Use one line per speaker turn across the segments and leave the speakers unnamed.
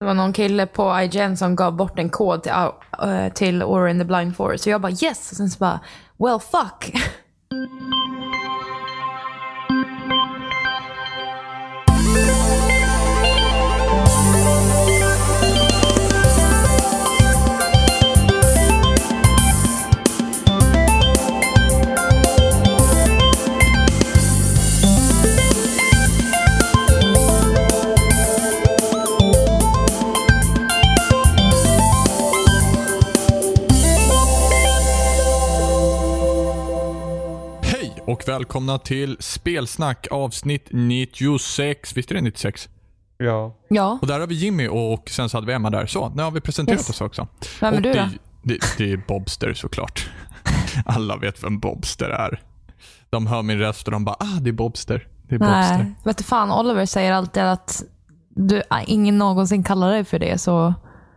Det var någon kille på IGN som gav bort en kod till, uh, till Aura in the Blind Forest. Så jag bara yes! Och sen så bara, well fuck.
Hej och välkomna till Spelsnack avsnitt 96. Visst är det 96?
Ja.
Ja,
Och där har vi Jimmy och sen så hade vi Emma där. Så, nu har vi presenterat
Yes.
oss också.
Vem är
och
du
det,
då?
Det, det är Bobster såklart. Alla vet vem Bobster är. De hör min röst och de bara ah, det är Bobster. Det är Bobster.
nej. Vet du fan, Oliver säger alltid att du, ah, ingen någonsin kallar dig för det. Så...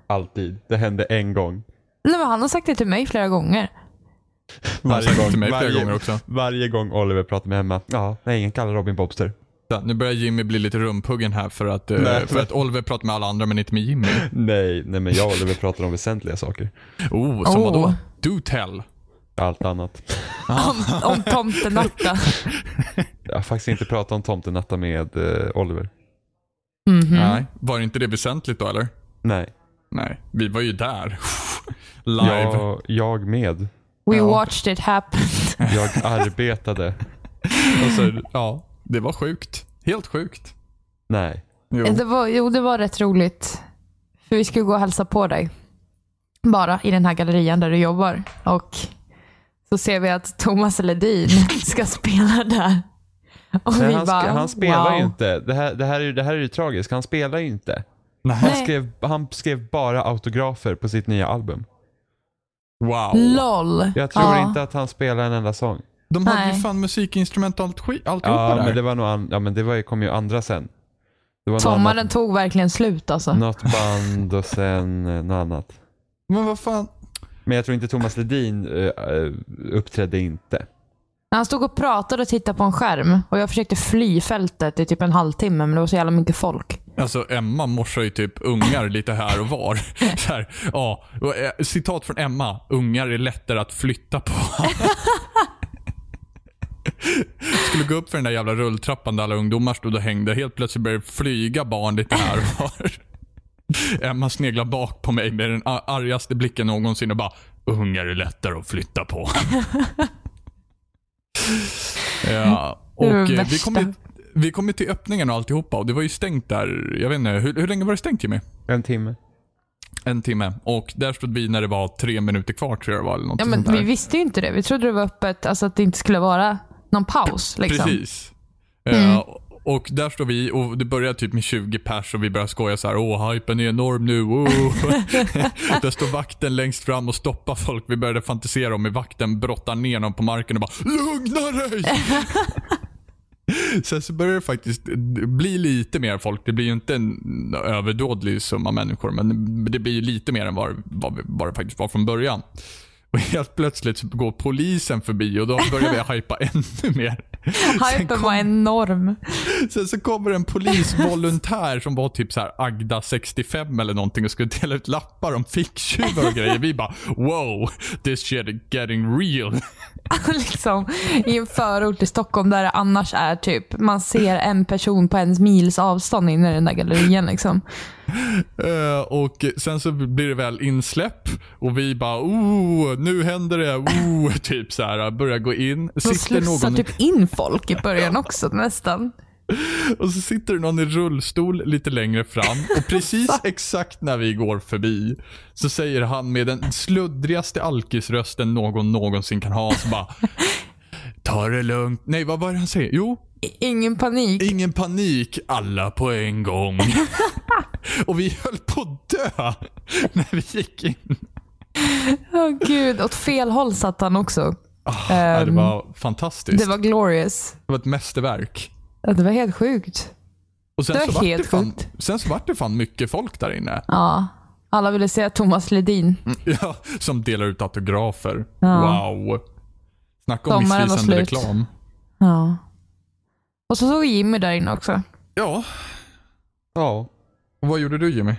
Alltid. Det hände en gång.
Nej, men han har sagt det till mig flera gånger.
sagt till mig flera gånger också.
varje gång Oliver pratar med Emma. Ja, nej, ingen kallar Robin Bobster.
Så, nu börjar Jimmy bli lite rumpuggen här för att, eh,
Nej,
för
men-
att Oliver pratar med alla andra men inte med Jimmy.
Nej, nej men jag och Oliver pratar om väsentliga saker.
Oh,
Oh. Mm.
som vadå? Do tell.
Allt annat.
Om, om tomtenatta.
Jag har faktiskt inte pratat om tomtenatta med eh, Oliver.
Nej. Var inte det väsentligt då eller?
Nej.
Nej, vi var ju där. Live.
Jag, jag med.
We
Ja.
watched it happen.
Jag arbetade.
Alltså, ja, det var sjukt. Helt sjukt.
Nej.
Jo.
Det var, jo, det var rätt roligt. För vi skulle gå och hälsa på dig. Bara i den här gallerian där du jobbar. Och så ser vi att Thomas Ledin ska spela där. Och
Men
vi
han,
bara,
sk- han spelar
wow.
ju inte. Det här, det, här är, ju- det här är ju tragiskt. Han spelar ju inte. Han
Nej.
skrev, han skrev bara autografer på sitt nya album.
Wow.
LOL.
Jag tror
Ja.
inte att han spelar en enda sång.
De hade ju
Nej.
fan musikinstrument och allt skit, alltihopa
Ja,
där.
men det var nog an- ja, men det var ju, kom ju andra sen. Det var något,
Sommaren
annat,
tog verkligen slut alltså.
något band och sen eh, något annat.
Men vad fan.
Men jag tror inte Thomas Ledin eh, eh, uppträdde inte.
Han stod och pratade och tittade på en skärm. Och jag försökte fly fältet i typ en halvtimme, men det var så jävla mycket folk.
Alltså Emma morsar ju typ ungar lite här och var. Så här, ja. Och, eh, Citat från Emma. Ungar är lättare att flytta på. Skulle gå upp för den där jävla rulltrappan där alla ungdomar stod och hängde. Helt plötsligt började det flyga barn lite här och var. Emma sneglar bak på mig med den a- argaste blicken någonsin och bara “Ungar är lättare att flytta på”. ja, och
Det var det
eh, vi
värsta.
kom, ju- vi kom ju till öppningen och alltihopa och det var ju stängt där. Jag vet inte, hur, hur länge var det stängt Jimmy?
En timme.
En timme. Och där stod vi när det var tre minuter kvar tror jag det var. Eller något
Ja, men
sånt där.
vi visste ju inte det. Vi trodde det var öppet, alltså att det inte skulle vara någon paus. Liksom.
Precis. Eh, och där står vi och det börjar typ med 20 pers och vi börjar skoja så här. Åh, hypen är enorm nu. Oh. där står vakten längst fram och stoppar folk. Vi började fantisera om hur vakten brottar ner någon på marken och bara “Lugna dig!” Sen så börjar det faktiskt bli lite mer folk. Det blir ju inte en överdådlig summa människor, men det blir ju lite mer än vad, vad, vi- vad det faktiskt var från början. Och helt plötsligt så går polisen förbi och då börjar vi hypa ännu mer. Sen
Hypen var enorm.
Sen så kommer en polisvolontär som var typ så här Agda 65 eller någonting och skulle dela ut lappar om ficktjuvar och grejer. Vi bara wow, this shit is getting real.
liksom, I en förort i Stockholm där det annars är typ, man ser en person på en mils avstånd inne i den där gallerian. Liksom.
Eh, och sen så blir det väl insläpp och vi bara oh, nu händer det, oh, typ så här börjar gå in.
De
Sitter
slussar
någon,
typ in folk i början också nästan.
och så sitter det någon i rullstol lite längre fram och precis exakt när vi går förbi så säger han med den sluddrigaste alkisrösten någon någonsin kan ha så bara Ta det lugnt. Nej, vad var det han säger? Jo,
I- Ingen panik.
Ingen panik, alla på en gång. och vi höll på att dö när vi gick in.
Åh gud, åt fel håll satt han också.
Ja, Ah, det
Ehm,
var fantastiskt.
det var glorious.
ett mästerverk.
Ja, Det var helt sjukt.
Och sen,
Det var
så vart det
helt
fan,
sjukt.
sen så vart det fan mycket folk där inne.
Ja. Alla ville se Thomas Ledin.
Ja, som delar ut autografer.
Ja.
Wow. Snacka om
Sommaren var
missvisande
slut.
reklam.
Ja. Och så såg vi Jimmy där inne också.
Ja,
Ja.
och vad gjorde du Jimmy?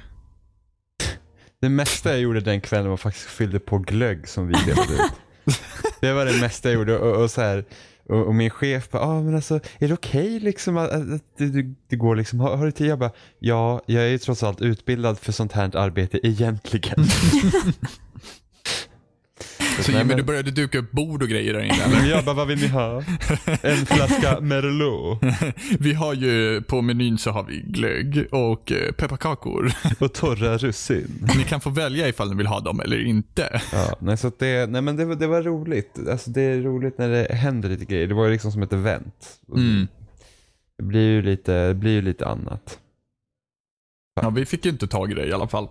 Det mesta jag gjorde den kvällen var faktiskt fyllde på glögg som vi delade ut. Det var det mesta jag gjorde och, och så här. Och, och min chef bara, ah, men alltså, är det okej liksom att, att, att det, det, det går liksom, har, har du tid? Jag bara, ja, jag är ju trots allt utbildad för sånt här arbete egentligen.
Så
Nej,
Jimmy,
men-
du började duka upp bord och grejer där inne eller?
Jag bara, vad vill ni ha? En flaska Merlot
Vi har ju, på menyn så har vi glögg och eh, pepparkakor.
och torra russin.
Ni kan få välja ifall ni vill ha dem eller inte.
Ja, nej, så att det, nej, men det, var- det var roligt. Alltså, det är roligt när det händer lite grejer. Det var ju liksom som ett event.
Mm.
Det blir ju lite, det blir ju lite annat.
Ja, vi fick ju inte tag i det i alla fall.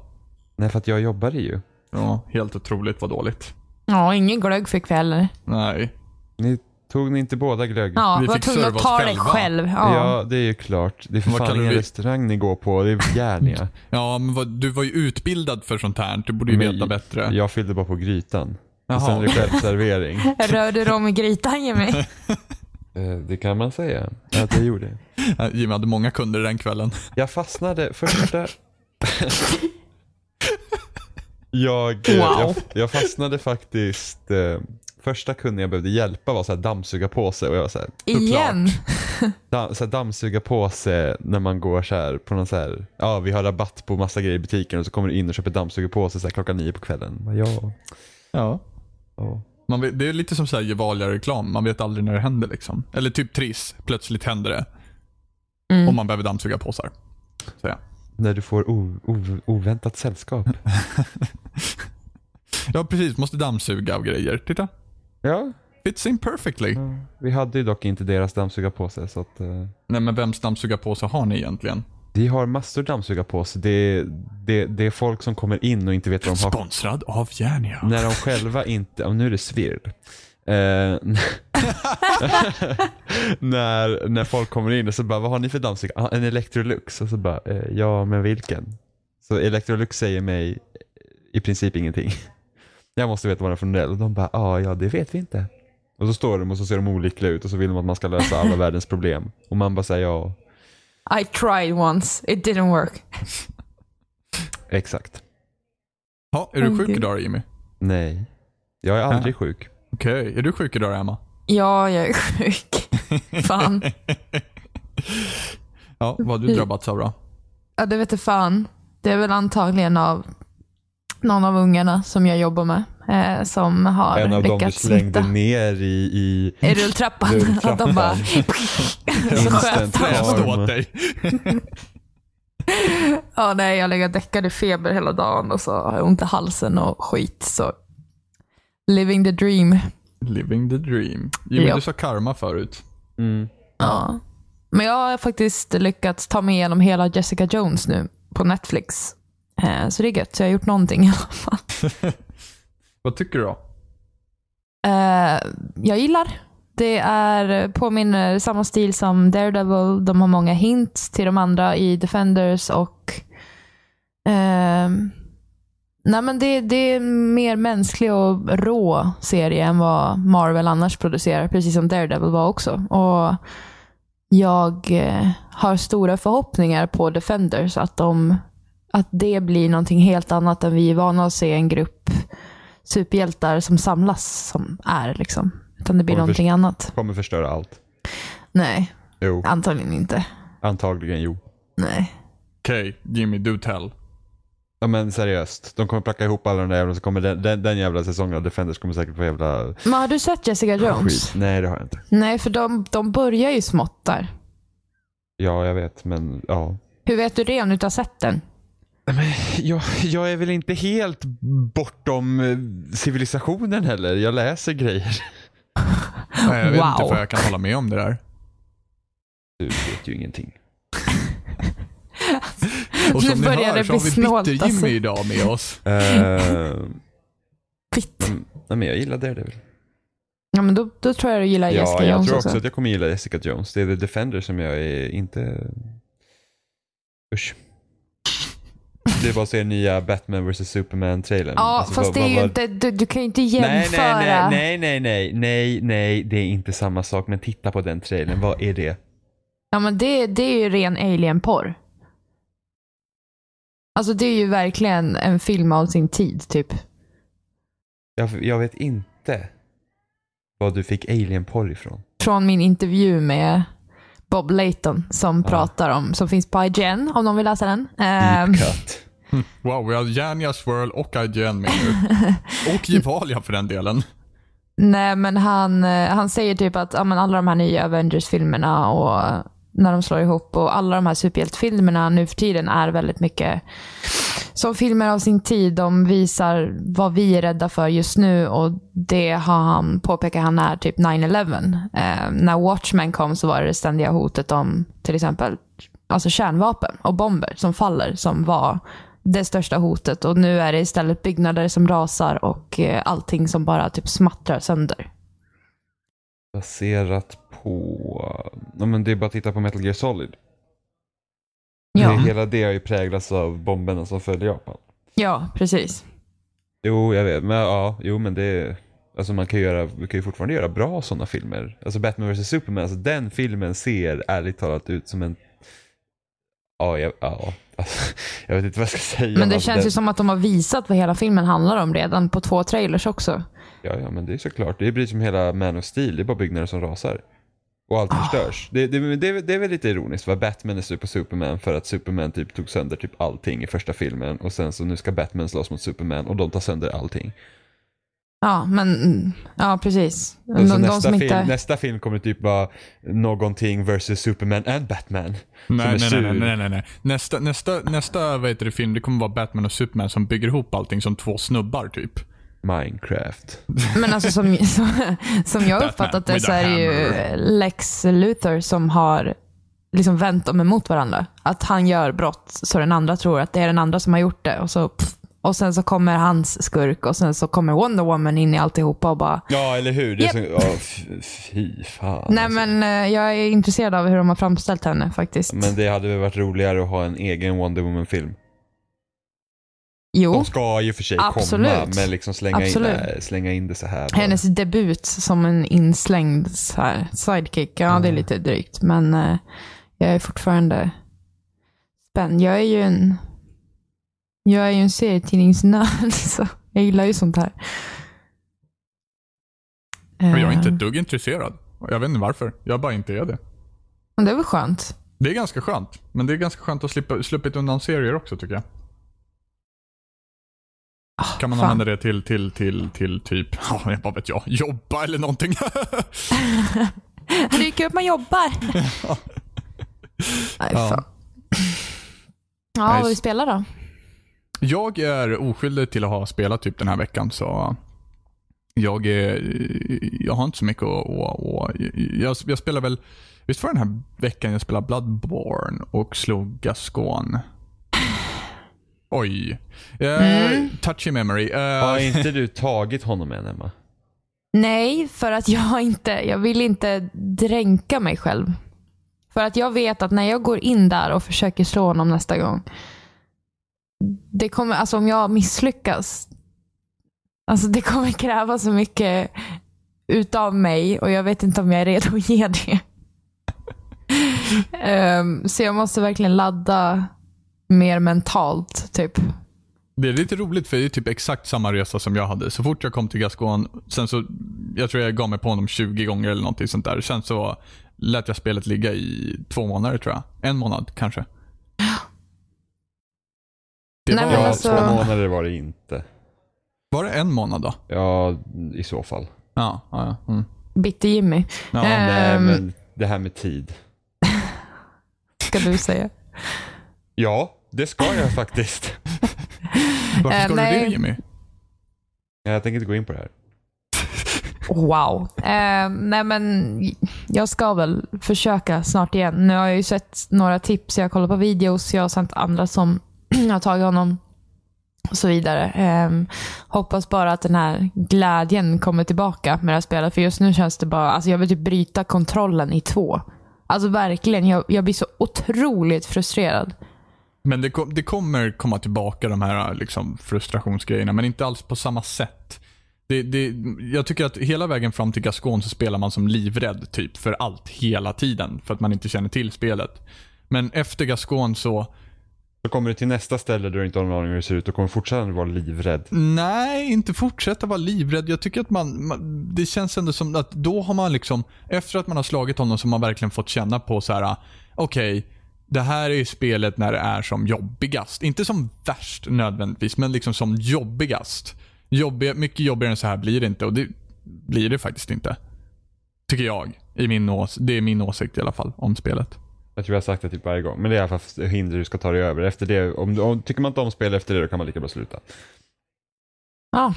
Nej, för att jag jobbade ju.
Ja, helt otroligt vad dåligt.
Ja, ingen glögg fick vi heller.
Nej.
Ni tog ni inte båda glögg?
Ja,
Vi
var
fick
tvungna
serva
att
oss
ta det
själva.
själv. Ja.
Ja, det är ju klart. Det är för
Vad
fan
kallar
ingen
vi-
restaurang ni går på. Det är Järnia.
Ja, men vad, du var ju utbildad för sånt här. Du borde ju
Men-
veta bättre.
Jag fyllde bara på grytan. Och sen är
Jaha.
det självservering.
Rör du dem i grytan Jimmy?
Eh, det kan man säga att jag gjorde.
Ja, Eh, Jimmy hade många kunder den kvällen.
Jag fastnade första... jag, eh, jag,
Wow.
jag fastnade faktiskt... Eh, första kunden jag behövde hjälpa var så här dammsuga på sig och jag var så här,
Igen?
da, så här dammsuga på sig när man går så här på någon så här, ja vi har rabatt på massa grejer i butiken och så kommer du in och köper dammsuga på sig så här klockan nio på kvällen. Bara, Ja,
Ja.
ja.
Man vet, det är lite som så här Gevalia-reklam. Man vet aldrig när det händer liksom. Eller typ Triss. Plötsligt händer det.
Mm.
Om man behöver dammsuga påsar. Så ja.
När du får o, o, oväntat sällskap.
ja, precis. Måste dammsuga och grejer. Titta.
Ja,
Fits in perfectly.
vi hade ju dock inte deras dammsuga på sig så att eh,
Nej, men vems dammsugarpåse har ni egentligen?
Vi har massor dammsuga på oss. Det, det, det är folk som kommer in och inte vet vad de har.
Sponsrad av Järnia.
När de själva inte... Oh, nu är det svirr. Eh, när, när folk kommer in och så bara, vad har ni för dammsugare? Ah, en Electrolux. Och så bara, eh, ja men vilken? Så Electrolux säger mig eh, i princip ingenting. Jag måste veta vad den är för modell. Och de bara, ah, ja det vet vi inte. Och så står de och så ser de olyckliga ut och så vill de att man ska lösa alla världens problem. Och man bara säger ja,
I tried once, it didn't work.
exakt.
Ja, är du
Åh,
sjuk
gud.
idag Jimmy?
Nej, jag är aldrig sjuk.
Okej, är du sjuk idag Emma?
Ja, jag är sjuk. Fan.
Ja, vad har
Mm.
du drabbats av då?
Ja, det vet jag fan. Det är väl antagligen av någon av ungarna som jag jobbar med eh, som har
En av dem du
lyckats
slängde
smitta.
ner i, i
I rulltrappan. Att
Rulltrappan.
de bara... så sköt
Instant
de.
Ja,
Jag står
men-
åt dig.
Ja, nej, jag lägger däckad i feber hela dagen och så har jag ont i halsen och skit. Så living the dream.
Living the dream. Jimmy,
Ja.
du sa karma förut.
mm,
Ja. Men jag har faktiskt lyckats ta mig igenom hela Jessica Jones nu på Netflix. Eh, Så det är gött, så jag har gjort någonting i alla fall.
Vad tycker du då?
Eh, Jag gillar. Det är, eh, påminner samma stil som Daredevil. De har många hints till de andra i Defenders och... ehm, nej men det, det är en mer mänsklig och rå serie än vad Marvel annars producerar, precis som Daredevil var också. Och jag eh, har stora förhoppningar på Defenders, att, de, att det blir någonting helt annat än vi är vana att se en grupp superhjältar som samlas som är. Liksom. Utan det blir
Och vi-
någonting annat.
kommer förstöra allt.
Nej,
Jo,
antagligen inte.
antagligen jo.
Nej.
Okej, Jimmy, do tell. Eh,
Ja men seriöst, de kommer placka ihop alla de där jävla så kommer den, den, den jävla säsongen av Defenders kommer säkert få jävla
Men har du sett Jessica Jones?
skit. Nej det har jag inte.
Nej, för de, de börjar ju smått där.
Ja jag vet men ja.
Hur vet du det om du inte har sett den?
Jag, jag är väl inte helt bortom eh, civilisationen heller. Jag läser grejer.
Nej, jag vet inte
Wow.
vad jag kan hålla med om det där.
Du vet ju ingenting.
Och som
Nu
ni
börjar
hör
det
så har
bli
vi
snålt,
Bitter-Jimmy
alltså.
idag med oss.
Fitt.
Eh, nej men jag gillar Daredevil.
Ja, men då, då tror jag du gillar
Ja,
Jessica
jag
Jones
tror
också.
också att jag kommer gilla Jessica Jones. Det är The Defender som jag är inte... Usch. Det är bara att se nya Batman vs Superman-trailern.
Ja,
Alltså,
fast
vad-
det är
vad-
ju
vad-
inte, du, du kan ju inte
Nej,
jämföra.
nej, nej, nej, nej, nej, nej, det är inte samma sak. Men titta på den trailern, vad är det?
Ja, men det, det är ju ren alien-porr. Alltså det är ju verkligen en film av sin tid typ.
Jag, jag vet inte vad du fick alien-porr ifrån.
Från min intervju med Bob Layton som
Ja.
pratar om, som finns på IGN om någon vill läsa den. Ehm,
Deep cut.
Wow, vi har Jernia, Swirl och IGN med nu. Och Gevalia för den delen.
Nej, men han, eh, han säger typ att ja, men alla de här nya Avengers-filmerna och eh, när de slår ihop och alla de här superhjältefilmerna nu för tiden är väldigt mycket som filmer av sin tid. De visar vad vi är rädda för just nu och det har han, påpekar han är typ 9-11. Eh, när Watchmen kom så var det det ständiga hotet om till exempel alltså kärnvapen och bomber som faller som var det största hotet och nu är det istället byggnader som rasar och eh, allting som bara typ smattrar sönder.
Baserat på... Ja, men det är bara att titta på Metal Gear Solid. Det,
Ja,
hela det har ju präglats av bomberna som följde Japan.
ja precis.
Jo, jag vet. Men ja, jo men det... Alltså man kan ju, göra, man kan ju fortfarande göra bra sådana filmer. Alltså Batman vs Superman, alltså den filmen ser ärligt talat ut som en... Ja, jag, ja, alltså, jag vet inte vad jag ska säga.
Men det
alltså,
känns
den,
ju som att de har visat vad hela filmen handlar om redan på två trailers också.
Ja, ja, men det är såklart. Det är precis som hela Man of Steel, det är bara byggnader som rasar. Och
Ah.
allt förstörs. Det, det, men det, är väl- det är väl lite ironiskt va? Batman är sur på Superman för att Superman typ tog sönder typ allting i första filmen och sen så nu ska Batman slåss mot Superman och de tar sönder allting.
Ja, men mm, ja, precis.
Och
De,
så
de,
Alltså, nästa,
som
film,
inte...
nästa film kommer typ vara någonting versus Superman and Batman.
Nej,
som är
nej,
sur.
nej, nej, nej, nej. Nästa, nästa, nästa vad heter det, film, det kommer vara Batman och Superman som bygger ihop allting som två snubbar typ.
Minecraft.
Men alltså som, som, som jag uppfattat det
with
så
a
är det ju
hammer.
Lex Luthor som har liksom vänt dem emot varandra. Att han gör brott så den andra tror att det är den andra som har gjort det. Och, så, pff, och sen så kommer hans skurk och sen så kommer Wonder Woman in i alltihopa och bara
Ja, eller hur? Det är
Japp.
som, ja, f- fy fan.
Nej
alltså.
men eh, jag är intresserad av hur de har framställt henne faktiskt.
men det hade väl varit roligare att ha en egen Wonder Woman-film.
jo,
De ska ju för sig
Absolut.
komma, men liksom slänga in,
Absolut.
äh, slänga in det så här. bara.
hennes debut som en inslängd så här, sidekick, ja
Mm.
det är lite drygt men eh, jag är fortfarande spänd. Jag är ju en, jag är ju en serietidningsnörd så jag gillar ju sånt här.
Men jag är inte
Eh,
ett dugg intresserad. Jag vet inte varför. Jag bara inte är det.
men det är väl skönt.
Det är ganska skönt. Men det är ganska skönt att slippa, sluppit undan serier också tycker jag.
Ah,
Kan man
fan.
använda det till, till, till, till typ, ja, vad vet jag, jobba eller någonting.
Det är ju kul att man jobbar. Nej,
Ja.
fan. Ja,
Nice.
vad vi spelar då?
Jag är oskyldig till att ha spelat typ den här veckan så jag, är, jag har inte så mycket att... att- att- jag, jag spelar väl... Visst var det den här veckan jag spelade Bloodborne och slog Gascon? Oj. Eh, Touchy memory.
Har
Eh,
inte du tagit honom än Emma?
Nej, för att jag inte, jag vill inte dränka mig själv. För att jag vet att när jag går in där och försöker slå honom nästa gång, det kommer, alltså om jag misslyckas, alltså det kommer kräva så mycket utav mig och jag vet inte om jag är redo att ge det. Ehm, så jag måste verkligen ladda mer mentalt, typ.
det är lite roligt för det är typ exakt samma resa som jag hade. Så fort jag kom till Gascon, sen så... Jag tror jag gav mig på honom 20 gånger eller någonting sånt där. Sen så lät jag spelet ligga i två månader tror jag. En månad kanske. Det
Nej,
var,
men
ja,
alltså-
två månader var det inte.
var det en månad då?
Ja, i så fall.
Ja. ja, ja. Mm.
Bitte Jimmy,
ja
Eh.
Nej,
Ehm.
men det här med tid.
ska du säga.
Ja, det ska jag faktiskt.
Varför
eh,
ska du
nej.
det Jimmy?
Jag tänker inte gå in på det här.
Wow. Eh, nej men jag ska väl försöka snart igen. Nu har jag ju sett några tips, jag har kollat på videos, jag har sett andra som har tagit honom och så vidare. Eh, hoppas bara att den här glädjen kommer tillbaka med det här spelet. För just nu känns det bara, alltså jag vill typ bryta kontrollen i två. Alltså verkligen, jag, jag blir så otroligt frustrerad.
Men det, kom, det kommer komma tillbaka de här liksom, frustrationsgrejerna, men inte alls på samma sätt. Det, det, jag tycker att hela vägen fram till Gascon så spelar man som livrädd typ för allt hela tiden. För att man inte känner till spelet. Men efter Gascon så
Så kommer du till nästa ställe där du inte har någon aning om hur det ser ut och kommer fortfarande vara livrädd.
Nej, inte fortsätta vara livrädd. Jag tycker att man, man, det känns ändå som att då har man liksom, efter att man har slagit honom så har man verkligen fått känna på så här: okej, det här är ju spelet när det är som jobbigast. Inte som värst nödvändigtvis, men liksom som jobbigast. Jobbiga, mycket jobbigare än så här blir det inte och det blir det faktiskt inte. Tycker jag. I min ås- det är min åsikt i alla fall om spelet.
Jag tror jag har sagt det typ varje gång. Men det är i alla fall hinder du ska ta dig över. Efter det, om, du- om, tycker man inte om spel efter det då kan man lika bra sluta.
Ja,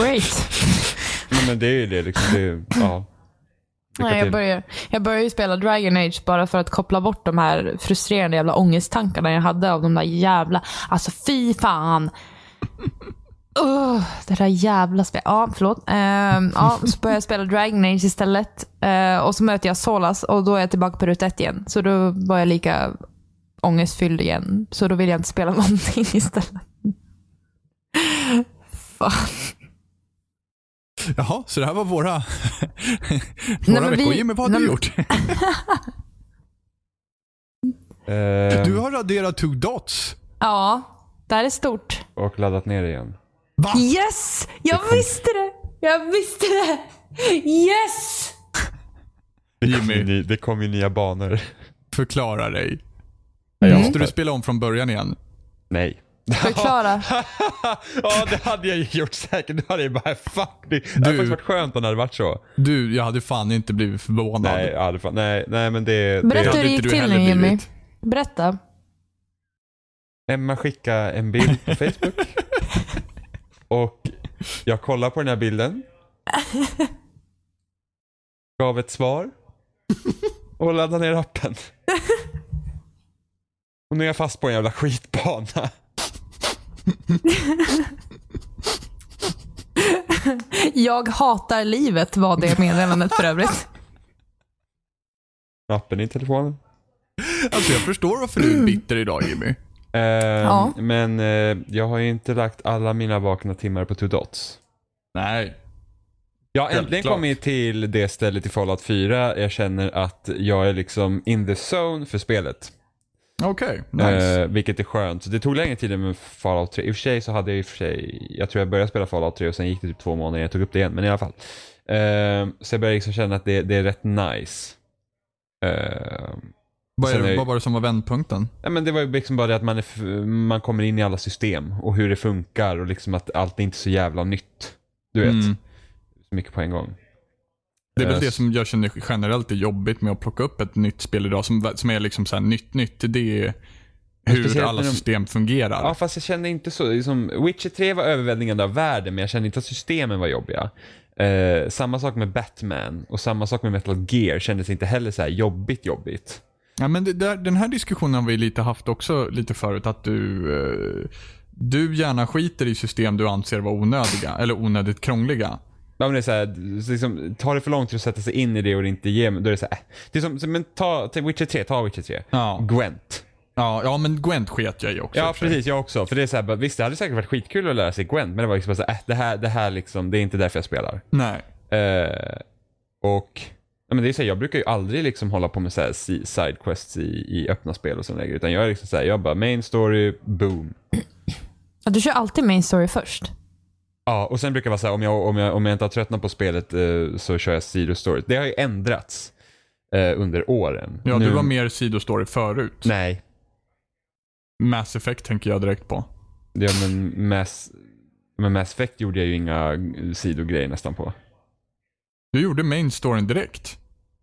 great.
Men, men det är ju det liksom. Det är, ja. Lycka
Nej, jag,
till.
börjar, jag börjar ju spela Dragon Age bara för att koppla bort de här frustrerande jävla ångesttankarna jag hade av de där jävla, alltså fy fan. Ugh, det där jävla spelet. Ja, förlåt. Ehm, ja, så börjar jag spela Dragon Age istället. Eh, och så möter jag Solas och då är jag tillbaka på ruta ett igen. Så då var jag lika ångestfylld igen. Så då vill jag inte spela någonting istället. Fan.
Jaha, så det här var våra,
Nej,
våra
men vi-
veckor. Jimmy, vad har
nej,
du
men-
gjort?
Ehm,
Du har raderat two dots.
Ja, det här är stort.
Och laddat ner igen.
Va?
Yes! Jag visste det! Jag visste det! Yes!
Jimmy,
Ny- Det kom ju nya banor.
förklara dig.
Jag
Mm,
Måste du
hoppar.
spela om från början igen?
Nej.
Förklara.
Ja, det hade jag ju gjort säkert. Då hade jag bara, fuck det. Det
Du-
hade faktiskt varit skönt om det hade varit så.
Du, jag hade fan inte blivit förvånad.
Nej, ja, det fan- nej, nej men det...
Berätta
det
hur det gick
inte du
till nu
heller
Jimmy.
blivit.
Berätta.
Emma skickade en bild på Facebook. och jag kollade på den här bilden. Gav ett svar. Och laddade ner appen. Och nu är jag fast på en jävla skitbana.
Jag hatar livet var det meddelandet för övrigt.
Appen i telefonen.
Alltså jag förstår varför du
Mm.
är bitter idag Jimmy.
Ehm,
Ja.
Men eh, jag har ju inte lagt alla mina vakna timmar på Two Dots.
Nej.
Jag har äntligen
Självklart.
kommit till det stället i Fallout 4 jag känner att jag är liksom in the zone för spelet.
Okej, nice.
Eh, vilket är skönt. Så det tog längre tid än med Fallout 3. I och för sig så hade jag i och för sig, jag tror jag började spela Fallout 3 och sen gick det typ två månader innan jag tog upp det igen. Men i alla fall. Eh, så jag började liksom känna att det, det är rätt nice. Eh,
vad, är
sen
det,
är-
vad var det som var vändpunkten?
Ja, men det var ju liksom bara det att man, är, f- man kommer in i alla system och hur det funkar och liksom att allt är inte så jävla nytt. Du vet,
Mm.
så mycket på en gång.
Det är väl
Eh,
det som jag känner generellt är jobbigt med att plocka upp ett nytt spel idag som, som är liksom så här nytt nytt. Det är hur
speciellt
alla
när de-
system fungerar.
Ja, fast jag kände inte så. Liksom, Witcher 3 var överväldigande av världen, men jag kände inte att systemen var jobbiga. Eh, samma sak med Batman och samma sak med Metal Gear kändes inte heller så här jobbigt jobbigt.
Ja, men det där, den här diskussionen har vi lite haft också lite förut. Att du, eh, du gärna skiter i system du anser vara onödiga eller onödigt krångliga.
Ja, men det är så här, så liksom, tar det för lång tid att sätta sig in i det och det inte ger, då är det så här, äh. det är som, så- men ta, ta Witcher 3, ta Witcher 3.
Ja.
Gwent.
Ja, ja men Gwent sket jag i också. i
Ja,
och för sig.
precis, jag också. För det är så här, bara, visst det hade säkert varit skitkul att lära sig Gwent, men det var liksom bara så här, äh, det här, det här liksom, det är inte därför jag spelar.
Nej.
Eh, och ja, men det är så här, jag brukar ju aldrig liksom hålla på med så här si- sidequests i, i öppna spel och sådana grejer. Utan jag är liksom så här, jag bara main story, boom.
Ja, Du kör alltid main story först.
Ja, och sen brukar jag vara så här, om jag, om jag, om jag inte har tröttnat på spelet eh, så kör jag sidostory. Det har ju ändrats eh, under åren.
Ja,
Nu-
du var mer sidostory förut.
Nej,
Mass Effect tänker jag direkt på.
ja, men mass, men mass effect gjorde jag ju inga sidogrejer nästan på.
Du gjorde main storyn direkt.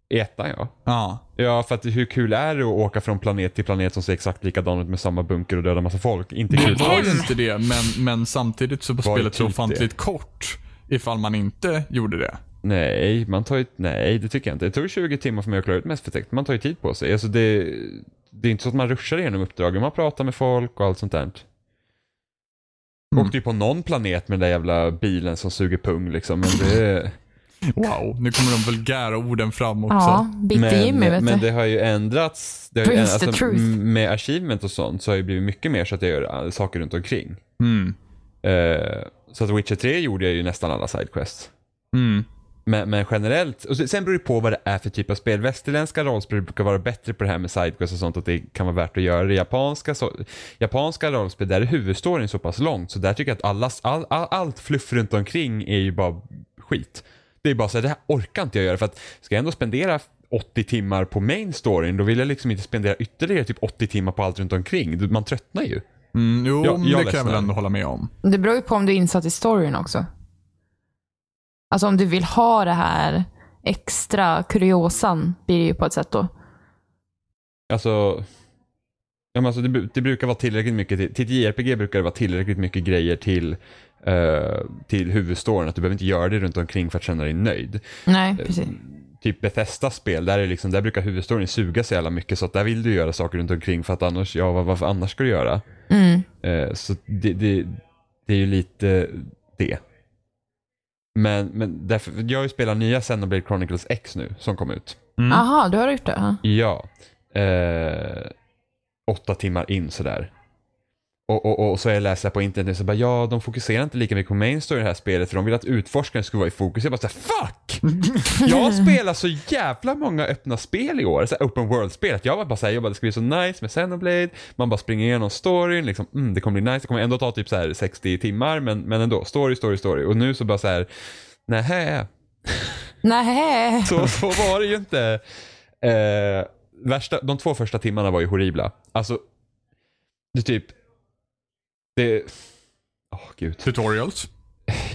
I ettan ja.
Ja.
Ja, för att hur kul är det att åka från planet till planet som ser exakt likadan ut med samma bunker och döda massa folk? Inte kul.
Det var ju inte det, men, men samtidigt så var
Var ju
spelet så
typ
ofantligt kort ifall man inte gjorde det.
Nej, man tar ju, nej, det tycker jag inte. Det tog 20 timmar för mig att klara ut mest förtäckt. Man tar ju tid på sig. Alltså det, det är inte så att man ruschar igenom uppdragen. Man pratar med folk och allt sånt där.
Mm.
Åkte ju på någon planet med den där jävla bilen som suger pung liksom. Men det,
Wow, nu kommer de vulgära orden fram också.
Ja, bitter
men,
Jimmy vet
men
du.
det har ju ändrats. Det har ju,
Praise
ändrats
the
alltså,
truth.
m- med achievement och sånt så har det ju blivit mycket mer så att jag gör äh, saker runt omkring.
Mm.
Eh, så att Witcher 3 gjorde jag ju nästan alla sidequests.
Mm.
Men, men generellt, och se- sen beror det på vad det är för typ av spel. Västerländska rollspel brukar vara bättre på det här med sidequests och sånt, att det kan vara värt att göra det. Japanska, så, japanska rollspel, där är huvudstoryn så pass långt, så där tycker jag att alla, all, all, allt fluff runt omkring är ju bara skit. Det är bara så här, det här orkar inte jag göra, för att ska jag ändå spendera 80 timmar på main storyn, då vill jag liksom inte spendera ytterligare typ 80 timmar på allt runt omkring. Man tröttnar ju.
Mm, jo,
Jag-
men
jag
det kan jag väl
ledsnar.
ändå hålla med om.
Det beror ju på om du är insatt i storyn också. Alltså om du vill ha det här extra kuriosan blir det ju på ett sätt då.
Alltså, ja, men alltså det, bru- det brukar vara tillräckligt mycket till, till ett JRPG brukar det vara tillräckligt mycket grejer till, eh, till huvudstoryn. Att du behöver inte göra det runt omkring för att känna dig nöjd. Eh,
Nej, precis.
Typ Bethesdas spel, där, är liksom, där brukar huvudstoryn suga så jävla mycket så att där vill du göra saker runt omkring för att annars, ja vad, varför annars ska du göra?
Mm.
Eh, så det, det, det är ju lite det. Men, men därför, jag har ju spelat nya Xenoblade Chronicles X nu som kom ut.
Mm.
Aha, du har gjort det? Ja.
Ja. Eh, åtta timmar in sådär. Och, och, och så har jag läst det här på internet nu så bara ja, de fokuserar inte lika mycket på main story i det här spelet för de vill att utforskaren skulle vara i fokus. Jag bara såhär fuck! Jag spelar så jävla många öppna spel i år, så här open world-spel. att Jag var bara såhär, jag bara det ska bli så nice med Xenoblade. man bara springer igenom storyn, liksom, mm, det kommer bli nice, det kommer ändå ta typ så här 60 timmar men, men ändå, story, story, story. Och nu så bara såhär, nähä,
Nej.
så, så var det ju inte. Eh, värsta, de två första timmarna var ju horribla. Alltså, det typ... Det... Åh gud.
Tutorials.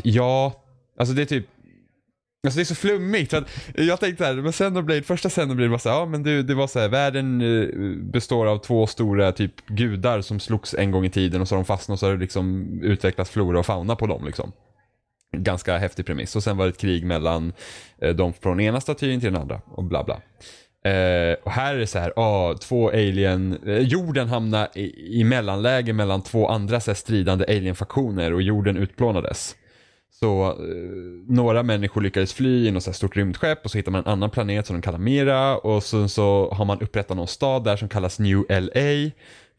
Ja, alltså det är typ... Alltså det är så flummigt. För att jag tänkte så här, men Xenoblade, första Xenoblade var så här, ja men du, det var så här, världen eh, består av två stora typ gudar som slogs en gång i tiden och så har de fastnat och så har det liksom utvecklats flora och fauna på dem liksom. Ganska häftig premiss. Och sen var det ett krig mellan eh, de från ena statyn till den andra och bla bla. Eh, och här är det så här, ah, två alien, eh, jorden hamnar i, i mellanläge mellan två andra så här, stridande alienfaktioner och jorden utplånades. Så eh, några människor lyckades fly i något så här stort rymdskepp och så hittar man en annan planet som de kallar Mira och sen så har man upprättat någon stad där som kallas New LA.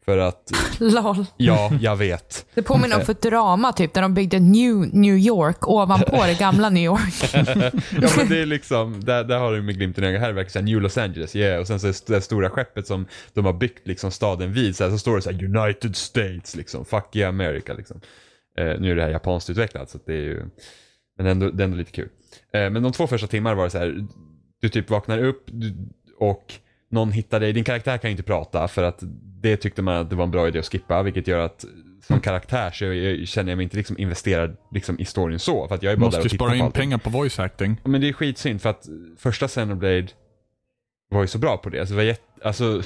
För att,
Lol.
ja, jag vet.
Det påminner om Futurama typ, där de byggde New, New York ovanpå det gamla New York.
Ja men det är liksom, där, där har du med glimten i ögat, här verkar det New Los Angeles, yeah. Och sen så är det st- det stora skeppet som de har byggt liksom staden vid, så, här, så står det så här United States liksom, fuck yeah America liksom. Eh, nu är det här japanskt utvecklat så att det är ju, men ändå, det är ändå lite kul. Eh, men de två första timmar var det så här, du typ vaknar upp du, och någon hittar dig, din karaktär kan ju inte prata för att det tyckte man att det var en bra idé att skippa vilket gör att som karaktär så jag, känner jag mig inte liksom investerad liksom i storyn så. För att jag är bara
Måste
där och
ju
tittar
spara
på
in
allting.
pengar på voice acting.
Ja, Men det är skitsynd för att första Xenoblade var ju så bra på det. Alltså, det var jätt, alltså,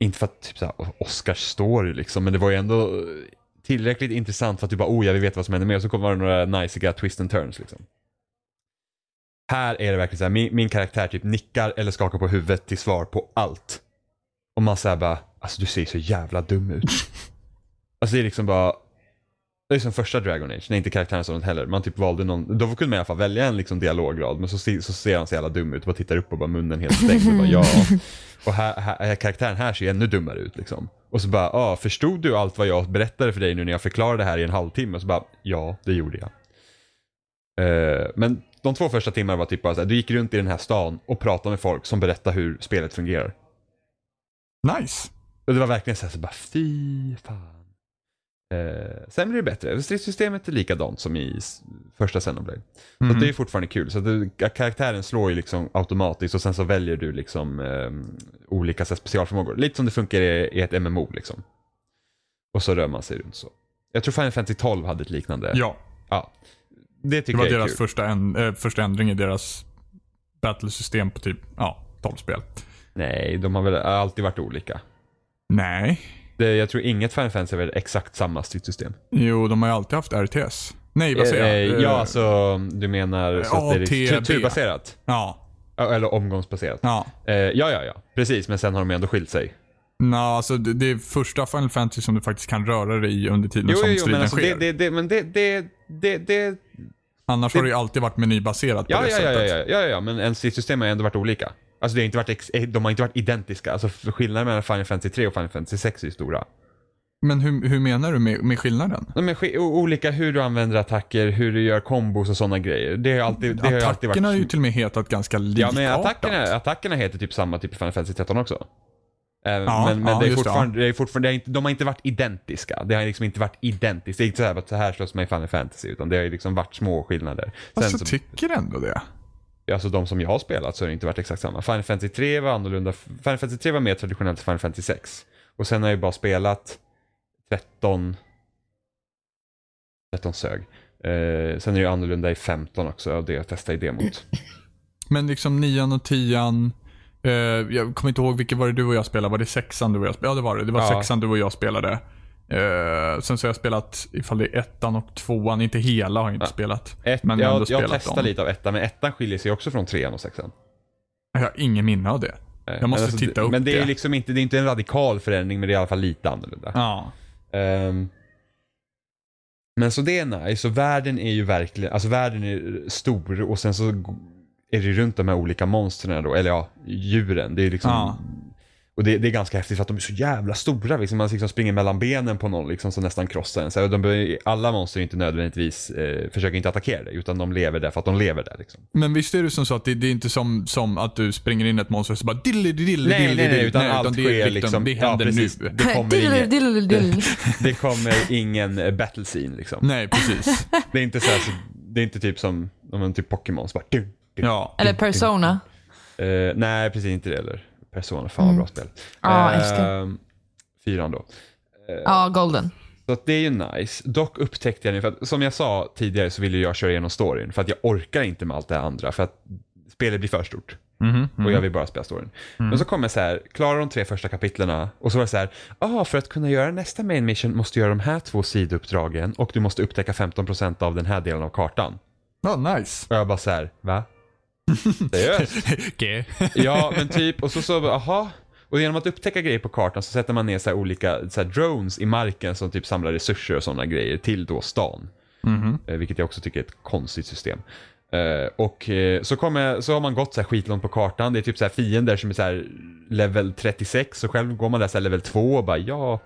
inte för att typ såhär, Oscars story liksom, men det var ju ändå tillräckligt intressant för att du bara oh jag vill veta vad som händer mer och så kommer det några najsiga twist and turns liksom. Här är det verkligen såhär, min, min karaktär typ nickar eller skakar på huvudet till svar på allt. Och man såhär bara, alltså du ser så jävla dum ut. alltså det är liksom bara, det är som första Dragon Age, när inte karaktären sa något heller. Man typ valde någon, då kunde man i alla fall välja en liksom dialograd, men så, se- så ser han så jävla dum ut och bara tittar upp och bara munnen helt stängd och bara ja. Och här, här, karaktären här ser ju ännu dummare ut liksom. Och så bara, ah, förstod du allt vad jag berättade för dig nu när jag förklarade det här i en halvtimme? Och så bara, ja, det gjorde jag. Eh, men de två första timmarna var typ bara så här, du gick runt i den här stan och pratade med folk som berättade hur spelet fungerar.
Nice.
Och det var verkligen så här, så bara fy fan. Eh, sen blir det bättre. Stridssystemet är likadant som i s- första Xenoblade. Så
Mhm.
att det är fortfarande kul. Så att du, karaktären slår ju liksom automatiskt och sen så väljer du liksom ehm, olika så här, specialförmågor. Lite som det funkar i, i ett MMO liksom. Och så rör man sig runt så. Jag tror Final Fantasy 12 hade ett liknande.
Ja,
Ja. Det
det
tycker
var
jag är
deras
kul.
första, en, eh, första ändring i deras battlesystem på typ, ja, 12 spel.
Nej, de har väl alltid varit olika.
Nej.
Det, jag tror inget Final Fantasy har väl exakt samma stridssystem.
Jo, de har ju alltid haft RTS. Nej, vad
Eh,
säger jag?
ja,
Eh,
alltså du menar så att det är
ATB.
tur- turbaserat?
Ja.
Ja, Eller omgångsbaserat.
Ja.
Eh, ja, ja, ja. Precis, men sen har de ju ändå skilt sig.
Nå, alltså det, det är första Final Fantasy som du faktiskt kan röra dig i under tiden
Jo,
som
jo, jo
striden
men alltså
sker.
det, det, det, men det, det, det, det
Annars har det ju alltid varit menybaserat på
ja,
det
ja, ja,
sättet.
ja, ja, ja, ja, men ens system har ju ändå varit olika. Alltså det har inte varit ex, eh, de har inte varit identiska. Alltså för- skillnaden mellan Final Fantasy 3 och Final Fantasy 6 är ju stora.
Men hur, hur menar du med, med skillnaden?
Nej, men sk- o- olika hur du använder attacker, hur du gör kombos och sådana grejer. Det har ju alltid, det har ju alltid varit...
Attackerna har ju till och med hetat ganska
Ja,
likartat.
men attackerna, attackerna heter typ samma typ i Final Fantasy 13 också. Eh,
Ja,
men men
ja,
det är
just det,
fortfarande, det är fortfarande det är inte, de har inte varit identiska. Det har liksom inte varit identiskt. Det är inte så här att så här slåss man i Final Fantasy, utan det har ju liksom varit små skillnader. Sen
Alltså,
så-
tycker ändå det.
alltså de som jag har spelat så har det inte varit exakt samma. Final Fantasy 3 var annorlunda. Final Fantasy 3 var mer traditionellt Final Fantasy 6. Och sen har jag ju bara spelat 13. 13 sög. Eh, sen är det ju annorlunda i 15 också, och det jag testade i demot.
Men liksom nian och tian. Eh, jag kommer inte ihåg vilket var det du och jag spelade. Var det sexan du och jag spelade? Ja, det var det. Det var
Ja.
sexan du och jag spelade. Eh, sen så har jag spelat, ifall det är ettan och tvåan, inte hela har jag inte spelat.
Ett,
Men jag har ändå
jag, jag
spelat
testade
dem.
lite av ettan, men ettan skiljer sig också från trean och sexan.
Jag har ingen minne av det.
Eh,
Jag måste
men alltså,
titta
det-
upp
Men det
det.
är liksom inte, det är inte en radikal förändring, men det är i alla fall lite annorlunda.
Ja.
Ehm, men så det är nice. Och världen är ju verkligen, alltså världen är stor och sen så g- är det runt de här olika monstren då, eller ja, djuren. Det är liksom,
Ja.
och det, det är ganska häftigt för att de är så jävla stora. Liksom. Man liksom springer mellan benen på någon liksom, som nästan krossar en. Så här, de, bör- alla monster är inte nödvändigtvis, eh, försöker inte attackera dig, utan de lever där för att de lever där. Liksom.
Men visst är det som så att det, det är inte som, som att du springer in i ett monster och så bara dilly dilly
Nej, nej, nej, utan allt
det, är
sker
liksom-
liksom.
Det händer
ja, precis.
nu.
Det kommer ingen,
Diddle-diddle-diddle.
det kommer ingen eh, battle scene liksom.
Nej, precis.
Det är inte så här, så, det är inte typ som, om man typ Pokémon, så bara dun, dun.
Ja.
Eller Persona.
Eh, nej, precis inte det heller. Persona, fan vad bra spel.
Ja,
Eh,
älskar.
Fyran då.
Ja, Golden.
Så att det är ju nice. Dock upptäckte jag nu, för att, som jag sa tidigare så ville jag köra igenom storyn för att jag orkar inte med allt det andra för att spelet blir för stort. Och jag vill bara spela storyn. Men så kommer jag så här, klara de tre första kapitlerna och så var det så här, ah, för att kunna göra nästa main mission måste du göra de här två sidouppdragen och du måste upptäcka 15% av den här delen av kartan.
Ja, nice.
Och jag bara så här, va? Seriöst?
Okej.
Ja, men typ. Och så så, aha. Och genom att upptäcka grejer på kartan så sätter man ner så här olika så här drones i marken som typ samlar resurser och sådana grejer till då stan.
Mhm.
Eh, Vilket jag också tycker är ett konstigt system. Eh, och eh, så, kommer, så har man gått så här skitlångt på kartan. Det är typ så här fiender som är så här level 36 och själv går man där så här level 2 och bara ja,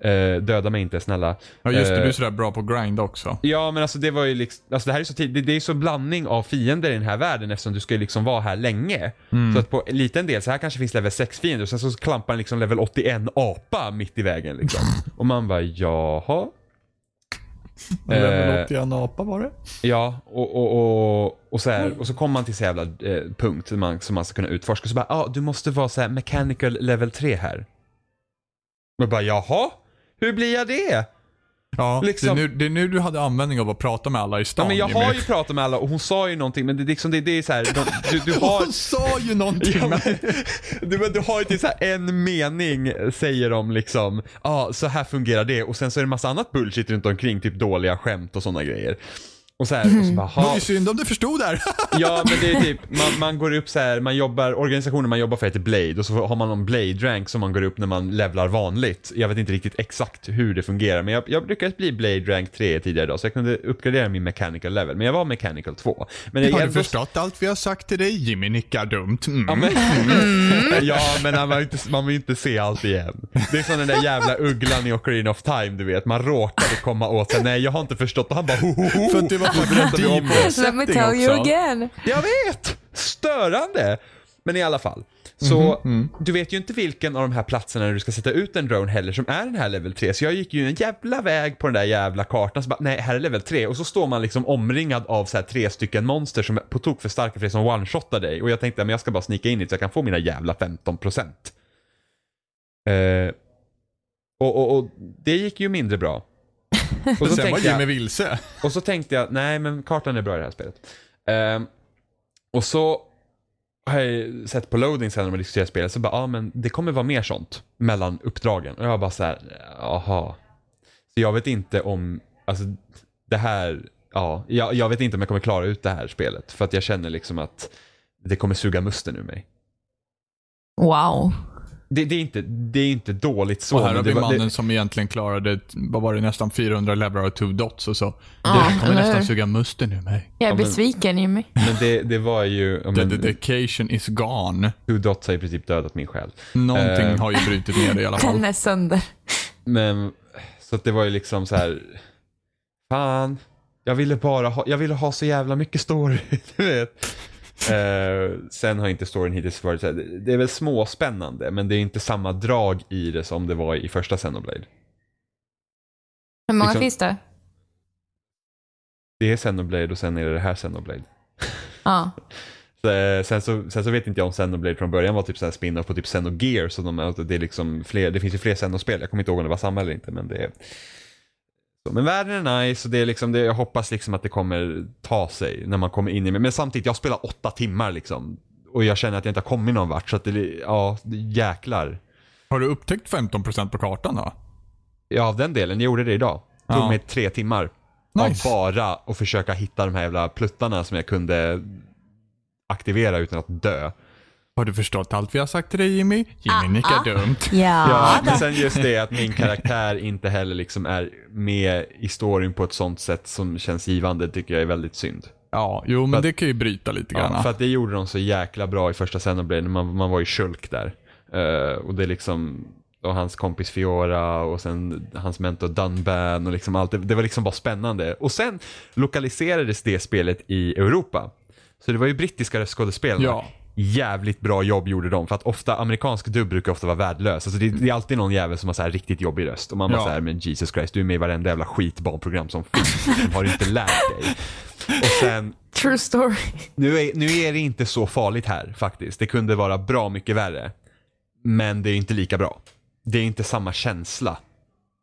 eh, döda mig inte snälla.
Ja, just det.
Eh,
Du är sådär bra på grind också.
Ja, men alltså det var ju liksom, alltså det här är så tid, det, det är så blandning av fiender i den här världen eftersom du ska ju liksom vara här länge. Så att på en liten del, så här kanske finns level 6 fiender och sen så klampar en liksom level 81 apa mitt i vägen liksom. Och man bara jaha.
Level 81 apa var det.
Ja, och, och, och, och, så här, och så kommer man till så jävla eh, punkt som man, som man ska kunna utforska. Så bara, ja ah, du måste vara så här mechanical level 3 här. Och bara jaha, hur blir jag det?
Ja,
Liksom-
det, är nu, det är nu du hade användning av att prata med alla i stan.
Ja, men jag
Jimmy.
har ju pratat med alla och hon sa ju någonting men det, är liksom, det, det är så här, de, du, du har...
Hon sa ju någonting.
Ja,
men...
men, du, men du har ju typ så här en mening säger de liksom, ja ah, så här fungerar det och sen så är det massa annat bullshit runt omkring, typ dåliga skämt och sådana grejer. Och så här, och så bara,
Det var
"Ha."
ju synd om du förstod där.
ja men det är typ, man, man går upp så här, man jobbar, organisationen man jobbar för heter Blade och så har man någon Blade rank som man går upp när man levlar vanligt. Jag vet inte riktigt exakt hur det fungerar men jag, jag lyckades bli Blade rank 3 tidigare idag så jag kunde uppgradera min mechanical level men jag var mechanical 2. Men jag,
Har
jag,
du förstått allt vi har sagt till dig? Jimmy nickar dumt. Mm.
Ja men, ja, men man, vill ju inte, man vill ju inte se allt igen. Det är som den där jävla ugglan i Ocarina of Time, du vet. Man råkade komma åt sen. Nej, jag har inte förstått. Och han bara ho, ho, ho.
För att Oh, det var
Så berättar vi om det.
Let me
Setting
tell you
också.
again.
Jag vet! Störande! Men i alla fall. Så du vet ju inte vilken av de här platserna du ska sätta ut en drone heller som är den här level 3. Så jag gick ju en jävla väg på den där jävla kartan. Så bara, nej, här är level 3. Och så står man liksom omringad av så här tre stycken monster som är på tok för starka för det som one-shotar dig. Och jag tänkte, men jag ska bara snika in hit så jag kan få mina jävla 15 procent. Eh, och, och, och det gick ju mindre bra. Och så
Sen var
tänkte jag-
Jimmy vilse.
och så tänkte jag, nej men kartan är bra i det här spelet. Ehm, och så har jag ju sett på loading sen när man diskuterar spelet, så bara, ja ah, men det kommer vara mer sånt mellan uppdragen. Och jag bara så här, jaha. Så jag vet inte om, alltså det här, ja, jag, jag vet inte om jag kommer klara ut det här spelet. För att jag känner liksom att det kommer suga musten ur mig.
Wow.
Det, det, är, inte, det är inte dåligt så.
Och här
men
har
det
vi
var-
mannen
det,
som egentligen klarade, vad var det, nästan 400 leverar och two dots och så.
Ja,
det kommer
eller
nästan
hur?
suga musten ur mig.
Jag är
Ja, men-
besviken Jimmy.
men det, det var ju, ja,
The
men,
dedication is gone.
Two Dots har i princip dödat min själ.
Någonting
Eh.
har ju brutit ner det i alla fall.
Den är sönder.
Men Så att det var ju liksom så här. Fan, jag ville bara ha, jag ville ha så jävla mycket story. Du vet. Eh, sen har inte storyn hittills varit så här, det- det är väl småspännande men det är inte samma drag i det som det var i första Xenoblade.
Hur många
Liksom-
finns det?
Det är Xenoblade och sen är det det här Xenoblade.
Ja.
Så, eh, Sen så, sen så vet inte jag om Xenoblade från början var typ så här spin-off på typ Xenogear. Så de, att det, är liksom fler, det finns ju fler Xenospel. Jag kommer inte ihåg om det var samma eller inte. Men, det är... så, men världen är nice och det är liksom, det, jag hoppas liksom att det kommer ta sig när man kommer in i Men samtidigt, jag spelar åtta timmar liksom. Och jag känner att jag inte har kommit någon vart. Så att det, ja, det- jäklar.
Har du upptäckt 15% på kartan då?
Ja, av den delen. Jag gjorde det idag. Det tog
Ja.
mig tre timmar.
Nice.
Av bara att försöka hitta de här jävla pluttarna som jag kunde aktivera utan att dö.
Har du förstått allt vi har sagt till dig Jimmy?
Ah,
Jimmy nickar dumt.
Ja, men sen just det att min karaktär inte heller liksom är med i storyn på ett sånt sätt som känns givande tycker jag är väldigt synd.
Ja, jo men det kan ju bryta lite grann.
Ja, för att det gjorde de så jäkla bra i första Xenoblade när man, man var i Shulk där. Eh, och det är liksom, och hans kompis Fiora och sen hans mentor Dunban och liksom allt. Det, det var liksom bara spännande. Och sen lokaliserades det spelet i Europa. Så det var ju brittiska röstskådespelare.
Ja.
Jävligt bra jobb gjorde de. För att ofta, amerikansk dubb brukar ofta vara värdelös. Alltså det, det är alltid någon jävel som har så här riktigt jobbig röst. Och man bara
Ja.
så här, men Jesus Christ, du är med i varenda jävla skitbarnprogram som finns. Har du inte lärt dig? Och sen
True story.
nu är, nu är det inte så farligt här faktiskt. Det kunde vara bra mycket värre. Men det är inte lika bra. Det är inte samma känsla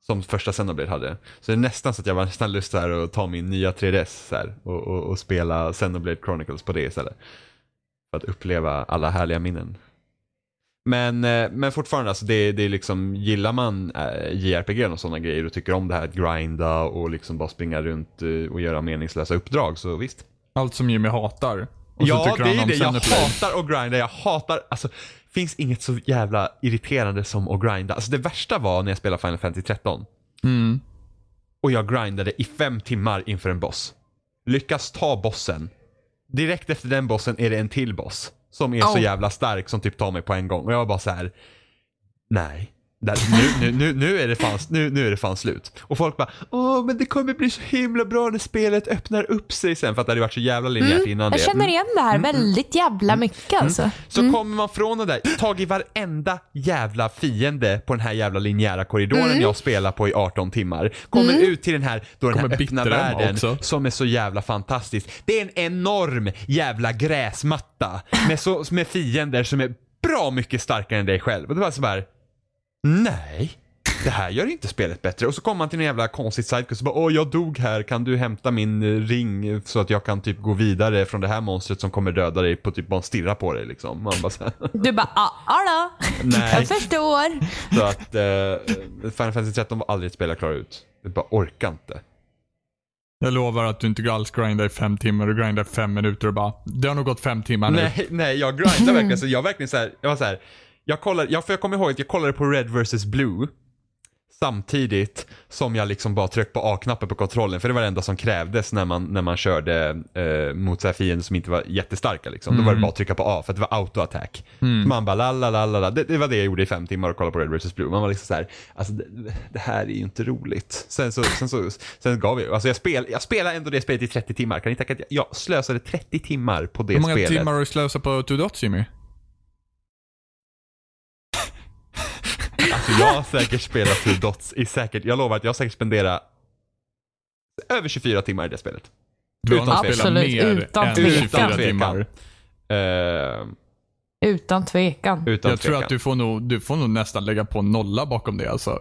som första Xenoblade hade. Så det är nästan så att jag var nästan lust här att ta min nya 3DS så här, och, och, och spela Xenoblade Chronicles på det istället. För att uppleva alla härliga minnen. Men, eh, men fortfarande, alltså det, det är liksom, gillar man eh, JRPG och sådana grejer och tycker om det här att grinda och liksom bara springa runt eh, och göra meningslösa uppdrag så visst.
Allt som Jimmy hatar. Och så
Ja,
tycker
det
han
är
om
det. Jag
Xenoblade.
hatar att grinda. Jag hatar, alltså, finns inget så jävla irriterande som att grinda. Alltså det värsta var när jag spelade Final Fantasy 13.
Mm.
Och jag grindade i fem timmar inför en boss. Lyckas ta bossen. Direkt efter den bossen är det en till boss. Som är så
Oh.
jävla stark som typ tar mig på en gång. Och jag var bara så här. nej. Där, nu, nu, nu, nu, är det fan, nu, nu är det fan slut. Och folk bara, åh men det kommer bli så himla bra när spelet öppnar upp sig sen. För att det hade varit så jävla linjärt
Mm.
innan det. Mm,
Jag känner igen det här väldigt jävla mycket alltså.
Så kommer man från det där, tag i varenda jävla fiende på den här jävla linjära korridoren jag spelar på i 18 timmar. Kommer ut till den här, då den
Kommer
här öppna
bitterömma
världen
också.
som är så jävla fantastisk. Det är en enorm jävla gräsmatta med, så, med fiender som är bra mycket starkare än dig själv. Och det var så här, nej. Det här gör inte spelet bättre. Och så kommer man till en jävla konstig sidequest och bara åh jag dog här, kan du hämta min eh, ring så att jag kan typ gå vidare från det här monstret som kommer döda dig på typ bara stirra på dig liksom. Man bara så här.
Du bara, ja ah, då.
Nej.
Jag förstår.
Så att eh, Final Fantasy 13 var aldrig ett spel jag klarade ut. Jag bara orkar inte.
Jag lovar att du inte alls grindar i fem timmar. Du grindar i fem minuter och bara, det har nog gått fem timmar nu.
Nej, nej jag grindade verkligen så jag verkligen så här, jag var så här, jag kollade, jag, för jag kommer ihåg att jag kollade på Red vs Blue samtidigt som jag liksom bara tryckte på A-knappen på kontrollen för det var det enda som krävdes när man, när man körde eh, mot så här fiender som inte var jättestarka liksom. Då var
Mm.
det bara att trycka på A för att det var auto-attack. Man bara la la la la la. Det, det var det jag gjorde i fem timmar och kollade på Red vs Blue. Man var liksom så här, alltså det, det här är ju inte roligt. Sen så, sen så, sen gav jag, alltså jag, spel, jag spelade ändå det spelet i 30 timmar. Kan ni tänka att jag, jag slösade 30 timmar på det
Hur många
spelet.
timmar har du slösat på Two Dots Jimmy?
Alltså jag har säkert spelat Two Dots i säkert, jag lovar att jag har säkert spenderat över 24 timmar i det spelet.
Du har
Utan
inte spelat
Absolut,
mer
utan
än
tvekan.
24
Utan tvekan.
timmar.
Eh,
Utan tvekan.
utan
Jag tror
tvekan.
att du får, nog, du får nog nästan lägga på nolla bakom det alltså.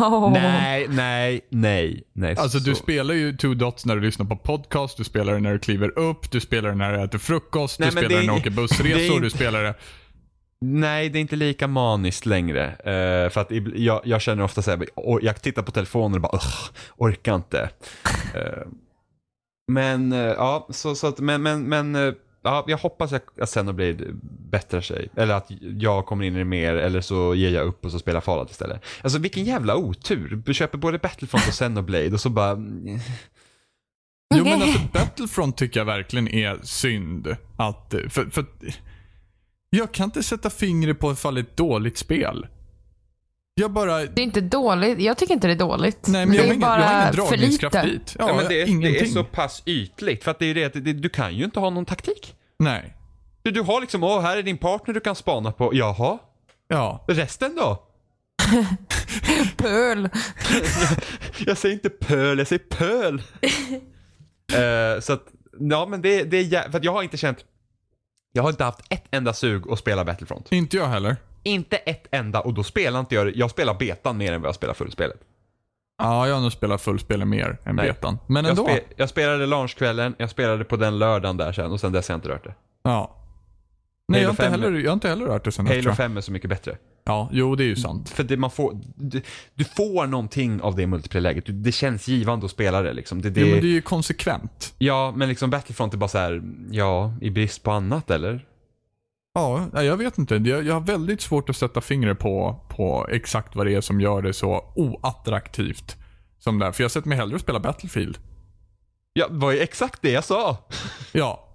Åh.
Nej, nej, nej, nej.
Alltså du
så-
spelar ju two dots när du lyssnar på podcast, du spelar det när du kliver upp, du spelar det när du äter frukost,
Nej,
du
men
spelar det
det är-
när du åker
det är
bussresor,
inte-
du spelar det...
Nej, det är inte lika maniskt längre. Eh, för att ib- jag, jag känner ofta så här, och jag tittar på telefonen och bara "Ugh, orkar inte. Eh, men eh, ja, så, så att, men, men, men eh, ja, jag hoppas att, att Xenoblade bättrar sig. Eller att jag kommer in i det mer, eller så ger jag upp och så spelar Fallout istället. Alltså vilken jävla otur. Du köper både Battlefront och Xenoblade och så bara, mm,
Jo men alltså Battlefront tycker jag verkligen är synd. Att, för, för, jag kan inte sätta fingret på ifall det är ett dåligt spel. Jag bara...
Det är inte dåligt. Jag tycker inte det är dåligt.
Nej, men
det
jag,
är
har ingen, jag har ingen dragningskraft dit. Ja,
Ja, men det, är, det är
ingenting.
så pass ytligt. För att det är det, att det, du kan ju inte ha någon taktik.
Nej.
Du, du har liksom, åh, här är din partner du kan spana på. Jaha,
Ja.
resten då?
typ.
Pöl.
Jag säger inte pöl, jag säger pöl. Eh, så att, ja men det, det är jä- för att jag har inte känt, jag har inte haft ett enda sug att spela Battlefront.
Inte jag heller.
Inte ett enda och då spelar inte jag det. jag spelar betan mer än vad jag spelar fullspelet.
Ja, jag har nog spelat fullspelet mer än
Nej.
betan. Men
Jag,
ändå.
spe, jag spelade launchkvällen, jag spelade på den lördagen där sen och sen dess har jag inte rört det.
Ja. Nej, jag har, inte
Halo 5.
heller, jag har inte heller rört det sen dess, tror
Halo
jag.
5 är så mycket bättre.
Ja, jo det är ju sant.
För det man får, du, du får någonting av det multiplayer-läget. Du- Det känns givande att spela det liksom. Det, det,
Jo, men det är ju konsekvent.
Ja, men liksom Battlefront är bara så här, ja, i brist på annat eller?
Ja, nej, jag vet inte. Jag, jag har väldigt svårt att sätta fingret på, på exakt vad det är som gör det så oattraktivt. Som det är. För jag sätter mig hellre och spelar Battlefield.
Ja, det var ju exakt det jag sa.
Ja.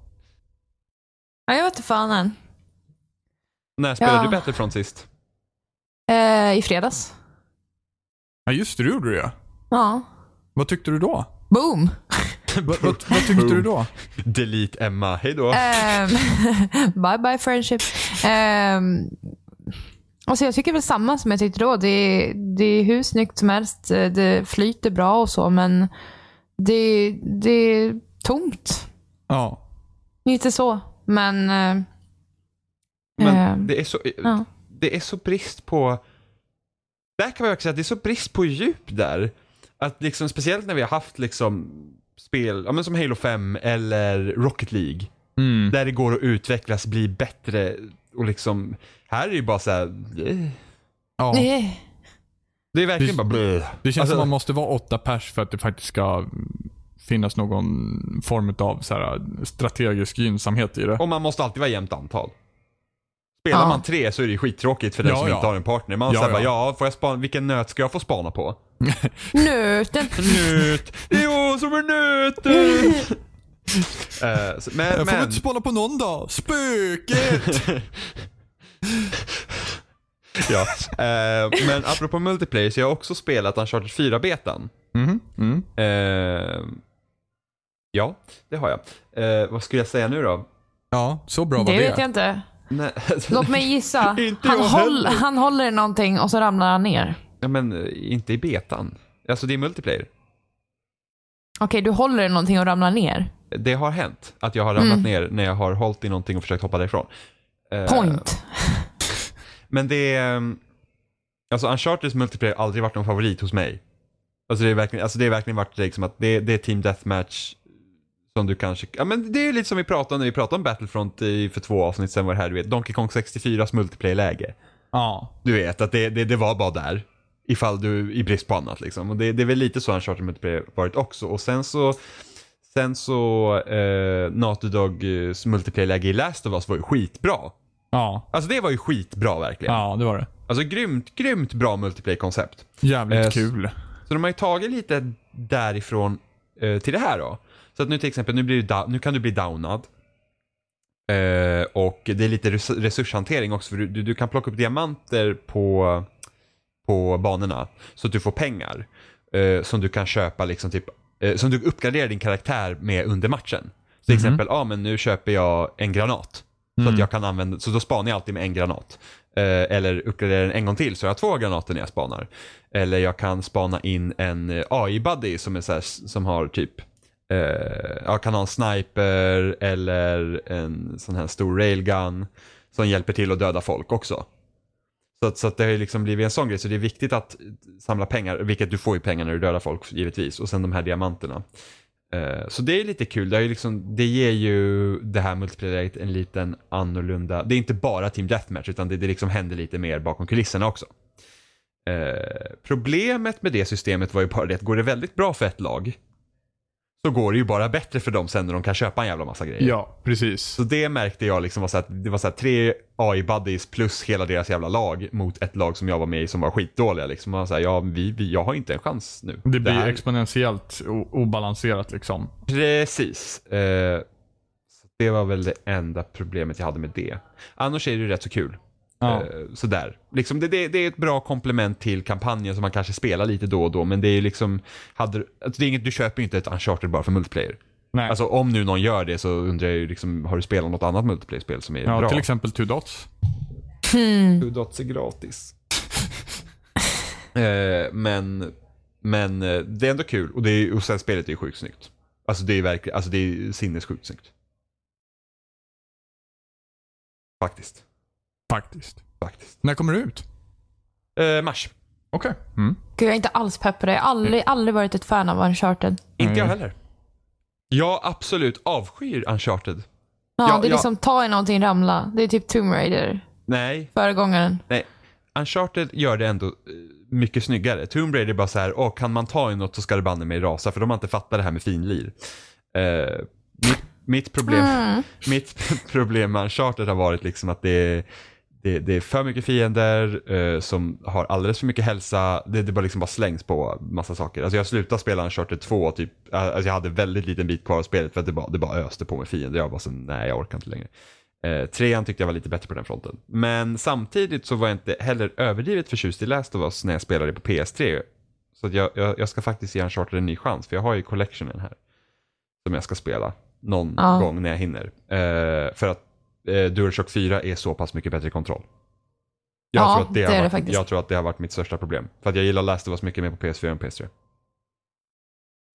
Ja, jag vet inte fan än.
När spelade
Ja.
du Battlefront sist?
Eh, I fredags.
ja, just det. Det gjorde du ju.
Ja.
Vad tyckte du då?
Boom.
Vad, vad, vad tyckte du då?
Delete Emma, hejdå.
Ehm, bye bye friendship. Um, alltså jag tycker väl samma som jag tyckte då. Det är, det är hur snyggt som helst. Eh, Det flyter bra och så, men det, det är tomt.
Ja.
Inte så, men... eh,
men
ehm,
det är, så, eh,
ja.
det är så brist på... Där kan man verkligen säga att det är så brist på djup där. Att liksom, speciellt när vi har haft liksom spel, ja men som Halo 5 eller Rocket League.
Mm.
Där det går att utvecklas, bli bättre och liksom, här är det ju bara så här. eh.
ja.
Eh,
Det är verkligen
Det-
bara bleh.
Det känns
Alltså-
som man måste vara åtta pers för att det faktiskt ska finnas någon form av så här, eh, strategisk gynnsamhet i det.
Och man måste alltid vara jämnt antal. Spelar
Ja.
man tre så är det ju skittråkigt för den
Ja,
som
ja.
inte har en partner. Man
Ja,
ja, säger bara,
ja.
ja, får jag spana, vilken nöt ska jag få spana på?
Nöten.
Nöt! Det är jag som är nöten! Eh, så- men,
Jag får väl
men,
inte spana på någon dag? Spöket!
ja. Eh, men apropå multiplayer så jag har också spelat Uncharted 4-betan.
Mhm. Mm.
Eh, ja, det har jag. Eh, vad skulle jag säga nu då?
Ja, så bra var
Det
det.
vet jag inte.
Nej,
Låt mig gissa.
Inte
Han,
jag
håll,
heller.
han håller i någonting och så ramlar han ner.
ja, men eh, inte i betan. Alltså det är multiplayer.
Okej, du håller i någonting och ramlar ner.
Det har hänt att jag har ramlat ner när jag har hållit i någonting och försökt hoppa därifrån. Eh,
Point.
Men det är... ehm, Alltså Uncharteds multiplayer har aldrig varit någon favorit hos mig. Alltså det är verkligen, alltså det är verkligen varit liksom att det, det är Team Deathmatch som du kanske, ja men det är ju lite som vi pratade om när vi pratade om Battlefront i, för två avsnitt sen var det här du vet, Donkey Kong 64s multiplayer-läge.
Ja.
Du vet att det, det, det var bara där. Ifall du, i brist på annat liksom. Och det, det är väl lite så Uncharted multiplayer varit också. Och sen så, sen så, eh, Naughty Dogs multiplayer-läge i Last of Us var ju skitbra.
Ja.
Alltså det var ju skitbra verkligen.
ja, det var det.
Alltså grymt, grymt bra multiplayer-koncept.
Jävligt
Eh,
kul.
Så de har ju tagit lite därifrån eh, till det här då. Så att nu till exempel, nu, blir du da- nu kan du bli downad. Eh, och det är lite res- resurshantering också för du, du, du kan plocka upp diamanter på, på banorna. Så att du får pengar. Eh, som du kan köpa liksom typ, eh, som du uppgraderar din karaktär med under matchen. Så till exempel, ja ah, men nu köper jag en granat. Så att jag kan använda, så då spanar jag alltid med en granat. Eh, eller uppgraderar den en gång till så jag har två granater när jag spanar. Eller jag kan spana in en eh, AI-buddy som är så här, som har typ eh, jag kan ha en sniper eller en sån här stor railgun som hjälper till att döda folk också. Så, att, så att det har ju liksom blivit en sån grej, så det är viktigt att samla pengar, vilket du får ju pengar när du dödar folk givetvis, och sen de här diamanterna. Eh, Så det är lite kul, det, är ju liksom, det ger ju det här multiplayer en liten annorlunda, det är inte bara Team Deathmatch utan det, det liksom händer lite mer bakom kulisserna också. Eh, problemet med det systemet var ju bara det att går det väldigt bra för ett lag så går det ju bara bättre för dem sen när de kan köpa en jävla massa grejer.
Ja, precis.
Så det märkte jag liksom var så att det var så här tre AI-buddies plus hela deras jävla lag mot ett lag som jag var med i som var skitdåliga liksom. Man var så här, ja, vi, vi, jag har inte en chans nu.
Det blir
här-
exponentiellt o- obalanserat liksom.
Precis. Eh, så det var väl det enda problemet jag hade med det. Annars är det ju rätt så kul.
Ja.
Eh, Sådär. Liksom det, det, det är ett bra komplement till kampanjen som man kanske spelar lite då och då, men det är liksom, hade, alltså det är inget, du köper ju inte ett Uncharted bara för multiplayer.
Nej.
Alltså om nu någon gör det så undrar jag ju liksom, har du spelat något annat multiplayer-spel som är
ja,
bra?
till exempel Two Dots.
Two dots är gratis. eh, men, men eh, det är ändå kul och, det är, och sen spelet är ju sjukt snyggt. Alltså det är verkligen, alltså det är sinnessjukt snyggt. Faktiskt,
Faktiskt.
faktiskt.
När kommer det ut? Mm.
Eh, mars.
Okej.
Gud, jag är inte alls pepp på det. Jag har
Mm.
aldrig, aldrig varit ett fan av Uncharted.
Inte jag
Mm.
heller. Jag absolut avskyr Uncharted.
Ja,
Ja,
det är
ja.
liksom ta i någonting, ramla. Det är typ Tomb Raider,
Nej,
föregångaren.
nej. Uncharted gör det ändå eh, mycket snyggare. Tomb Raider är bara så här, åh kan man ta i något så ska det banne mig rasa för de har inte fattat det här med finlir. Eh, mitt, mitt problem...
Mm.
mitt problem med Uncharted har varit liksom att det är, det, det är för mycket fiender eh, som har alldeles för mycket hälsa. Det, det bara liksom bara slängs på massa saker. Alltså jag slutade spela Uncharted 2, typ, eh, alltså jag hade väldigt liten bit kvar av spelet för att det bara, det bara öste på med fiender. Jag bara så, nej jag orkar inte längre. Eh, trean tyckte jag var lite bättre på den fronten. Men samtidigt så var jag inte heller överdrivet förtjust i Last of Us när jag spelade på PS3. Så att jag, jag, jag ska faktiskt ge Uncharted en ny chans för jag har ju collectionen här som jag ska spela någon
Ja.
gång när jag hinner. Eh, för att eh, DualShock 4 är så pass mycket bättre kontroll. Jag,
Ja,
tror att det
det
har
är det
varit,
faktiskt.
jag tror att det har varit mitt största problem. För att jag gillar Last of Us mycket mer på PS4 än PS3.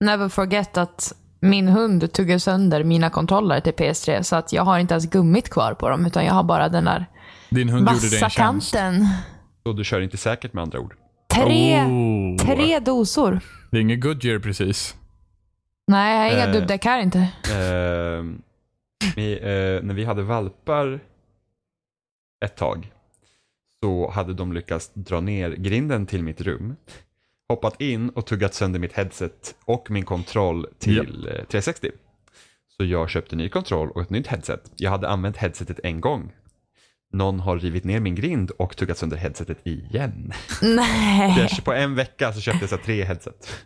Never forget att min hund tuggade sönder mina kontroller till PS3 så att jag har inte ens gummit kvar på dem utan jag har bara den där
Din hund gjorde dig
vassa
en tjänst.
kanten.
Så du kör inte säkert med andra ord.
Tre,
Oh.
tre dosor.
Det är ingen Goodyear precis.
Nej, jag har inga
Eh.
dubbdäck här inte.
Ehm, vi, eh, när vi hade valpar ett tag så hade de lyckats dra ner grinden till mitt rum, hoppat in och tuggat sönder mitt headset och min kontroll till eh, 360. Så jag köpte ny kontroll och ett nytt headset. Jag hade använt headsetet en gång. Någon har rivit ner min grind och tuggat sönder headsetet igen.
Nej.
Det- På en vecka så köpte jag så här tre headset.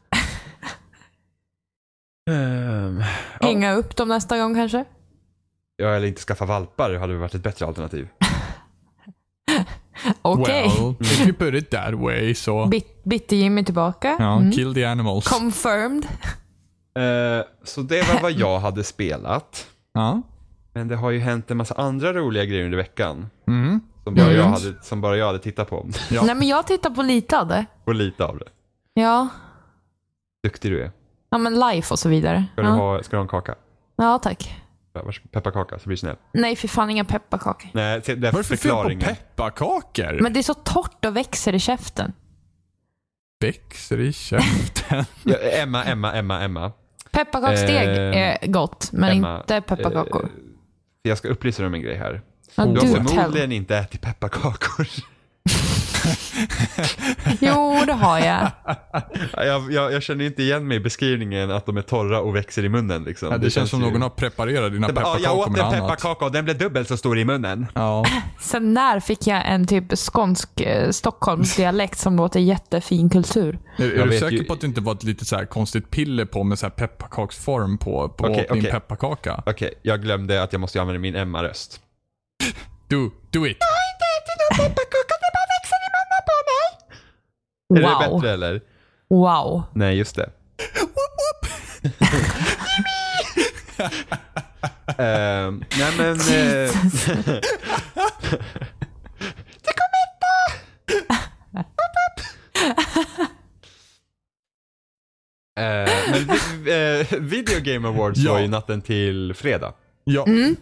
Ehm, ja.
Hänga upp dem nästa gång kanske?
Ja, eller inte skaffa valpar hade varit ett bättre alternativ.
Okej.
Well, if you put it that way så.
Bit- Bitte Jimmy tillbaka.
Ja,
Mm.
kill the animals.
Confirmed.
Eh, så det var vad jag hade spelat.
Ja.
Men det har ju hänt en massa andra roliga grejer under veckan.
Mm.
Som bara,
Mm.
jag, hade, som bara jag hade tittat på.
Ja.
Nej, men jag tittar på lite av det.
Och lite av det.
Ja.
Duktig du är.
Ja, men life och så vidare.
Ska, du,
Ja.
ha, ska du ha en kaka?
ja, tack.
Ja, varsågod. Pepparkaka, så blir du snäll.
Nej, för fan inga pepparkakor.
Nej, se, det är
Vad är det för fel på
förklaringen.
pepparkakor?
Men det är så torrt och växer i käften.
Växer i käften.
Ja, Emma, Emma, Emma, Emma.
Pepparkaksdeg
Eh,
är gott, men
Emma, eh,
inte pepparkakor.
Jag ska upplysa dig om en grej här.
Ja,
Du
du
har
tell.
förmodligen inte ätit pepparkakor.
Jo, det har jag.
Jag, jag, jag känner inte igen mig i beskrivningen att de är torra och växer i munnen. Liksom.
Ja, det, känns som
ju-
någon har preparerat dina
Det bara, "Ah, jag
pepparkakor
åt
med
en
annat.
pepparkaka och den blev dubbelt så stor i munnen.
Ja.
Sen när fick jag en typ skånsk eh, Stockholmsdialekt som låter jättefin kultur?
Är, är
Jag
du
vet
säker
ju-
på att det inte var ett litet så här konstigt piller på med så här pepparkaksform på, på
Okej,
din
okej.
pepparkaka?
Okej, jag glömde att jag måste använda min Emma-röst.
Do, do it!
Pepparkakan, det bara växer i munnen på mig! Är det
Wow.
bättre eller?
Wow.
Nej, just det. Ehm, nej men... eh, det kommer inte! Eh, men vi, eh, Video Game Awards
Ja.
var ju natten till fredag.
Ja.
Mm.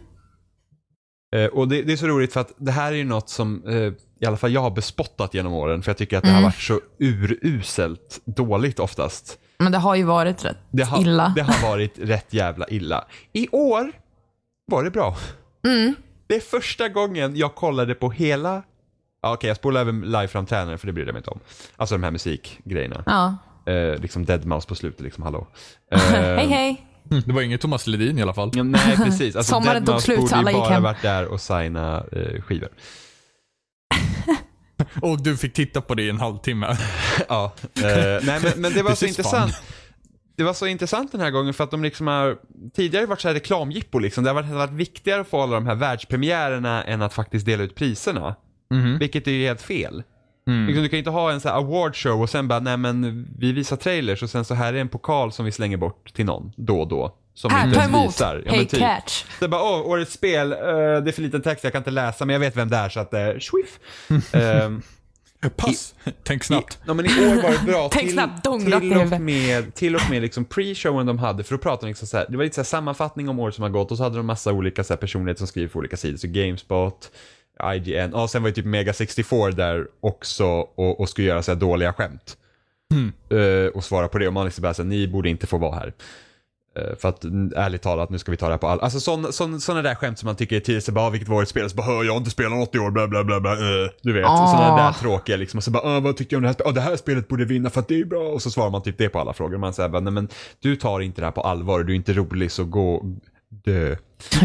Eh, och det, det är så roligt för att det här är ju något som eh, i alla fall jag har bespottat genom åren för jag tycker att det
Mm.
har varit så uruselt dåligt oftast.
Men det har ju varit rätt
Det har,
illa.
det har varit rätt jävla illa. I år var det bra.
Mm.
Det är första gången jag kollade på hela, ja, okej jag spolar även live-framträdanden för det bryr jag mig inte om. Alltså de här musikgrejerna.
Ja.
Eh, liksom Deadmau5 på slutet, liksom hallå. Eh,
Hej, hej.
Hm, Det var ingen Thomas Ledin i alla fall.
Ja, nej, precis. Alltså,
Sommaren
Dead
tog
Mouse
slut,
borde ju
alla gick
bara
hem.
varit där och signa eh, skivor.
Och du fick titta på det i en halvtimme.
Ja. Eh, nej, men, men det var
This
så
is fun.
intressant. Det var så intressant den här gången för att de liksom har, tidigare har det varit så här reklamjippo liksom. Det har varit, det har varit viktigare att få alla de här världspremiärerna än att faktiskt dela ut priserna.
Mhm. Mm.
Vilket är ju helt fel. Liksom, du kan ju inte ha en så här award show och sen bara, nej men vi visar trailers och sen så här är en pokal som vi slänger bort till någon då och då. Som vi
Här,
inte
Ah, ta
ens
emot.
visar. Ja, men
hey
typ.
catch.
Det är bara, åh, årets spel, eh, det är för liten text, jag kan inte läsa, men jag vet vem det är så att, uh, swiff. Ehm,
Pass. Tänk snabbt.
Ja, men i år var det bra.
Tänk
till,
snabbt, donglat i
till och
huvudet.
med, till och med liksom pre-showen de hade, för då pratade de liksom så här, det var lite så här sammanfattning om året som har gått och så hade de massa olika så här personligheter som skriver på olika sidor, så Gamespot, IGN, och sen var ju typ Mega64 där också och, och skulle göra så här dåliga skämt.
Hmm.
Eh, och svara på det och man liksom bara så här, ni borde inte få vara här. Eh, För att n- ärligt talat, nu ska vi ta det här på all... Alltså sådana sån, såna där skämt som man tycker är tidigt, så bara "Ah, vilket var årets spel? Så bara, "Hör, jag har inte spelat något i år, bla bla bla bla, eh." Du vet,
Ah.
sådana där tråkiga liksom. Och så bara, "Ah, vad tycker jag om det här spelet? Ah, det här spelet borde vinna för att det är bra. Och så svarar man typ det på alla frågor. Man säger bara, nej men du tar inte det här på allvar, du är inte rolig så gå, dö.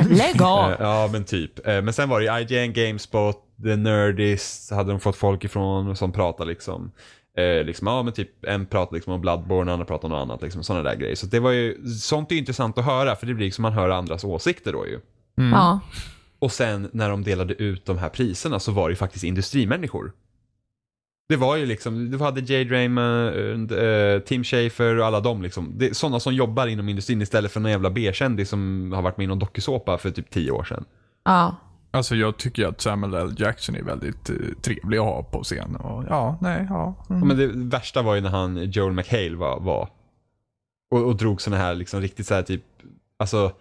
Lägg
Eh,
av.
Ja, men typ. Eh, Men sen var det ju IGN, Gamespot, The Nerdist, hade de fått folk ifrån som pratade liksom. Eh, liksom, ja men typ en pratade liksom om Bloodborne, andra pratade om något annat, liksom sådana där grejer. Så det var ju, sånt är ju intressant att höra, för det blir liksom man hör andras åsikter då ju.
Ja.
Och sen när de delade ut de här priserna så var det ju faktiskt industrimänniskor. Det var ju liksom, du hade Jade Raymond, eh, Tim Schafer och alla dem liksom. Det är sådana som jobbar inom industrin istället för någon jävla B-kändis som har varit med i någon dokusåpa för typ tio år sedan.
ja.
Alltså jag tycker att Samuel L. Jackson är väldigt eh, trevlig att ha på scen. Och, ja, nej, ja. Mm.
Ja, men det värsta var ju när han, Joel McHale var, var och, och drog såna här liksom riktigt så här typ, alltså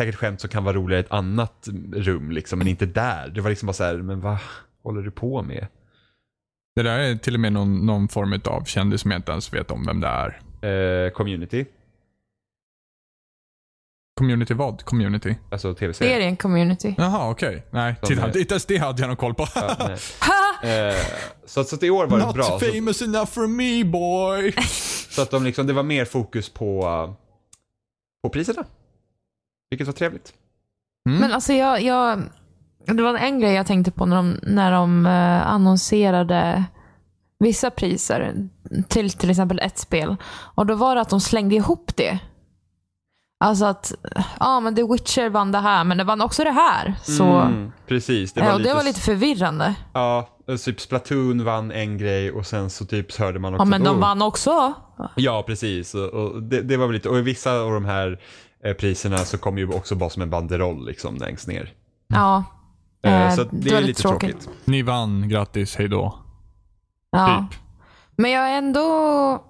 säkert skämt som kan vara roliga i ett annat rum liksom, men inte där. Det var liksom bara så här, men vad håller du på med?
Det där är till och med någon, någon form av kändis som jag inte ens vet om vem det är.
Eh, community,
Community vad? Community?
alltså
Det är
tv-serien.
en community.
Jaha, okej. Nej,
Som
titta,
är-
inte ens det hade jag någon koll på.
Ja,
Ha!
nej. eh, så, att- så att i år var det
Not
bra. Så,
famous enough for me boy.
så att de liksom, det var mer fokus på, eh, på priserna. Vilket var trevligt. Mm.
Men alltså jag, jag, det var en grej jag tänkte på när de, när de eh, annonserade vissa priser till till exempel ett spel. Och då var det att de slängde ihop det. Alltså att, ja men The Witcher vann det här, men det vann också det här. Så,
Mm, precis, det
det,
var,
var och
lite,
det var lite förvirrande.
Ja, typ Splatoon vann en grej och sen så typ hörde man också
Ja men
att,
de
"Oh."
vann också.
Ja, precis. Och, och det, det var väl lite, och i vissa av de här eh, priserna så kom ju också bara som en banderoll liksom längst ner.
Ja.
Eh,
Eh,
så att det, är lite tråkigt.
Ni vann, grattis, hejdå.
Ja.
Typ.
Men jag är ändå,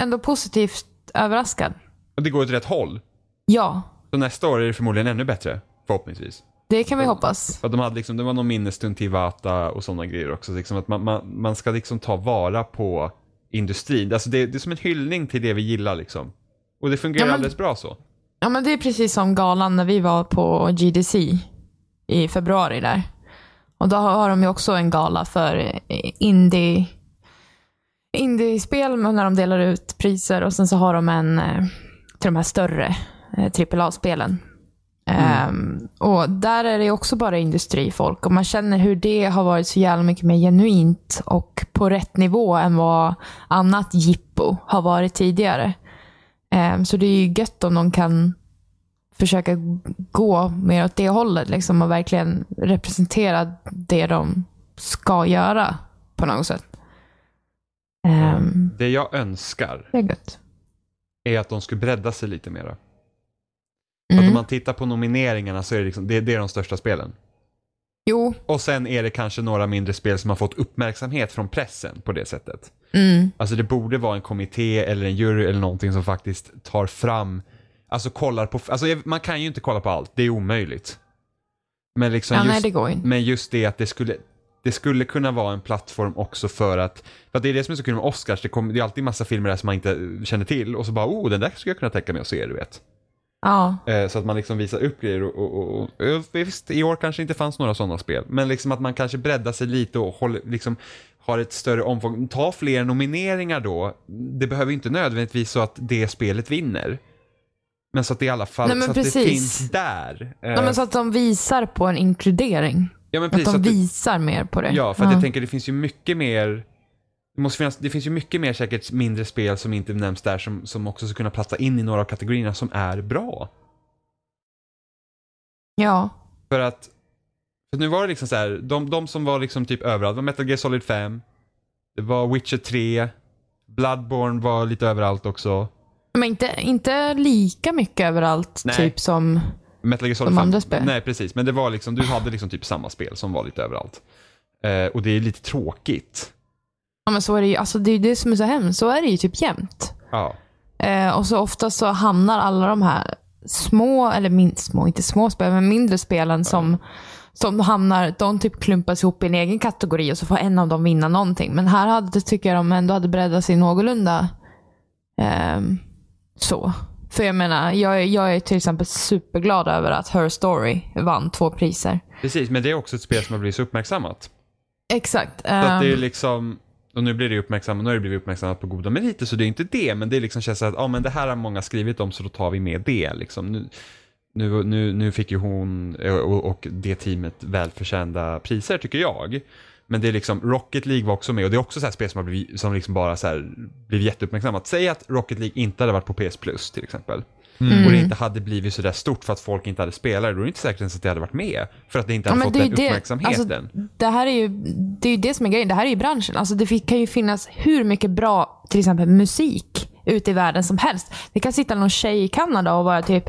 ändå positivt överraskad.
Och Det går åt rätt håll.
Ja,
Så nästa år är det förmodligen ännu bättre, förhoppningsvis.
det kan vi hoppas.
För att de hade liksom, det var någon minnesstund till Vata och sådana grejer också. Liksom att man, man, man ska liksom ta vara på industrin. Alltså det, det är som en hyllning till det vi gillar liksom. Och det fungerar
Ja, men-
alldeles bra så.
Ja, men det är precis som galan när vi var på GDC i februari där. Och då har de ju också en gala för eh, indie indiespel men när de delar ut priser och sen så har de en eh, till de här större eh, AAA-spelen. Ehm, och där är det också bara industrifolk och man känner hur det har varit så jävla mycket mer genuint och på rätt nivå än vad annat jippo har varit tidigare. Ehm, så det är ju gött om de kan försöka gå mer åt det hållet liksom, och verkligen representera det de ska göra på något sätt. Ehm,
Det jag önskar
det är gött.
är att de skulle bredda sig lite mera. Att om
Mm.
man tittar på nomineringarna så är det, liksom, det, det är de största spelen.
Jo,
Och sen är det kanske några mindre spel som har fått uppmärksamhet från pressen på det sättet.
mm.
Alltså det borde vara en kommitté eller en jury eller någonting som faktiskt tar fram, alltså kollar på, alltså jag- man kan ju inte kolla på allt, det är omöjligt. Men liksom
ja, nej,
just,
det går inte.
men just det att det skulle, det skulle kunna vara en plattform också för att, för att det är det som är så kul med Oscars, det, kommer det är alltid massa filmer där som man inte känner till och så bara oh den där skulle jag kunna tänka mig att se du vet.
Ja.
Eh, Så att man liksom visar upp grejer och, och, och, och eh, visst, i år kanske inte fanns några sådana spel. Men liksom att man kanske breddar sig lite och håller, liksom, har ett större omfång. Ta fler nomineringar då. Det behöver ju inte nödvändigtvis så att det spelet vinner. Men så att det i alla fall
Nej, men
så att det
precis.
finns där. Eh,
Nej, men så att de visar på en inkludering.
ja, men
Att
så
de
att det-
visar mer på det.
Ja, för att jag tänker det finns ju mycket mer det, måste finnas, det finns ju mycket mer säkert mindre spel som inte nämns där som, som också skulle kunna platsa in i några av kategorierna som är bra.
Ja.
För att, Så nu var det liksom så här, de, de som var liksom typ överallt var Metal Gear Solid 5, det var Witcher 3, Bloodborne var lite överallt också.
Men inte, inte lika mycket överallt,
Nej.
typ som...
Metal Gear Solid
De
5.
andra spelen?
Nej, precis. Men det var liksom, du hade liksom typ samma spel som var lite överallt. Eh, och det är lite tråkigt.
Ja, men så är det ju. Alltså, det är ju det som är så hemskt. Så är det ju typ jämt.
Ja.
Eh, och så ofta så hamnar alla de här små, eller min, små, inte små spel, men mindre spelen som, som hamnar, de typ klumpas ihop i en egen kategori och så får en av dem vinna någonting. Men här hade, tycker jag de ändå hade breddat sig någorlunda ehm, så. För jag menar, jag, jag är till exempel superglad över att Her Story vann två priser.
Precis, men det är också ett spel som har blivit så uppmärksammat.
Exakt.
Så att det är
ehm,
liksom, och nu blir det ju uppmärksammat, nu har det blivit uppmärksammat på goda meriter så det är inte det, men det är liksom känns så att, ja men det här har många skrivit om så då tar vi med det liksom. Nu, nu, nu, nu fick ju hon eh, och, och det teamet välförtjänta priser tycker jag. Men det är liksom, Rocket League var också med och det är också så här spel som har blivit, som liksom bara så här, blivit jätteuppmärksammat. Säg att Rocket League inte hade varit på PS Plus till exempel.
Mm.
Och det inte hade blivit så där stort för att folk inte hade spelat det, då är det inte säkert ens att det hade varit med. För att det inte hade fått
är
den
ju det-
uppmärksamheten.
Alltså, det, här är ju, det är ju det som är grejen. Det här är ju branschen. Alltså, det fi- kan ju finnas hur mycket bra till exempel musik ute i världen som helst. Det kan sitta någon tjej i Kanada och vara typ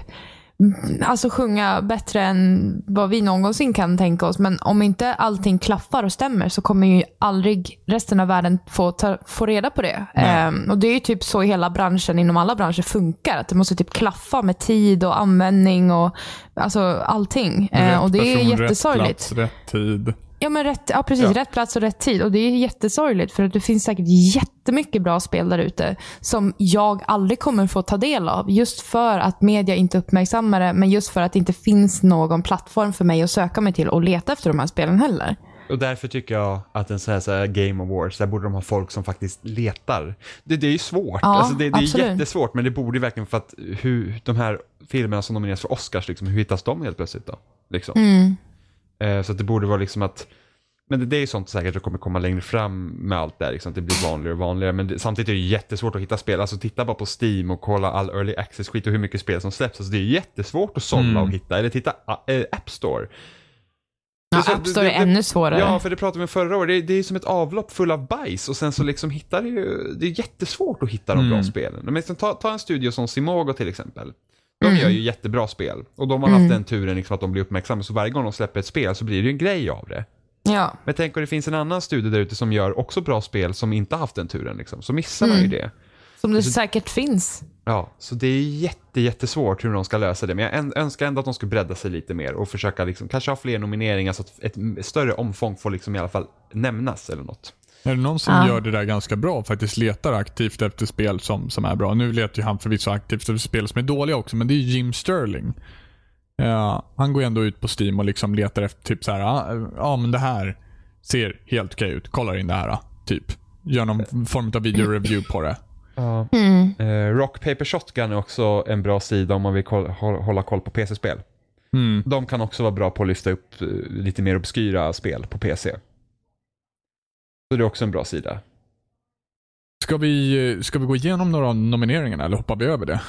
mm, Alltså sjunga bättre än vad vi någonsin kan tänka oss. Men om inte allting klaffar och stämmer så kommer ju aldrig resten av världen få, ta, få reda på det. Ehm, och Det är ju typ så hela branschen, inom alla branscher, funkar. Att det måste typ klaffa med tid och användning och alltså allting. Ehm, och Det är
Rätt person,
jättesorgligt.
Rätt plats, rätt tid.
Ja, men rätt, ja precis. Rätt plats och rätt tid. Och Det är jättesorgligt för att det finns säkert jättemycket bra spel där ute som jag aldrig kommer få ta del av. Just för att media inte uppmärksammar det, men just för att det inte finns någon plattform för mig att söka mig till och leta efter de här spelen heller.
Och därför tycker jag att en sån här, så här Game Awards, där borde de ha folk som faktiskt letar. Det, det är ju svårt,
Ja,
alltså det, det är
absolut.
jättesvårt men det borde ju verkligen för att hur de här filmerna som nomineras för Oscars, liksom, hur hittas de helt plötsligt då? Liksom.
Mm.
Eh, så att det borde vara liksom att, men det, det är ju sånt säkert som kommer komma längre fram med allt det här, liksom, att det blir vanligare och vanligare. Men det, samtidigt är det ju jättesvårt att hitta spel, alltså titta bara på Steam och kolla all early access-skit och hur mycket spel som släpps. Alltså det är jättesvårt att sålla och hitta, eller titta eh, App Store.
Ja,
Det är så-
App Store
det-
är
det-
ännu svårare.
Ja, för det pratade vi om förra året. Det, det är som ett avlopp full av bajs och sen så liksom hittar det ju, det är jättesvårt att hitta de bra spelen. Men liksom, ta, ta en studio som Simogo till exempel. De gör ju jättebra spel och de har haft den turen liksom att de blir uppmärksamma så varje gång de släpper ett spel så blir det ju en grej av det.
Ja.
Men tänk om det finns en annan studio där ute som gör också bra spel som inte haft den turen liksom, så missar man ju det.
Som det säkert finns.
Ja, så det är jätte, jättesvårt hur de ska lösa det. Men jag än- önskar ändå att de skulle bredda sig lite mer och försöka liksom, kanske ha fler nomineringar så att ett m- större omfång får liksom i alla fall nämnas eller något.
Är det någon som
Ja.
gör det där ganska bra och faktiskt letar aktivt efter spel som, som är bra? Nu letar ju han förvisso aktivt efter spel som är dåliga också, men det är ju Jim Sterling. Ja, han går ju ändå ut på Steam och liksom letar efter typ så här, ja, ja men det här ser helt okej ut. Kolla in det här, typ. Gör någon form av videoreview på det.
Ja. Eh, Rock Paper Shotgun är också en bra sida om man vill koll- hå- hålla koll på PC-spel.
Mm.
De kan också vara bra på att lyfta upp eh, lite mer obskyra spel på PC. Så det är också en bra sida.
Ska vi, eh, ska vi gå igenom några av nomineringarna eller hoppar vi över det?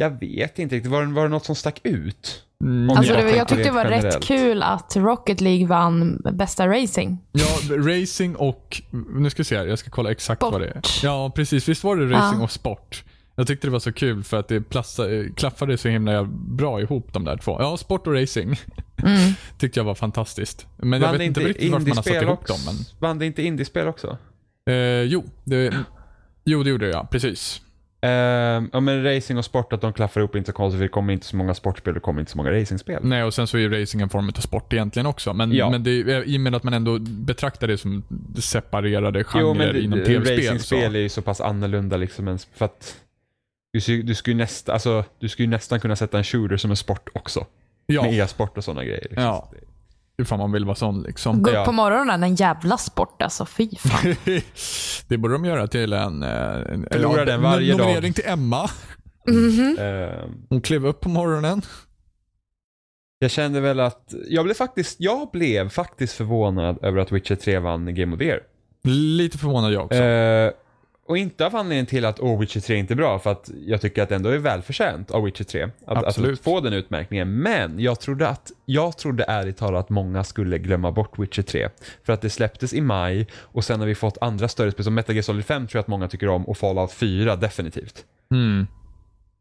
Jag vet inte riktigt, var, det- var det något som stack ut?
Mm,
Alltså,
jag
det, var- jag
tänker
tyckte det var
rent
rätt
generellt.
kul att Rocket League vann bästa racing.
Ja, racing och... Nu ska vi se här, jag ska kolla exakt vad det är.
Sport.
Ja, precis. Visst var det racing
Ja.
och sport? Jag tyckte det var så kul för att det plassa, eh, klaffade så himla bra ihop de där två. Ja, sport och racing
Mm.
tyckte jag var fantastiskt. Men jag vet inte riktigt varför man har satt
indiespel
ihop
också?
dem. Men,
Vann det inte indiespel också?
eh, jo, det, jo, det gjorde jag. Precis.
Ehm, ja men racing och sport, att de klaffar ihop är inte så konstigt för det kommer inte så många sportspel och det kommer inte så många racingspel.
Nej, och sen så är ju racing en form av sport egentligen också. Men,
Ja.
men det, är- i och med att man ändå betraktar det som separerade genrer
Jo, men det,
inom
det-
tv-spel. så-
racingspel är ju så pass annorlunda liksom ens för att du, ser- du skulle ju nästa, alltså, du skulle ju nästan kunna sätta en shooter som en sport också.
Ja.
Med e-sport och sådana grejer. Liksom.
Ja. Ifall man vill vara sån liksom.
Gå
Ja.
upp på morgonen, en jävla sport alltså. Fy fan.
det borde de göra till en... eh, en
Förlorar den varje
en
dag.
nominering till Emma.
Mm.
Mhm.
Ehm,
Hon klev upp på morgonen.
jag kände väl att, jag blev faktiskt, jag blev faktiskt förvånad över att Witcher 3 vann Game of the Year.
Eh. Lite förvånad jag också.
Ehm, Och inte av anledningen till att oh, Witcher 3 är inte bra, för att jag tycker att det ändå är välförtjänt av Witcher 3. Att,
Absolut.
att få den utmärkningen. Men jag trodde, att, jag trodde ärligt talat att många skulle glömma bort Witcher 3. För att det släpptes i maj och sen har vi fått andra större spel som Metal Gear Solid 5 tror jag att många tycker om och Fallout 4 definitivt.
Mm.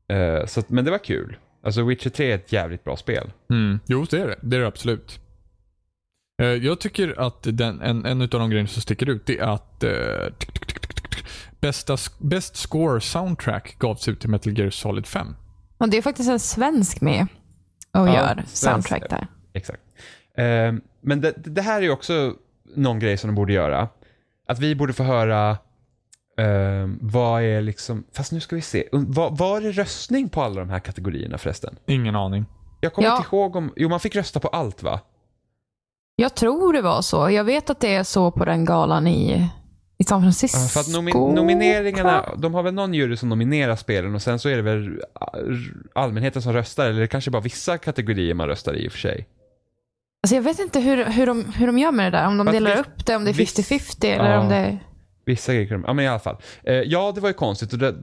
Eh, så, att- men det var kul. Alltså Witcher 3 är ett jävligt bra spel.
Mm. Jo, det är det. Det är det absolut. Eh, Jag tycker att den, en, en av de grejerna som sticker ut det är att eh, tick, tick, tick, tick, tick, bästa, sk- Best Score Soundtrack gavs ut till Metal Gear Solid 5.
Och det är faktiskt en svensk med och
Ja,
gör
svensk.
soundtrack där.
Exakt. Eh, men det, det här är ju också någon grej som de borde göra. Att vi borde få höra eh, vad är liksom, fast nu ska vi se. Um, Var, var det röstning på alla de här kategorierna förresten?
Ingen aning.
Jag kommer
Ja.
inte ihåg om, jo man fick rösta på allt va?
Jag tror det var så. Jag vet att det är så på den galan i, i San Francisco.
Ja, För att nomi- nomineringarna, de har väl någon jury som nominerar spelen och sen så är det väl all- allmänheten som röstar eller kanske bara vissa kategorier man röstar i och för sig.
Alltså jag vet inte hur, hur, de, hur de gör med det där. Om de
Fast
delar
vi-
upp det, om det är
vi-
50-50 eller
Ja. Mm.
om det...
Vissa grejer kunde de- ja men i alla fall. Eh, ja det var ju konstigt och, det,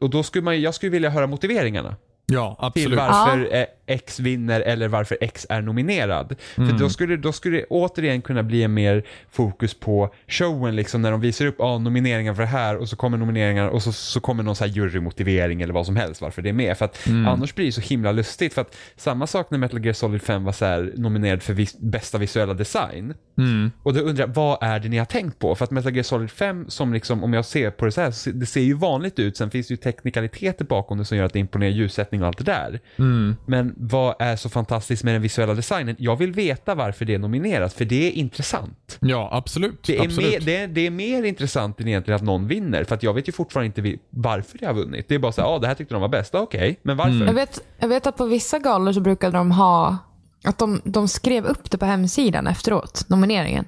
och då skulle man, jag skulle vilja höra motiveringarna.
Ja,
till
absolut.
varför eh, X vinner eller varför X är nominerad. För då skulle, då skulle det återigen kunna bli en mer fokus på showen, liksom när de visar upp ah, nomineringar för det här och så kommer nomineringar och så, så kommer någon så här jurymotivering eller vad som helst varför det är med. För att annars blir det så himla lustigt. För att samma sak när Metal Gear Solid 5 var så här nominerad för vis- bästa visuella design.
Mm.
Och då undrar jag, vad är det ni har tänkt på? För att Metal Gear Solid 5, som liksom, om jag ser på det så här, så det ser ju vanligt ut. Sen finns det ju teknikaliteter bakom det som gör att det imponerar ljussättning och allt det där.
Mm.
Men vad är så fantastiskt med den visuella designen? Jag vill veta varför det är nominerat, för det är intressant.
Ja, absolut.
Det är,
absolut.
mer, det, är, det är mer intressant än egentligen att någon vinner, för att jag vet ju fortfarande inte vi- varför jag har vunnit. Det är bara så här, ja ah, det här tyckte de var bäst, Ah, okej, men varför?
Mm.
Jag, vet, jag vet att på vissa galor så brukade de ha... Att de, de skrev upp det på hemsidan efteråt, nomineringen.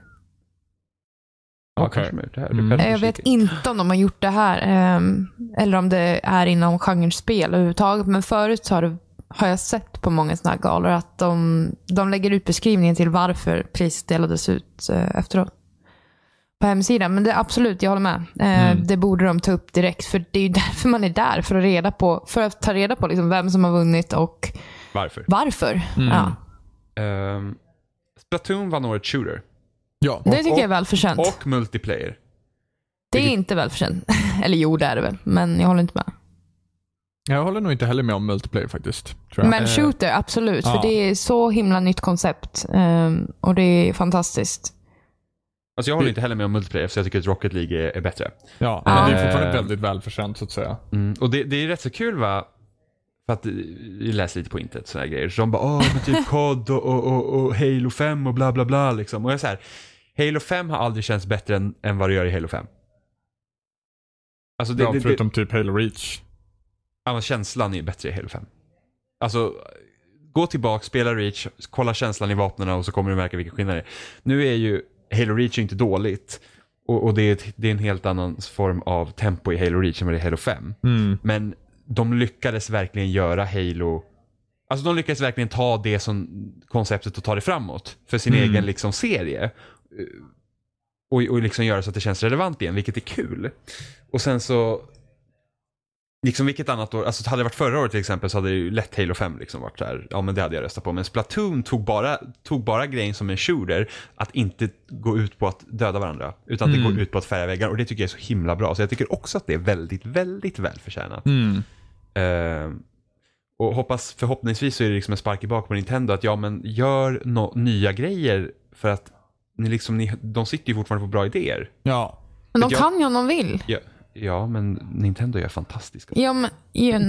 Ja,
Okej.
kanske de har gjort det här. Du
Mm.
kanske
Jag
kikar.
vet inte om de har gjort det här, ehm, eller om det är inom genren spel överhuvudtaget. Men förut så har, det, har jag sett på många sådana här galor att de, de lägger ut beskrivningen till varför priset delades ut eh, efteråt på hemsidan. Men det, absolut, jag håller med. Eh,
Mm.
Det borde de ta upp direkt, för det är ju därför man är där. För att, reda på, för att ta reda på liksom vem som har vunnit och
Varför? Mm.
varför.
Mm.
Ja.
Ehm, Splatoon vann året Shooter.
Ja.
Det tycker
och-
jag är välförtjänt.
Och multiplayer.
Det är inte välförtjänt. Eller jo, det är det väl, men jag håller inte med.
Jag håller nog inte heller med om multiplayer faktiskt. Tror jag.
Men
Eh,
shooter, absolut.
ja.
För det är så himla nytt koncept. ehm, och det är fantastiskt.
Alltså jag håller inte heller med om multiplayer, för jag tycker att Rocket League är, är bättre.
Ja, men det är
Eh.
fortfarande väldigt välförtjänt så att säga.
Mm, och det, det är rätt så kul va? För att eh, jag läser lite på internet sådana grejer. Så de bara åh, men typ COD och, och, och, och Halo 5 och bla bla bla liksom. Och jag är så här, Halo 5 har aldrig känts bättre än, än vad det gör i Halo 5. Alltså det,
ja,
det, det,
förutom typ Halo Reach.
ja, men känslan är ju bättre i Halo 5. Alltså, gå tillbaka, spela Reach, kolla känslan i vapnen och så kommer du märka vilken skillnad det är. Nu är ju Halo Reach inte dåligt. Och, och det, är ett, det är en helt annan form av tempo i Halo Reach än vad det är i Halo 5. Men de lyckades verkligen göra Halo Alltså de lyckades verkligen ta det som konceptet och ta det framåt för sin egen liksom serie. Eh, Och, och liksom göra så att det känns relevant igen, vilket är kul. Och sen så, liksom vilket annat år, alltså hade det varit förra året till exempel så hade det ju lätt Halo 5 liksom varit så här, ja men det hade jag röstat på. Men Splatoon tog bara, tog bara grejen som en shooter, att inte gå ut på att döda varandra, utan att det går ut på att färga väggar och det tycker jag är så himla bra. Så jag tycker också att det är väldigt, väldigt välförtjänat. Eh, och hoppas, förhoppningsvis så är det liksom en spark i bak på Nintendo att ja men gör nå nya grejer för att ni liksom, ni, de sitter ju fortfarande på bra idéer.
Ja.
Men de
Jag-
kan ju om de vill.
Ja, ja men Nintendo gör fantastiska
Ja, men, ju, eh,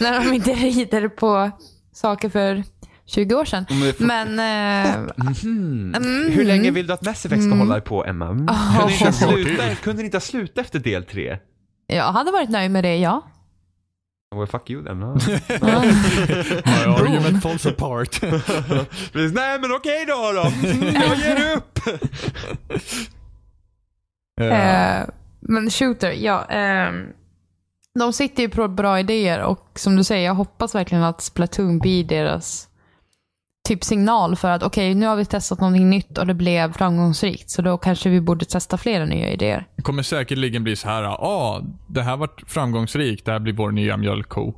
när de inte rider på saker för 20 år sedan.
men det får-
Men eh, mm.
Hur länge vill du att Mass Effect ska hålla på Emma? Mm. Kunde, ni inte
Oh.
sluta, kunde ni inte ha slutat efter del 3?
jag hade varit nöjd med det, ja.
Well, fuck you then.
My argument falls apart.
Precis, Nej men okej då då! Mm, Jag ger upp!
Eh,
Eh, men shooter, ja. ehm, de sitter ju på bra idéer och som du säger, jag hoppas verkligen att Splatoon blir deras typ signal för att okej, nu har vi testat någonting nytt och det blev framgångsrikt, så då kanske vi borde testa flera nya idéer.
Det kommer säkerligen bli så här, ah, det här vart framgångsrikt, det här blir vår nya mjölkko.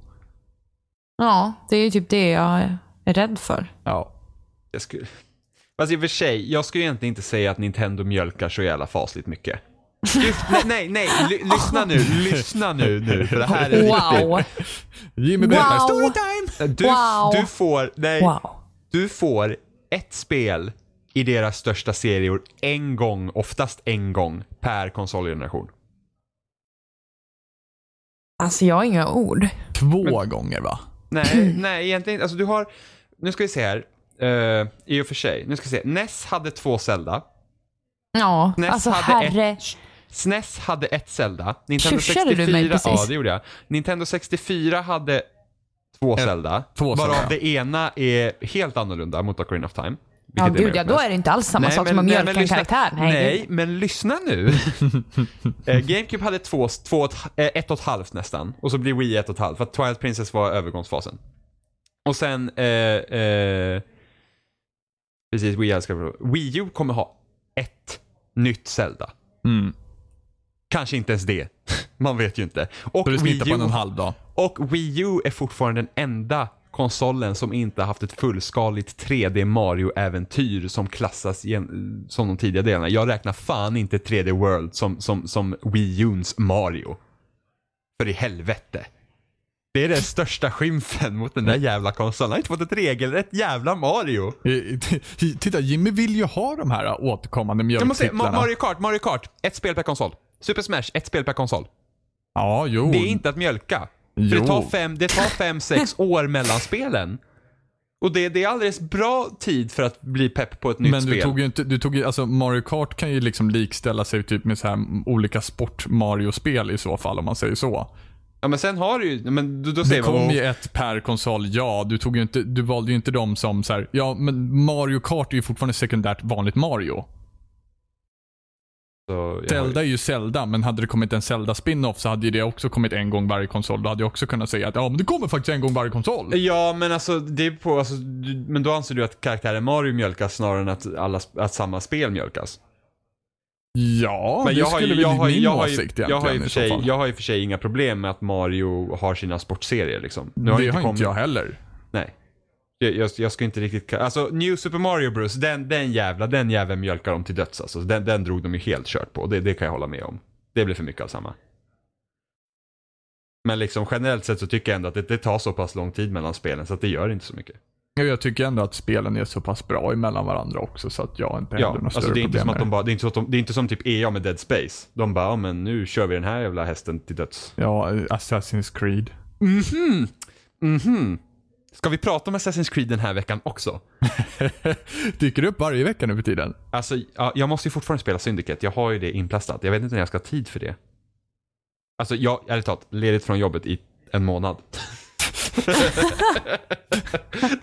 Ja, det är ju typ det jag är rädd för.
Ja.
Jag skulle... Fast i och för sig, jag skulle egentligen inte säga att Nintendo mjölkar så jävla fasligt mycket. Lyft, nej, nej, nej, ly- lyssna nu, lyssna nu, nu, för det här är
Wow!
Jimmy berättar,
Wow.
storytime!
viktigt. Du,
Wow.
du får, nej,
Wow.
du får ett spel i deras största serier en gång, oftast en gång, per konsolgeneration.
Alltså jag har inga ord.
Två gånger va?
Nej, nej egentligen inte. Alltså du har, nu ska vi se här, Eh, i och för sig, nu ska vi se. NES hade två Zelda,
Ja,
SNES
alltså
hade
herre...
ett... SNES E hade ett Zelda. Nintendo
Tjuschade
64,
du mig precis?
Ja, det gjorde jag. Nintendo 64 hade två Zelda.
två
Bara
Zelda.
det ena är helt annorlunda mot Ocarina of Time.
Ja,
vilket är
gud ja, då är det inte alls samma sak som att
nej,
mjölka en
lyssna-
karaktär.
Nej,
Nej, gud.
men lyssna nu. Eh, GameCube hade två, två, och ett- eh, ett och ett halvt nästan. Och så blir Wii ett och ett halvt. För att Twilight Princess var övergångsfasen. Och sen... Eh, eh, precis, Wii, ska, Wii U kommer ha ett nytt Zelda.
Mm.
Kanske inte ens det. Man vet ju inte. Och
Så du
Wii,
snittar på
U,
en och en halv dag.
och Wii U är fortfarande den enda konsolen som inte haft ett fullskaligt 3D Mario-äventyr som klassas gen- som de tidiga delarna. Jag räknar fan inte 3D World som, som, som Wii U's Mario. För i helvete. Det är den största skymfen mot den där jävla konsolen. Han har inte fått ett regelrätt jävla Mario.
Eh, t- Titta, Jimmy vill ju ha de här återkommande
Jag måste säga, Ma-
mjölktitlarna.
Mario Kart, Mario Kart. Ett spel per konsol. Super Smash, ett spel per konsol.
Ja, jo.
Det är inte att mjölka. För
Jo.
det tar, fem, det tar fem, sex år mellan spelen. Och det, det är alldeles bra tid för att bli pepp på ett nytt
Men
spel.
du tog ju inte, du tog ju, alltså Mario Kart kan ju liksom likställa sig typ med så här olika sport-Mario-spel i så fall om man säger så.
Ja men sen har du ju, men då, då
Det
säger man...
kom ju ett per konsol, ja. Du, tog ju inte, du valde ju inte dem som så här, ja men Mario Kart är ju fortfarande sekundärt vanligt Mario.
Så, jag har ju-
Zelda är ju Zelda, men hade det kommit en Zelda spin-off så hade ju det också kommit en gång varje konsol. Då hade jag också kunnat säga att ja men det kommer faktiskt en gång varje konsol.
Ja men alltså, det är på, alltså, du, men då anser du att karaktären Mario mjölkas snarare än att, alla, att samma spel mjölkas?
Ja, det skulle väl
ju-
min
jag har ju-
åsikt
jag har ju
egentligen
för
i så
sig,
fall.
jag har ju för sig inga problem med att Mario har sina sportserier liksom. Nu
det har
kommit-
inte jag heller.
Nej. Jag, jag, jag ska inte riktigt... ka- Alltså New Super Mario Bros, den, den jävla, den jäveln mjölkar de till döds alltså. Den, den drog de ju helt kört på, det, det kan jag hålla med om. Det blir för mycket av samma. Men liksom generellt sett så tycker jag ändå att det, det tar så pass lång tid mellan spelen så att det gör inte så mycket.
Ja, Jag tycker ändå att spelen är så pass bra emellan varandra också så att jag inte
Ja,
heller några
alltså
större
det är inte
problem
som att
med
de bara, det är inte så att de, det är inte som typ EA med Dead Space. De bara, ja men nu kör vi den här jävla hästen till döds.
det. Ja, Assassin's Creed.
Mhm, mhm. Ska vi prata om Assassin's Creed den här veckan också?
Dyker upp varje vecka nu för tiden.
Alltså, ja, jag måste ju fortfarande spela Syndicate. Jag har ju det inplastat. Jag vet inte när jag ska ha tid för det. Alltså, jag, ärligt talat, ledigt från jobbet i en månad. det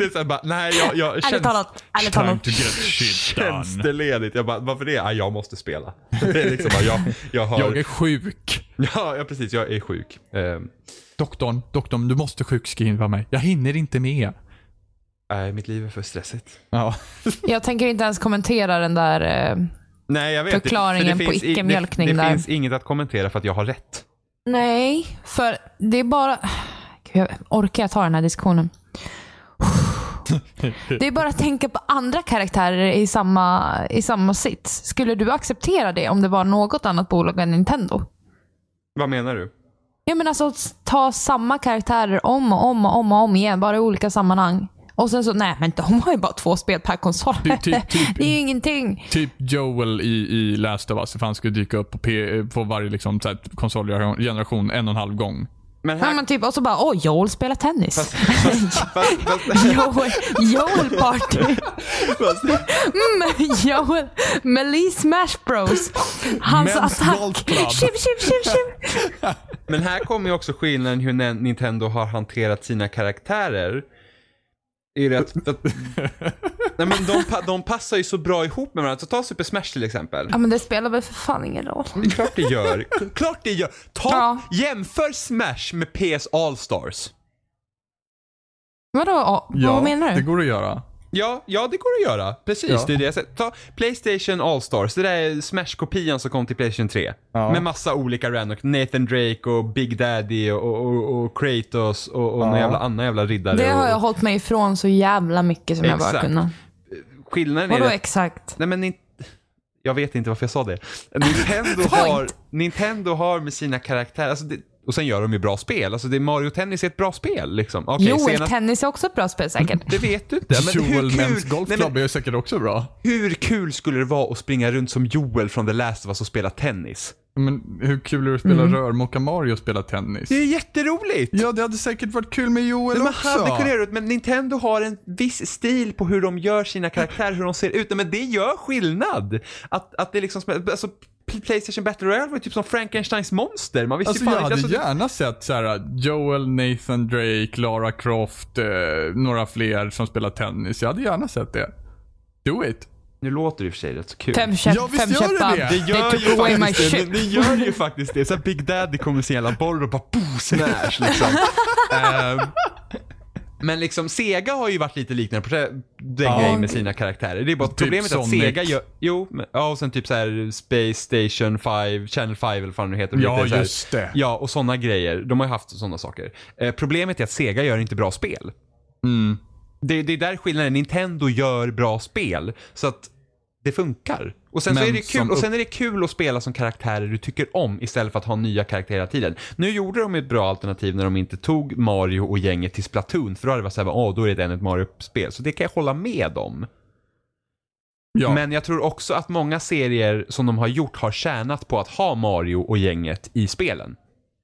är såhär bara, nej, jag, jag
Ärligt
känns,
talat, ärligt talat.
get shit
känns det ledigt. Jag bara, varför det? Ja, jag måste spela. Det är liksom bara, jag, jag har,
Jag är sjuk.
ja, ja, precis, jag är sjuk. Ehm,
Doktorn, doktorn, du måste sjukskriva mig. Jag hinner inte med.
Nej, mitt liv är för stressigt.
Ja.
Jag tänker inte ens kommentera den där... Eh,
Nej, jag vet. det- för
Förklaringen
det
på
finns i-
icke-mjölkning
det, det
där.
finns inget att kommentera för att jag har rätt.
nej, för det är bara... Gud, jag- Orkar jag ta den här diskussionen? Det är bara att tänka på andra karaktärer i samma, i samma sits. Skulle du acceptera det om det var något annat bolag än Nintendo?
Vad menar du?
Ja, men alltså att ta samma karaktärer om och om och om och om igen, bara i olika sammanhang. Och sen så, nej men de har ju bara två spel per konsol.
Ty- ty- typ-
Det är ju ingenting.
Typ Joel i, i Last of Us, för han skulle dyka upp på, P, på varje liksom, så här, konsolgeneration en och en halv gång.
Men
Ja,
här...
men typ, och så bara, åh, Joel spelar tennis.
fast, fast,
Joel, Joel party.
fast,
Mm, Joel, Melee Smash Bros. Hans
Men's Golf
attack.
Club.
Tjiv, tjiv, tjiv, tjiv.
Men här kommer ju också skillnaden hur Nin- Nintendo har hanterat sina karaktärer. I det att, att, nej men de, pa- de passar ju så bra ihop med varandra. Så ta Super Smash till exempel.
Ja, men det spelar väl för fan ingen roll.
Det är klart det gör. Klart det gör. Ta,
Ja.
Jämför Smash med PS All Stars.
Vadå?
Ja,
vad menar
Det
du?
går att göra.
Ja, ja det går att göra. Precis,
Ja.
det är det jag säger. Ta Playstation All-Stars, det där är Smash-kopian som kom till Playstation 3.
Ja.
Med massa olika random, Nathan Drake och Big Daddy och, och, och Kratos och, och någon
Ja.
jävla annan jävla riddare.
Det har
och,
jag hållit mig ifrån så jävla mycket som jag bara
Exakt.
kunnat.
Skillnaden är
Vadå
det
exakt?
Nej men, in... jag vet inte varför jag sa det. Nintendo har, Nintendo har med sina karaktärer, alltså det... och sen gör de ju bra spel. Alltså det är Mario Tennis är ett bra spel liksom. Okej,
Joel,
senast...
tennis är också ett bra spel säkert.
Det vet du inte. Men hur,
Joel Men's
kul... Nej,
golfklubb
men
är säkert också bra.
hur kul skulle det vara att springa runt som Joel från The Last of Us och spela tennis?
Men hur kul är det att spela
Mm.
rörmokare Mario och spela tennis?
Det är jätteroligt!
Ja, det hade säkert varit kul med Joel
Nej, men
också.
hade kunnat göra det, men Nintendo har en viss stil på hur de gör sina karaktärer, hur de ser ut. Nej, men det gör skillnad! Att, att det är liksom, som- alltså, Playstation Battle Royale var ju typ som Frankensteins monster. Man visste
Alltså
ju fan
jag hade
inte. Alltså,
gärna sett så här, Joel, Nathan Drake, Lara Croft, eh, några fler som spelar tennis. Jag hade gärna sett det. Do it.
Nu låter det i och för sig rätt så kul.
Fem, käpp,
Ja, visst
fem
gör det
käppar.
det.
Det
Det
They
gör,
took away
ju
my
faktiskt det.
ship.
Det, det gör ju faktiskt det. Så här Big Daddy kommer med sin jävla boll och bara boom, smash liksom. Ehm, men liksom Sega har ju varit lite liknande på det- den
Ja.
grejen med sina karaktärer. Det är bara
Typ
problemet att
Sonic.
Sega gör, jo, men, ja och sen typ så här Space Station 5, Channel 5 eller vad fan det nu heter.
Ja,
Lite så här-
just det.
Ja, och sådana grejer. De har ju haft sådana saker. Eh, problemet är att Sega gör inte bra spel.
Mm.
Det, det är där skillnaden, Nintendo gör bra spel. Så att det funkar. Och sen, så
Men
är det
som
kul, och sen är det kul att spela som karaktärer du tycker om istället för att ha nya karaktärer hela tiden. Nu gjorde de ett bra alternativ när de inte tog Mario och gänget till Splatoon för då hade det varit såhär, åh då är det än ett Mario-spel. Så det kan jag hålla med om.
Ja.
Men jag tror också att många serier som de har gjort har tjänat på att ha Mario och gänget i spelen.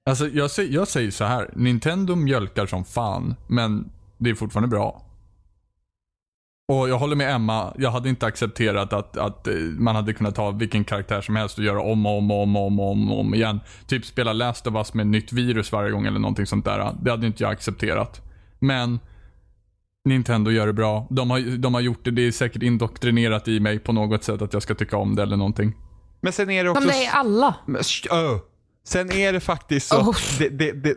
Alltså jag, säger- jag säger så här. Nintendo mjölkar som fan, men det är fortfarande bra. Och jag håller med Emma. Jag hade inte accepterat att, att eh, man hade kunnat ta vilken karaktär som helst och göra om och om och om och om, och om, och om igen. Typ spela Last of Us med nytt virus varje gång eller någonting sånt där. Det hade inte jag accepterat. Men Nintendo gör det bra. De har, de har gjort det. Det är säkert indoktrinerat i mig på något sätt att jag ska tycka om det eller någonting.
Men sen är det också...
Som det är alla.
Men, sh- ö. Sen är det faktiskt så
Oh.
att det, det, det,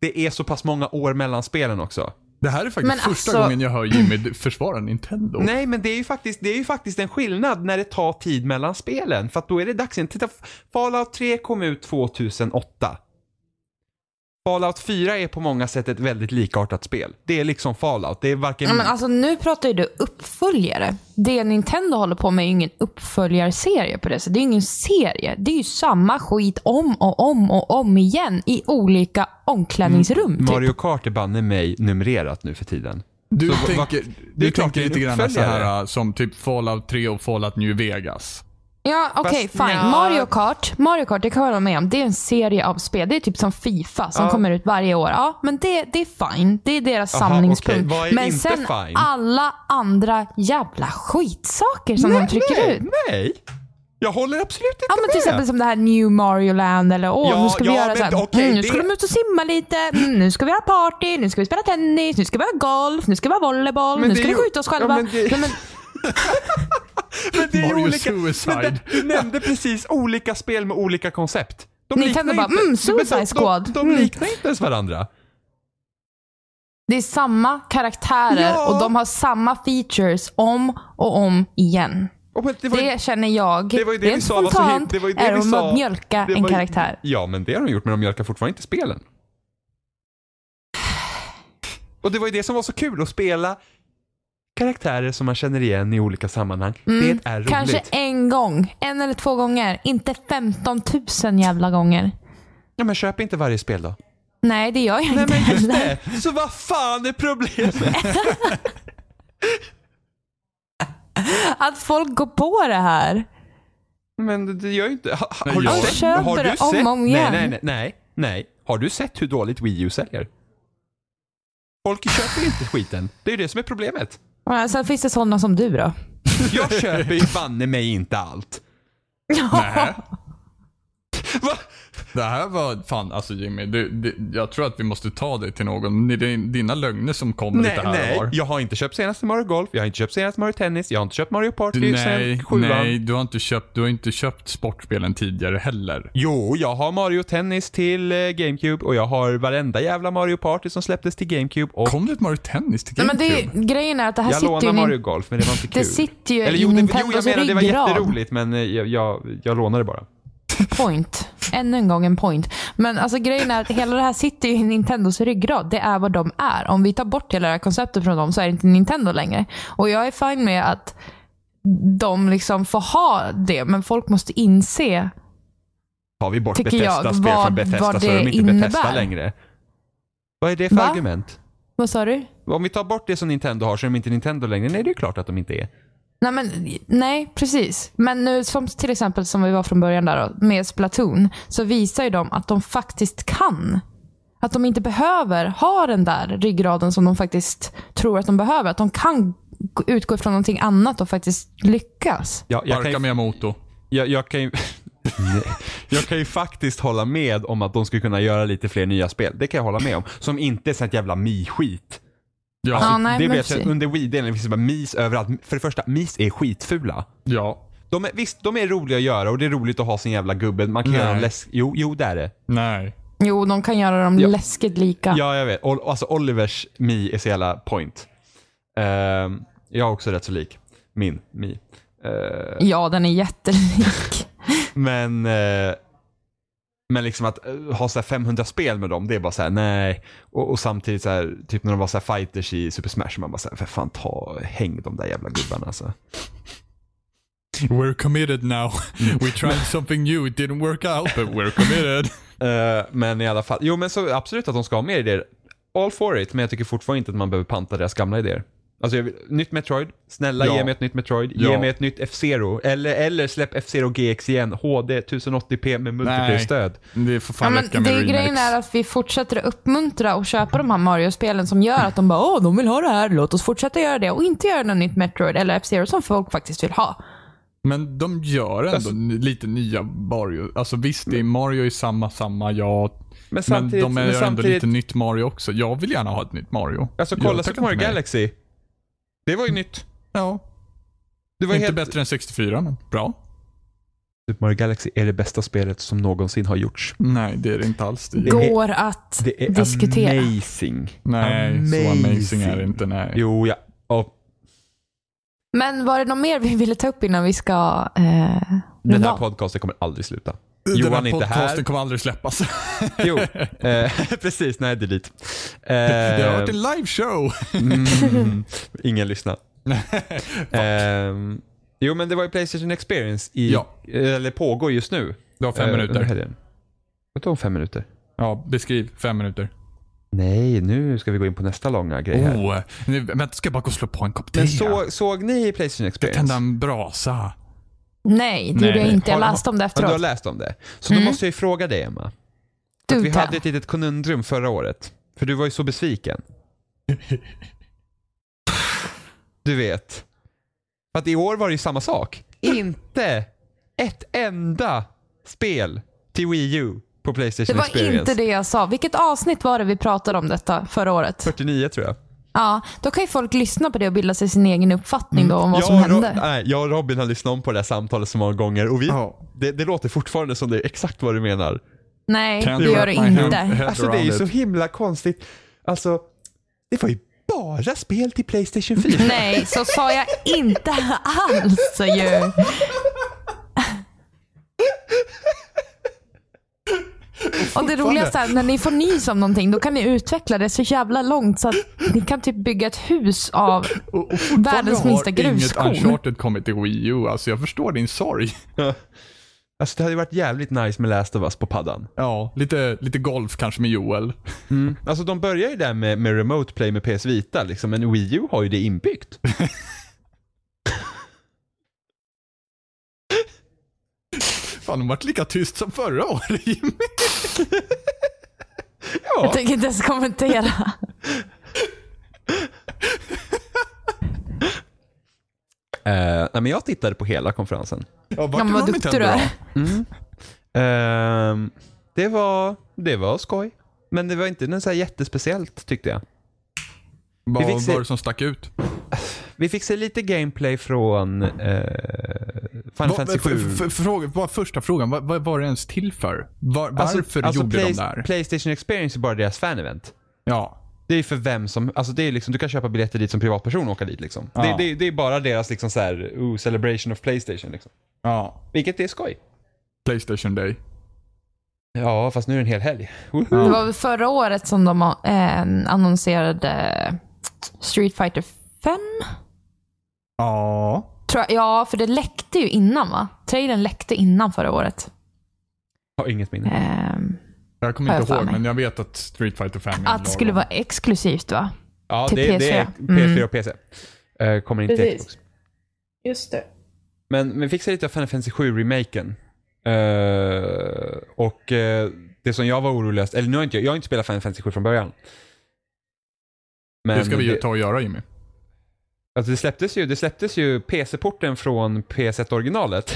det är så pass många år mellan spelen också.
Oh.
Det här är faktiskt
Men
första
alltså-
gången jag hör Jimmy försvara Nintendo.
Nej, men det är, ju faktiskt, det är ju faktiskt en skillnad när det tar tid mellan spelen. För att då är det dags igen. Titta, Fallout 3 kom ut 2008. Fallout 4 är på många sätt ett väldigt likartat spel. Det är liksom Fallout. Det är varken...
Ja, men alltså, nu pratar ju du uppföljare. Det Nintendo håller på med är ju ingen uppföljarserie på det sättet. Det är ju ingen serie. Det är ju samma skit om och om och om igen i olika omklädningsrum. Typ.
Mm. Mario Kart är banne mig numrerat nu för tiden.
Du
Så va- va-
tänker,
det
du
är klart
tänker
det är
lite grann så
uppföljare.
här äh, som typ Fallout 3 och Fallout New Vegas.
Ja, okej,
Fast
fine.
nja.
Mario Kart, Mario Kart, det kan jag hålla med om. Det är en serie av spel. Det är typ som Fifa som kommer ut varje år. Ja, men det, det är fine. Det är deras
Aha,
samlingspunkt.
okej. Vad är
men
inte
sen
fine?
alla andra jävla skitsaker som de trycker ut.
Nej! Jag håller absolut inte
Ja men
med.
till exempel som det här New Mario Land eller åh
Ja,
nu ska vi
ja,
göra
men
så här,
okej,
mm, nu
det-
ska de ut och simma lite, mm, nu ska vi ha party, nu ska vi spela tennis, nu ska vi ha golf, nu ska vi ha volleyboll,
Men
nu
det
ska
är
vi
ju-
skjuta oss
Ja,
själva.
men det-
Nej, men,
Men det är ju
Mario
olika,
Suicide.
Men det, du nämnde precis olika spel med olika koncept. De
Nintendo
liknar
bara,
inte-
mm, Suicide
men de-
Squad.
De, de,
Mm.
liknar inte ens varandra.
det är samma karaktärer
Ja.
och de har samma features om och om igen.
Och men det var ju-
Det känner jag.
det var ju det vi
Rent
sa var så him-
spontant
det var ju det
är
vi
om
sa.
att mjölka
det
en
var ju-
karaktär.
Ja, men det har de gjort, men de mjölkar fortfarande inte spelen. Och det var ju det som var så kul, att spela karaktärer som man känner igen i olika sammanhang.
Mm,
Det är roligt.
Kanske en gång, en eller två gånger. Inte 15 000 jävla gånger.
Ja, men köp inte varje spel då.
Nej, det gör jag
Nej,
inte
men just
heller.
det. Så vad fan är problemet?
Att folk går på det här.
Men det- det gör ju inte... Ha, ha,
Men
har du
jag-
sett,
Köper
har
det
du
om
sett,
och om
nej,
igen.
nej, nej, nej, nej. Har du sett hur dåligt Wii U säljer? Folk köper ju inte skiten. Det är ju det som är problemet.
Ja, sen finns det sådana som du då.
Jag köper ju banne mig inte allt.
Nej.
Va?
Det här var, fan alltså Jimmy, det, det, jag tror att vi måste ta dig till någon. Det är dina lögner som kommer
Nej,
lite här och
nej.
var.
Jag har inte köpt senaste Mario Golf, jag har inte köpt senaste Mario Tennis, jag har inte köpt Mario Party
nej,
sen sjuan.
nej, du har inte köpt, du har inte köpt sportspelen tidigare heller.
Jo, jag har Mario Tennis till eh, GameCube och jag har varenda jävla Mario Party som släpptes till GameCube och
Kom det ett Mario Tennis till
Nej, men
GameCube?
det, är- grejen är att det här
jag
sitter ju
lånade
i
Mario
min...
Golf men det var inte kul.
Det sitter ju
Eller
i
jo, det, jo, jag
Nintendos
menar det var
ryggrad.
jätteroligt men eh, jag, jag, jag lånade bara.
Point. Ännu en gång en point. Men alltså grejen är att hela det här sitter ju i Nintendos ryggrad. Det är vad de är. Om vi tar bort hela det här konceptet från dem så är det inte Nintendo längre. Och jag är fine med att de liksom får ha det, men folk måste inse.
Tar vi bort
Tycker jag,
Bethesda-spel
vad-
från Bethesda
vad
så är de
det
inte Bethesda
innebär.
längre. Vad är det för
Va?
argument?
Vad sa du?
Om vi tar bort det som Nintendo har så är de inte Nintendo längre. Nej, det är klart att de inte är.
Nej, men, nej, precis. Men nu som till exempel som vi var från början där då, med Splatoon, så visar ju de att de faktiskt kan. Att de inte behöver ha den där ryggraden som de faktiskt tror att de behöver. Att de kan gå- utgå ifrån någonting annat och faktiskt lyckas.
Jag, jag,
Barka
kan, ju,
Miyamoto.
jag, jag, kan, ju, Nej. jag kan ju faktiskt hålla med om att de skulle kunna göra lite fler nya spel. Det kan jag hålla med om. Som inte är sånt jävla Mi-skit.
Ja,
Ja, nej,
det
men
blev så att
precis.
under Wii-delen finns det bara mis överallt. För det första, mis är skitfula.
ja.
De är, visst, de är roliga att göra och det är roligt att ha sin jävla gubbe. Man kan
Nej.
göra en läsk... Jo, jo, det är det.
Nej.
Jo, de kan göra dem
Ja.
läskigt lika.
Ja, jag vet. Ol- alltså Olivers Mi är så jävla point. Ehm, jag är också rätt så lik min Mi. Ehm,
Ja, den är jättelik.
men eh, men liksom att eh, ha så här 500 spel med dem, det är bara så här: nej. Och, och samtidigt så här, typ när de var så här fighters i Super Smash, man bara så här, för fan ta, häng de där jävla gubbarna alltså.
We're committed now. We tried something new, it didn't work out, but we're committed.
Eh, men i alla fall, jo men så absolut att de ska ha mer idéer. All for it, men jag tycker fortfarande inte att man behöver panta deras gamla idéer. Alltså, jag vill, nytt Metroid. Snälla
Ja.
ge mig ett nytt Metroid. Ge
Ja.
mig ett nytt F-Zero. Eller, eller släpp F-Zero GX igen. HD 1080p med multiplayer-stöd.
Det får
Ja,
fan
men
räcka
det
med
är
remakes.
grejen är att vi fortsätter att uppmuntra och köpa de här Mario-spelen som gör att de bara åh, de vill ha det här, låt oss fortsätta göra det och inte göra något nytt Metroid eller F-Zero som folk faktiskt vill ha.
Men de gör ändå
Alltså-
n- lite nya Mario. Alltså visst, det är Mario är samma, samma, ja.
Men
Men
samtidigt,
de
men
gör ändå
samtidigt
lite nytt Mario också. Jag vill gärna ha ett nytt Mario.
alltså
Jag
kolla
tackar
Super Mario
inte nej.
Galaxy. Det var ju nytt.
Ja,
Det var
inte
helt...
bättre än 64, men bra.
Super Mario Galaxy är det bästa spelet som någonsin har gjorts.
Nej, det är det inte alls. Det är...
Det-
Går att
Det är
diskutera.
amazing.
Nej, så amazing är det inte. Nej.
Jo, ja. Och
Men var det något mer vi ville ta upp innan vi ska eh,
den
runda
här
av?
podcasten kommer aldrig sluta.
Den
Johan är
här
inte här.
podcasten kommer aldrig släppas.
Jo, eh, precis. Nej, delete. Eh,
det har varit en liveshow.
mm, ingen lyssnar. Ehm, jo, men det var ju Playstation Experience i,
Ja.
eller pågår just nu.
Du har fem
Eh, under
minuter.
helgen. Vadå fem minuter?
Ja, beskriv. Fem minuter.
Nej, nu ska vi gå in på nästa långa grej här.
Oh, nu, vänta, ska jag bara gå och slå på en kopp te?
men så, såg ni Playstation
Ska tända
Experience?
en brasa?
Nej, det gjorde
Nej.
jag inte. Jag
Har-
läste om det
Ja, du har
efteråt. Mm.
läst om det. Så då måste jag ju fråga dig, Emma. För att vi
Du
hade
hade...
ett litet konundrum förra året. För du var ju så besviken. Du vet. För att i år var det ju samma sak. Inte ett enda spel till Wii U på
Det
Playstation
var
Experience.
inte det jag sa. Vilket avsnitt var det vi pratade om detta förra året?
49 tror jag.
Ja, då kan ju folk lyssna på det och bilda sig sin egen uppfattning då om vad
jag,
som
och Ro-
hände.
nej, jag och Robin har lyssnat om på det här samtalet så många gånger och vi,
Ja.
det, det låter fortfarande som det är exakt vad du menar.
Nej,
Can't
det gör det
wrap my hand-
inte.
head
Alltså det är ju
around
så
it.
himla konstigt. Alltså, det var ju bara spel till Playstation 4.
Nej, så sa jag inte alls ju. Och det roligaste är när ni får nys om någonting, då kan ni utveckla det så jävla långt så att ni kan typ bygga ett hus av världens minsta
Har inget
gruskorn.
Uncharted kommit till Wii U? Alltså jag förstår din sorg.
Alltså det hade ju varit jävligt nice med Last of Us på paddan.
Ja, lite, lite golf kanske med Joel.
Alltså de börjar ju där med, med remote play med PS Vita liksom, men Wii U har ju det inbyggt.
Fan, de har varit lika tyst som förra året Jimmy.
Jag tänker inte ens kommentera.
Eh, nej men jag tittade på hela konferensen.
Ja, vart
Ja, men vad duktig du är.
Ehm, det var, det var skoj. Men det var inte något så här jättespeciellt tyckte jag.
Vad
fick se-
var det som stack ut?
Vi fick se lite gameplay från eh, Final Fantasy 7.
Vad- f- f- fråga- vad- första frågan, vad, vad var det ens till för? Var, varför gjorde
Alltså, Play-
de det här?
Playstation Experience är bara deras fan-event.
Ja.
Det är för vem som, alltså det är liksom, du kan köpa biljetter dit som privatperson och åka dit liksom.
Ja.
Det, det, det är bara deras liksom så här, ooh, celebration of Playstation liksom.
ja.
Vilket är skoj.
Playstation Day.
Ja, fast nu är det en hel helg. Woho!
Det var väl förra året som de eh, annonserade Street Fighter 5?
Ja.
Tror jag, ja, för det läckte ju innan va? Trailern läckte innan förra året.
Jag har inget minne.
Ehm,
Jag
Har
kommer
jag
inte
för
ihåg,
mig.
men jag vet att Street Fighter 5 är en
att det skulle
lagom.
vara exklusivt va?
Ja,
till
det, det är
PC.
PS4
Mm.
och PC. Eh, kommer inte till
Precis.
Xbox.
Just det.
Men, men fick se lite av Final Fantasy 7-remaken. Eh, och eh, det som jag var oroligast, eller nu har inte jag, jag har inte spelat Final Fantasy 7 från början. Men
Det ska vi ju ta och göra Jimmy.
Alltså det släpptes ju, det släpptes ju PC-porten från PS1-originalet.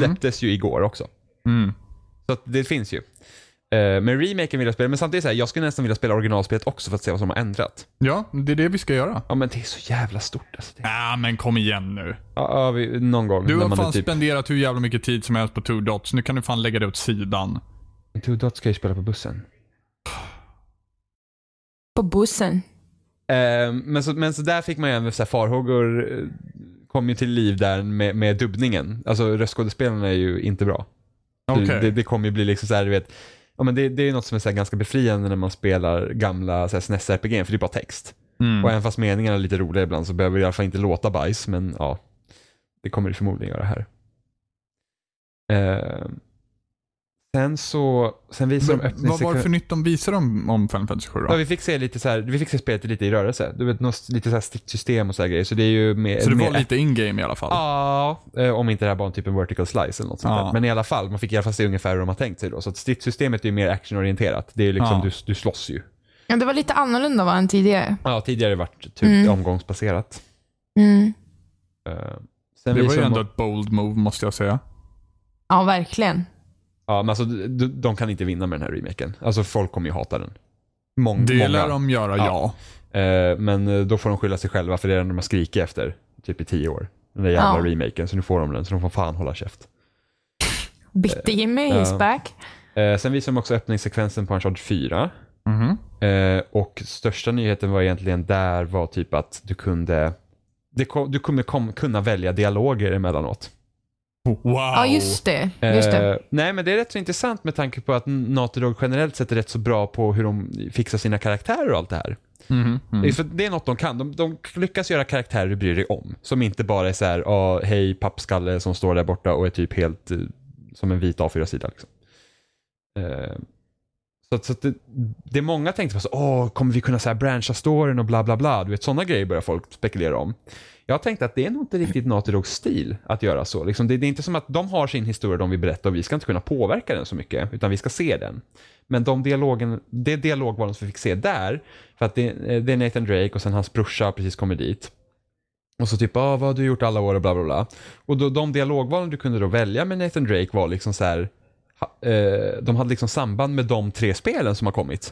släpptes ju igår också.
Mm.
Så att det finns ju. Eh, Men remaken vill jag spela, men samtidigt så här, jag skulle nästan vilja spela originalspelet också för att se vad som har ändrat.
Ja, det är det vi ska göra.
Ja men det är så jävla stort alltså. Det...
Ja, men kom igen nu.
Ja, ja, vi, någon gång.
Du
när
har
man
fan
är typ...
spenderat hur jävla mycket tid som helst på Two Dots. Nu kan du fan lägga det åt sidan.
Two Dots ska jag ju spela på bussen.
På bussen.
Eh, Men så, men så där fick man ju även så här farhågor, eh, kom ju till liv där med, med dubbningen. Alltså röstskådespelarna är ju inte bra.
Okej.
Det, det kommer ju bli liksom så här, du vet. Ja, men det, det är ju något som är så här ganska befriande när man spelar gamla så här SNES-RPG, för det är bara text.
Mm.
Och även fast meningarna är lite roliga ibland så behöver det i alla fall inte låta bajs, men ja. Det kommer det förmodligen göra här. Eh, sen så, sen visar de
Men
öppningssekvenser.
Vad var det för nytt de visade om, om Final Fantasy 7
Ja,
då?
vi fick se lite så här, vi fick se spelet lite i rörelse. Du vet, något, lite så här sticksystem och så här grejer. Så det är ju mer...
Så det
mer
var lite in-game i alla fall?
Ja, eh, om inte det här var en typ en vertical slice eller något sånt
Ja.
där. Men i alla fall, man fick i alla fall se ungefär hur de har tänkt sig då. Så att stridssystemet är ju mer actionorienterat. Det är ju liksom,
Ja.
du, du slåss ju.
Ja, det var lite annorlunda va, än tidigare.
Ja, tidigare har det varit typ
Mm.
omgångsbaserat.
Mm.
Eh, sen
Det var
visar
ju
de-
ändå ett bold move måste jag säga.
Mm,
Ja, verkligen.
Ja, men alltså de, de kan inte vinna med den här remaken. Alltså folk kommer ju hata den. Mång,
Det
många.
lär de göra,
Ja.
ja.
Eh, men eh, då får de skylla sig själva för det är den de har skrikit efter typ i tio år. Den där jävla
Ja.
remaken. Så nu får de den, så de får fan hålla käft.
Bitte Jimmy
Eh, ja.
is back.
Eh, sen visar de också öppningssekvensen på Uncharted 4.
Mhm.
Eh, och största nyheten var egentligen där var typ att du kunde det kom, du kommer kom, kunna välja dialoger emellanåt.
Wow.
Ja, just det. Just det.
Eh, nej, men det är rätt så intressant med tanke på att Naughty Dog generellt sett är rätt så bra på hur de fixar sina karaktärer och allt det här.
Mhm.
Det är
Mm.
För det är något de kan. De, de lyckas göra karaktärer du bryr dig om. Som inte bara är så här, ah, hej pappskalle som står där borta och är typ helt eh, som en vit A4-sida. Liksom. Eh, så att, så att det, det många tänkte på, så, åh, kommer vi kunna så här branscha storyn och bla bla bla. Du vet, sådana grejer börjar folk spekulera om. Jag tänkte att det är nog inte riktigt Naughty Dogs stil att göra så. Liksom, det, det är inte som att de har sin historia de vill berätta och vi ska inte kunna påverka den så mycket, utan vi ska se den. Men de dialogen, det dialogvalen som vi fick se där, för att det, eh, det är Nathan Drake och sen hans brorsa har precis kommit dit. Och så typ, ah, vad har du gjort alla år och bla bla bla. Och då, de dialogvalen du kunde då välja med Nathan Drake var liksom så här, ha, eh, de hade liksom samband med de tre spelen som har kommit. Så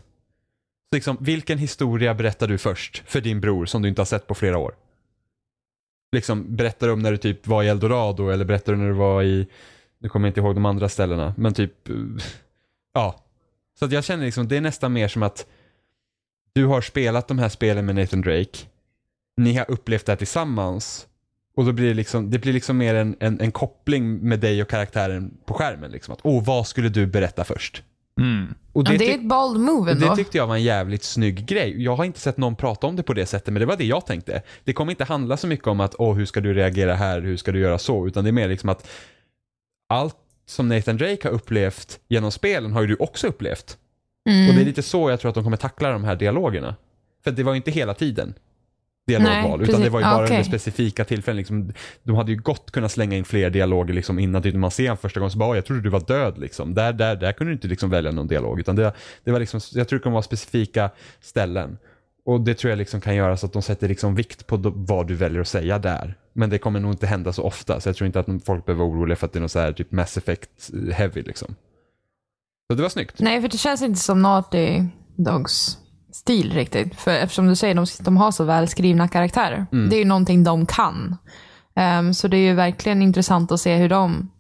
liksom, vilken historia berättar du först för din bror som du inte har sett på flera år? Liksom, berättar du om när du typ var i Eldorado eller berättar du när du var i, nu kommer jag inte ihåg de andra ställena, men typ, eh, ja. Så att jag känner liksom, det är nästan mer som att du har spelat de här spelen med Nathan Drake, ni har upplevt det här tillsammans och då blir det liksom, det blir liksom mer en, en, en koppling med dig och karaktären på skärmen. Liksom, att, oh, vad skulle du berätta först?
Mm.
Och
ja, det är
tyck-
ett bold move ändå.
det tyckte jag var en jävligt snygg grej. Jag har inte sett någon prata om det på det sättet, men det var det jag tänkte. Det kommer inte handla så mycket om att, åh, hur ska du reagera här, hur ska du göra så, utan det är mer liksom att allt som Nathan Drake har upplevt genom spelen har ju du också upplevt.
mm.
Och det är lite så jag tror att de kommer tackla de här dialogerna. För det var ju inte hela tiden
Nej,
dialogval, utan
precis.
det var ju
Ah,
bara
okej.
under specifika tillfällen. Liksom, de hade ju gott kunnat slänga in fler dialoger liksom, innan typ, när man ser honom första gången så bara, "Åh, jag trodde du var död. Liksom. Där, där, där kunde du inte liksom, välja någon dialog. Utan det, det var liksom, jag tror det kommer vara specifika ställen. Och det tror jag liksom kan göra så att de sätter liksom vikt på då- vad du väljer att säga där. Men det kommer nog inte hända så ofta, så jag tror inte att folk behöver vara oroliga för att det är något så här typ mass effect eh, heavy liksom. Så det var snyggt.
Nej, för det känns inte som Naughty Dogs stil riktigt. För eftersom du säger de, de har så välskrivna karaktärer.
Mm.
Det är ju någonting de kan. Ehm, så det är ju verkligen intressant att se hur de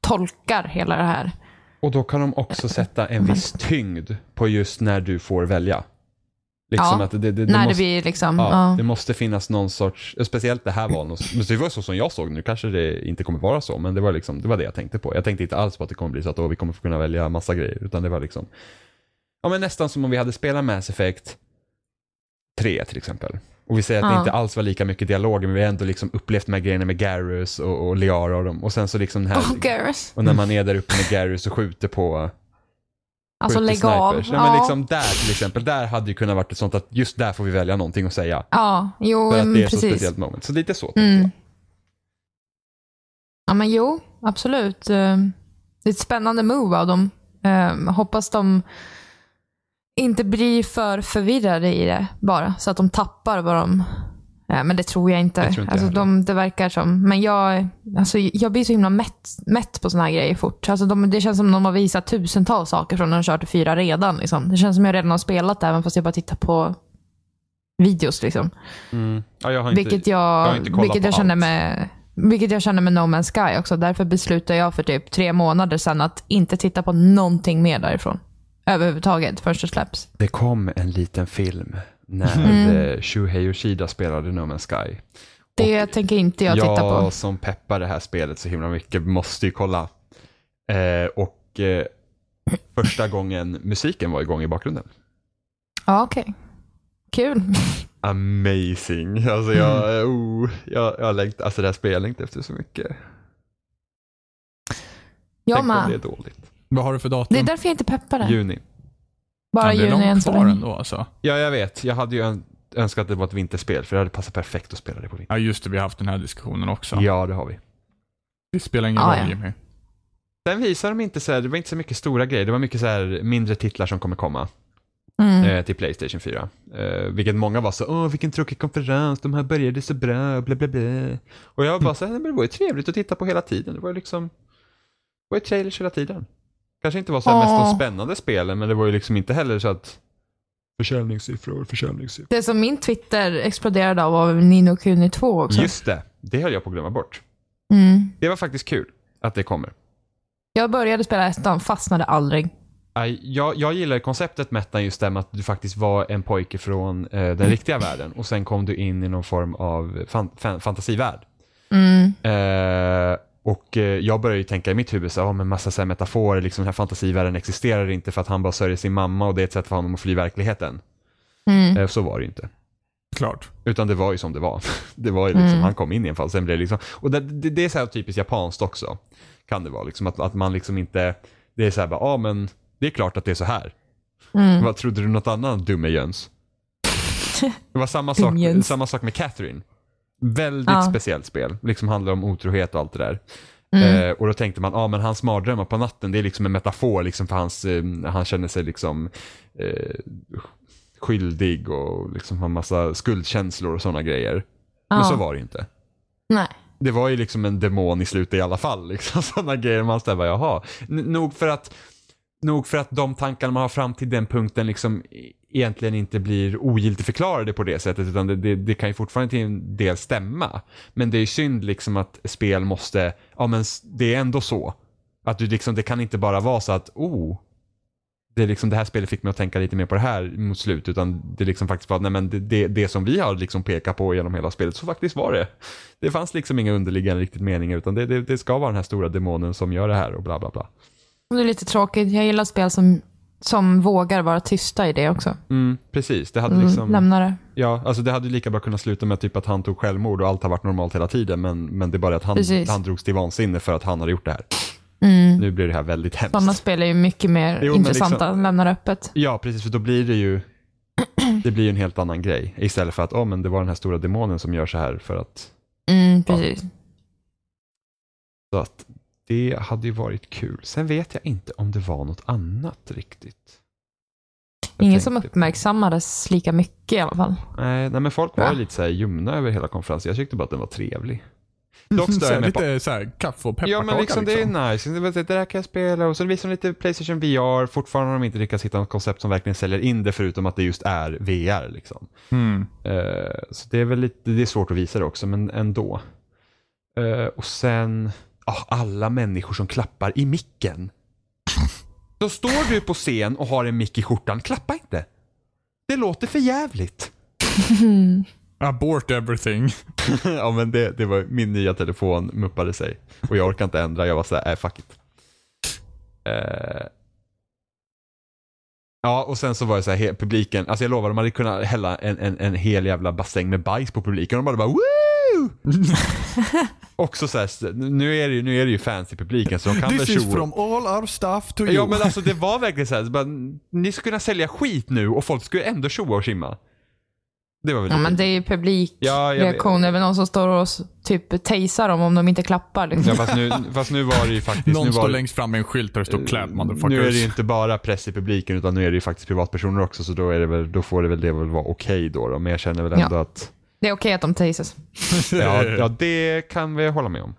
tolkar hela det här.
Och då kan de också sätta en viss tyngd på just när du får välja. Liksom
Ja,
att det, det, det,
När det
måste,
blir liksom...
ja,
Ja,
det måste finnas någon sorts, speciellt det här var någon, men det var så som jag såg nu kanske det inte kommer vara så, men det var, liksom, det var det jag tänkte på. Jag tänkte inte alls på att det kommer bli så att åh, vi kommer få kunna välja massa grejer, utan det var liksom, ja men nästan som om vi hade spelat Mass Effect 3 till exempel. Och vi säger att det
Ja.
inte alls var lika mycket dialoger, men vi har ändå liksom upplevt de här grejerna med Garrus och, och Liara och dem. Och sen så liksom den här,
Oh, girls.
och när man är där uppe med Garrus och skjuter på
Alltså
skjuter
lägg av.
snipers. Nej,
ja.
men liksom där till exempel, där hade ju kunnat varit ett sånt att just där får vi välja någonting att säga.
ja, jo,
För att det är
men
ett så
Mm, precis.
speciellt moment. Så lite så. tänkte jag.
Mm. Ja, men jo, absolut. Ehm, Det är ett spännande move av dem. Ehm, Hoppas de inte blir för förvirrade i det bara, så att de tappar vad de... Eh, Men det tror jag inte.
Jag tror inte
alltså,
jag
de, det verkar som. Men jag, alltså, jag blir så himla mätt, mätt på såna här grejer fort. Alltså, de, det känns som de har visat tusentals saker från när de körde fyra redan. Liksom. Det känns som jag redan har spelat det, även fast jag bara tittar på videos. Liksom.
Ja, jag har inte,
Vilket
jag
jag,
har inte kollat
vilket
på
jag känner
allt.
med vilket jag känner med No Man's Sky också. Därför beslutade jag för typ tre månader sedan att inte titta på någonting mer därifrån. Överhuvudtaget, först det släpps.
Det kom en liten film när
Mm.
eh, Shuhei Yoshida spelade No Man's Sky.
Det tänker inte jag titta på.
Jag som peppar det här spelet så himla mycket måste ju kolla. Eh, och eh, första gången musiken var igång i bakgrunden.
Ja, okej. Kul.
Amazing. Alltså
Mm.
jag, oh, jag, jag längt, alltså det här spelet jag längtar efter så mycket.
Jag
Tänk om det
med.
är dåligt.
Vad har du för datum?
Det är därför jag inte peppade.
Juni.
Bara
Ja, det är
juni
långt
än så
kvar
länge.
ändå alltså.
Ja, jag vet. Jag hade ju ön- önskat att det var ett vinterspel, för det hade passat perfekt att spela det på vintern.
Ja, just det. Vi har haft den här diskussionen också.
Ja, det har vi.
Det spelar ingen
Ja,
roll
ja.
Jimmy.
Sen visar de inte så här, det var inte så mycket stora grejer, det var mycket så här mindre titlar som kommer komma
Mm.
eh, till Playstation 4. Eh, vilket många var så, åh vilken tråkig konferens, de här började så bra, bla bla bla. Och jag var
Mm.
bara så här, "Nej, men det var ju trevligt att titta på hela tiden, det var ju liksom, det var ju trailers hela tiden. Kanske inte var så här mest
Åh.
de spännande spelen, men det var ju liksom inte heller så att försäljningssiffror, försäljningssiffror.
Det som min Twitter exploderade av var Nino Kuni 2 också.
Just det, det höll jag på att glömma bort.
Mm.
Det var faktiskt kul att det kommer.
Jag började spela ettan, fastnade aldrig.
Aj, Jag, jag gillar konceptet Mettan just det med att du faktiskt var en pojke från eh, den riktiga världen och sen kom du in i någon form av fan, fan, fantasivärld.
Mm.
Eh, och eh, jag började ju tänka i mitt huvud, så, här, "Ja, men massa så här metaforer, liksom, den här fantasivärlden existerar inte för att han bara sörjer sin mamma och det är ett sätt för honom att fly verkligheten.
Mm.
Eh, så var det ju inte.
Klart.
Utan det var ju som det var. Det var ju liksom,
Mm.
han kom in i en fall, sen blev det liksom, och det, det, det är så här typiskt japanskt också. Kan det vara, liksom, att, att man liksom inte, det är så här bara, ja ah, men det är klart att det är så här.
Mm.
Vad trodde du något annat dumme Jöns? Det var samma sak,
Dumjöns.
samma sak med Catherine. Väldigt
Ja.
speciellt spel, liksom handlar om otrohet och allt det där.
Mm.
Eh, och då tänkte man, ah, men hans mardrömmar på natten, det är liksom en metafor liksom för hans, eh, han känner sig liksom eh, skyldig och liksom har massa skuldkänslor och sådana grejer. Men
Ja.
så var det ju inte.
Nej.
Det var ju liksom en demon i slutet i alla fall, liksom sådana grejer man ställer, jaha. N- nog för att nog för att de tankarna man har fram till den punkten liksom e- egentligen inte blir ogiltigförklarade på det sättet utan det, det, det kan ju fortfarande till en del stämma. Men det är ju synd liksom att spel måste, ja men s- det är ändå så. Att du liksom, det kan inte bara vara så att, oh, det, är liksom, det här spelet fick mig att tänka lite mer på det här mot slut utan det liksom faktiskt var, nej men det, det, det som vi har liksom pekat på genom hela spelet, så faktiskt var det. Det fanns liksom inga underliggande riktigt meningar utan det, det, det ska vara den här stora demonen som gör det här och bla bla bla.
Det är lite tråkigt. Jag gillar spel som, som vågar vara tysta i det också.
Mm, precis, det hade
Mm,
liksom...
Lämna det.
Ja, alltså det hade ju lika bra kunnat sluta med typ att han tog självmord och allt har varit normalt hela tiden men, men det är bara att han,
Precis.
han drogs till vansinne för att han hade gjort det här.
Mm.
Nu blir det här väldigt hemskt.
Sådana spel är ju mycket mer
Jo, men
intressanta.
liksom-
Lämna det öppet.
Ja, precis, för då blir det ju det blir ju en helt annan grej istället för att oh, men det var den här stora demonen som gör så här för att,
Mm, precis.
så att det hade ju varit kul. Sen vet jag inte om det var något annat riktigt. Jag
Ingen som
tänkte-
uppmärksammades lika mycket i alla fall.
Nej, nej, men folk var
Va?
ju lite så här ljumna över hela konferensen. Jag tyckte bara att den var trevlig. Dock stör
Så här,
jag mig på.
lite så här, kaffe och pepparkaka.
Ja men liksom det är nice. Det, var- det där kan jag spela och så visar de lite Playstation VR. Fortfarande har de inte lyckats hitta något koncept som verkligen säljer in det förutom att det just är VR. Liksom.
Mm.
Eh, så det är väl lite, det är svårt att visa det också men ändå. Eh, och sen, ah, alla människor som klappar i micken. Då står du på scen och har en mick i skjortan, klappa inte. Det låter för jävligt.
Abort everything.
ja men det, det var min nya telefon muppade sig och jag orkade inte ändra, jag var såhär, nej fuck it. Eh, ja och sen så var det såhär, he- publiken, alltså jag lovar de hade kunnat hälla en, en, en hel jävla bassäng med bajs på publiken och de bara, bara woo! Också såhär, nu är, det, ju- nu är det ju fans i publiken så de kan väl
This is
tjoa.
from all our staff to you.
Ja men alltså det var verkligen såhär, så bara, ni skulle kunna sälja skit nu och folk skulle ändå tjoa och simma. Det var väl
Ja,
lite-
men det är ju
Ja, jag vet.
publikreaktion. Även någon som står och s- typ tasar dem om de inte klappar. Liksom.
Ja, fast, nu, fast nu var det ju faktiskt... nu
Någon
var
står
det-
längst fram med en skylt där det står clap motherfuckers.
Nu är det ju inte bara press i publiken utan nu är det ju faktiskt privatpersoner också så då, är det väl, då får det väl det väl vara okej då, då. Men jag känner väl ändå
Ja.
att
Det är okej att de tasas.
ja, ja, det kan vi hålla med om.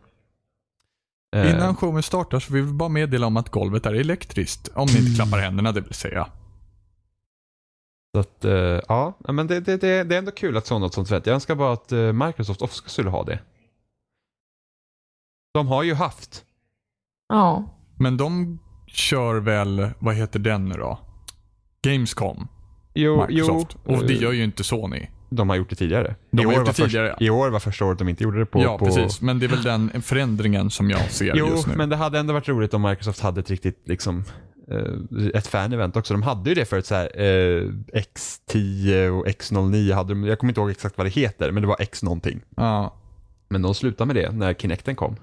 Eh,
Innan showen startar så vill vi bara meddela om att golvet är elektriskt. Om ni inte klappar händerna, det vill säga.
Så att, eh, ja, ja, men det, det, det, det är ändå kul att sådant sånt vet. Jag önskar bara att eh, Microsoft också skulle ha det. De har ju haft.
Ja.
Men de kör väl, vad heter den nu då? Gamescom,
Jo,
Microsoft.
jo
Och det
eh,
gör ju inte Sony.
de har gjort det tidigare.
De
I
har
år
gjort det
var först-
tidigare.
I år var första året de inte gjorde det på...
ja,
på,
precis. Men det är väl den förändringen som jag ser
Jo,
just nu.
men det hade ändå varit roligt om Microsoft hade ett riktigt liksom, eh, ett fan-event också. De hade ju det förut, så här, eh, X10 och X09 hade de, jag kommer inte ihåg exakt vad det heter, men det var X någonting.
Ja.
Men de slutade med det när Kinecten kom.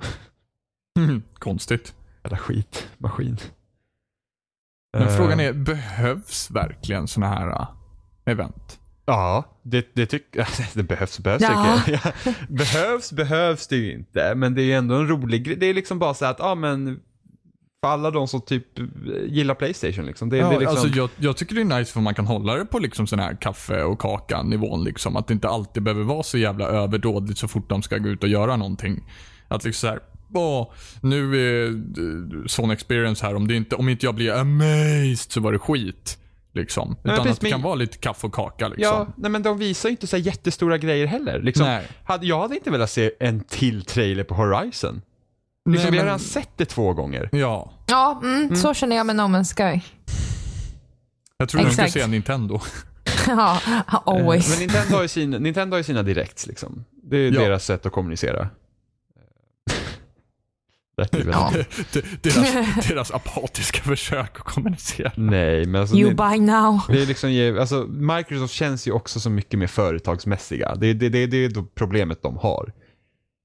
Mhm, Konstigt.
Jävla skit, maskin.
Men
Eh,
frågan är, behövs verkligen sådana här äh, event?
Ja, det, det tycker Det behövs, behövs
Ja.
tycker jag. Ja. Behövs, behövs det ju inte. Men det är ju ändå en rolig grej. Det är liksom bara så här att, ja men, för alla de som typ gillar Playstation liksom. Det, det är
Ja,
liksom...
alltså jag, jag tycker det är nice för man kan hålla det på liksom sån här kaffe och kaka nivån. Liksom. Att det inte alltid behöver vara så jävla överdådigt så fort de ska gå ut och göra någonting. Att liksom så här, åh, nu är eh, sån experience här. Om, det inte, om inte jag blir amazed så var det skit. Liksom.
men
Utan
precis,
att det
men-
kan vara lite kaffe och kaka. Liksom.
Ja, nej men de visar ju inte så här jättestora grejer heller. Liksom,
Nej.
hade, jag hade inte velat se en till trailer på Horizon. Liksom,
Nej,
vi har
men- alltså-
redan sett det två gånger.
ja.
Ja, mm, så känner jag med No Man's Sky.
Jag tror de ska
Exakt.
se Nintendo.
ja,
Eh,
Eh,
Men
always.
Nintendo har ju sina, Nintendo har ju sina directs liksom. Det är ju
Ja.
deras sätt att kommunicera. Där är det väl-
Ja.
De- deras, deras apatiska försök att kommunicera.
Nej, men alltså,
You
det,
buy now.
det är liksom, ju- alltså, Microsoft känns ju också så mycket mer företagsmässiga. Det, det, det, det är då problemet de har.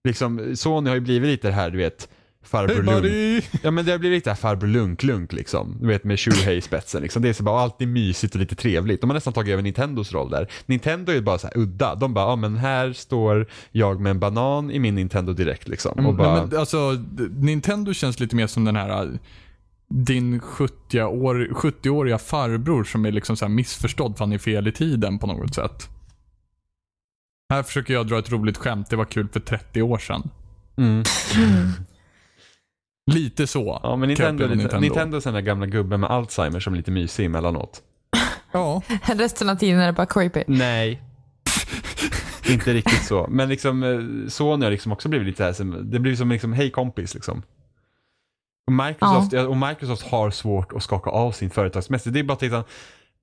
Liksom, Sony har ju blivit lite det här, du vet, farbror
Hey
Lund.
buddy!
Ja men det blir lite här farbror lunk-lunk liksom. Du vet med Shuhei i spetsen liksom. Det är så bara alltid mysigt och lite trevligt. De har nästan tagit över Nintendos roll där. Nintendo är ju bara så här udda. De bara, ja ah, men här står jag med en banan i min Nintendo direkt liksom. Och
Mm,
bara,
nej, men, alltså, d- Nintendo känns lite mer som den här äh, din 70-åriga år, 70 farbror som är liksom så här missförstådd för han är fel i tiden på något sätt. Här försöker jag dra ett roligt skämt. Det var kul för 30 år sedan.
mm.
Lite så.
Ja men
kan jag
Nintendo,
uppleva
Nintendo. Nintendo är sån där gamla gubben med Alzheimer som är lite mysig emellanåt.
Ja.
Resten av tiden är det bara creepy.
Nej. Inte riktigt så. Men liksom eh, Sony har liksom också blivit lite så här, som- det blir som liksom, hej kompis liksom. Och Microsoft, ja. och Microsoft har svårt att skaka av sin företagsmässighet. Det är bara att titta,